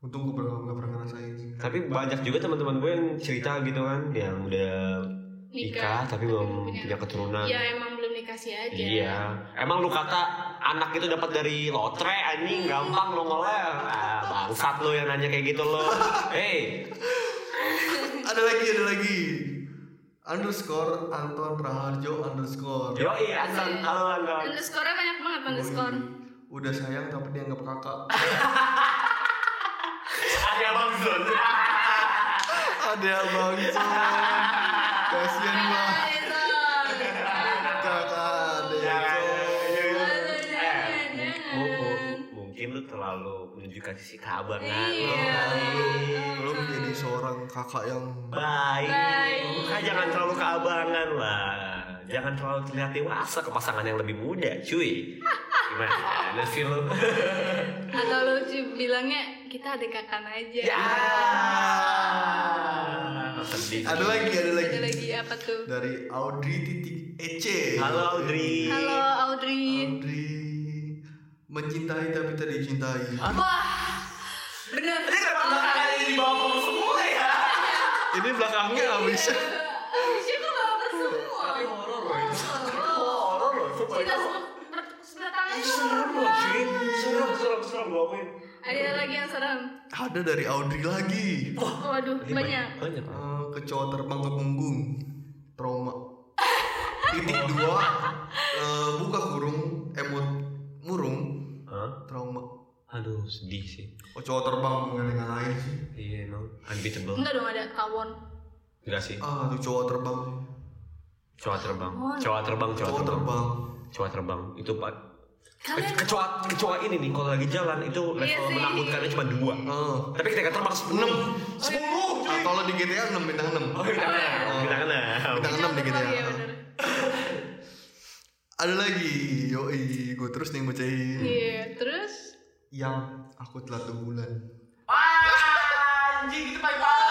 Speaker 3: Untung gue pernah, gak pernah ngerasain sih
Speaker 1: Tapi banyak juga teman-teman gue yang cerita gitu kan, yang udah nikah tapi belum punya keturunan.
Speaker 2: Ya emang belum nikah sih aja.
Speaker 1: Iya. Emang lu kata anak itu dapat dari lotre anjing gampang lo ngoleh. Ah, bangsat lu yang nanya kayak gitu lo. Hei,
Speaker 3: Ada lagi, ada lagi Underscore Anton Raharjo underscore
Speaker 1: yo iya Hasan, halo Angga.
Speaker 2: Underscore-nya banyak banget underscore.
Speaker 3: Wih, Udah sayang tapi dianggap kakak
Speaker 1: Ada Bang Zon.
Speaker 3: Ada bang
Speaker 1: Iya,
Speaker 3: Kasian
Speaker 2: Iya.
Speaker 3: banget Kakak Deco
Speaker 1: Eh, oh, Mungkin lu terlalu menunjukkan sisi kabar kan.
Speaker 2: Iya.
Speaker 3: Lo menjadi seorang kakak yang
Speaker 1: Baik.
Speaker 2: Baik.
Speaker 1: Makanya jangan terlalu keabangan lah. Jangan terlalu terlihat dewasa ke pasangan yang lebih muda, cuy. Gimana sih lu?
Speaker 2: Atau lu cu- bilangnya kita adekan aja.
Speaker 1: Ya. Iya. Sedih.
Speaker 3: Ada lagi, ada lagi
Speaker 2: Ada lagi apa tuh?
Speaker 3: Dari Audrey titik EC
Speaker 1: Halo Audrey.
Speaker 2: Halo Audrey.
Speaker 3: Audrey Mencintai tapi tak dicintai
Speaker 2: Wah. Benar.
Speaker 1: Ini kenapa belakangan ini dibawa kamu semua ya?
Speaker 3: Ini belakangnya
Speaker 2: Iya.
Speaker 3: habis
Speaker 2: Siapa bawa semua?
Speaker 1: Tapi horor loh itu. Horor loh itu.
Speaker 2: Kita semua ber- sebelah tangan
Speaker 1: Ih,
Speaker 2: itu
Speaker 1: Serem loh cuy. Serem serem serem ya. gue akuin.
Speaker 2: Ada lagi yang serem.
Speaker 3: Ada dari Audrey lagi
Speaker 2: Waduh, banyak.
Speaker 1: Banyak.
Speaker 3: Eh, Kecoa terbang ke punggung Trauma Titik dua eh, Buka kurung Emot murung
Speaker 1: Hah?
Speaker 3: Trauma
Speaker 1: Aduh sedih sih.
Speaker 3: Kecoa terbang nggak ada yang lain sih
Speaker 1: Iya emang unbeatable.
Speaker 2: Enggak dong ada tawon.
Speaker 1: Enggak sih.
Speaker 3: ah tuh cowok terbang
Speaker 1: Cowok terbang.
Speaker 2: Oh.
Speaker 1: Cowok terbang, cowok
Speaker 3: cowok
Speaker 1: terbang.
Speaker 3: terbang
Speaker 1: Cowok terbang. Itu Pak. Eh,
Speaker 2: Kalian
Speaker 1: Kecoa, kecoa ini nih kalau lagi jalan itu level
Speaker 2: Iya sih.
Speaker 1: menakutkannya cuma dua.
Speaker 3: ah
Speaker 1: Tapi ketika terbang 10
Speaker 3: enam Ah,
Speaker 2: Oh,
Speaker 1: sepuluh.
Speaker 2: iya.
Speaker 3: kalau di GTA enam bintang enam
Speaker 1: Oh, kita kena. Kita kena.
Speaker 3: bintang enam di
Speaker 2: Iya,
Speaker 3: GTA
Speaker 2: bener.
Speaker 3: ada lagi yoi gue terus nih bacain
Speaker 2: Iya, terus
Speaker 3: yang aku telat bulan
Speaker 2: Oh.
Speaker 1: Wah, anjing itu paling parah.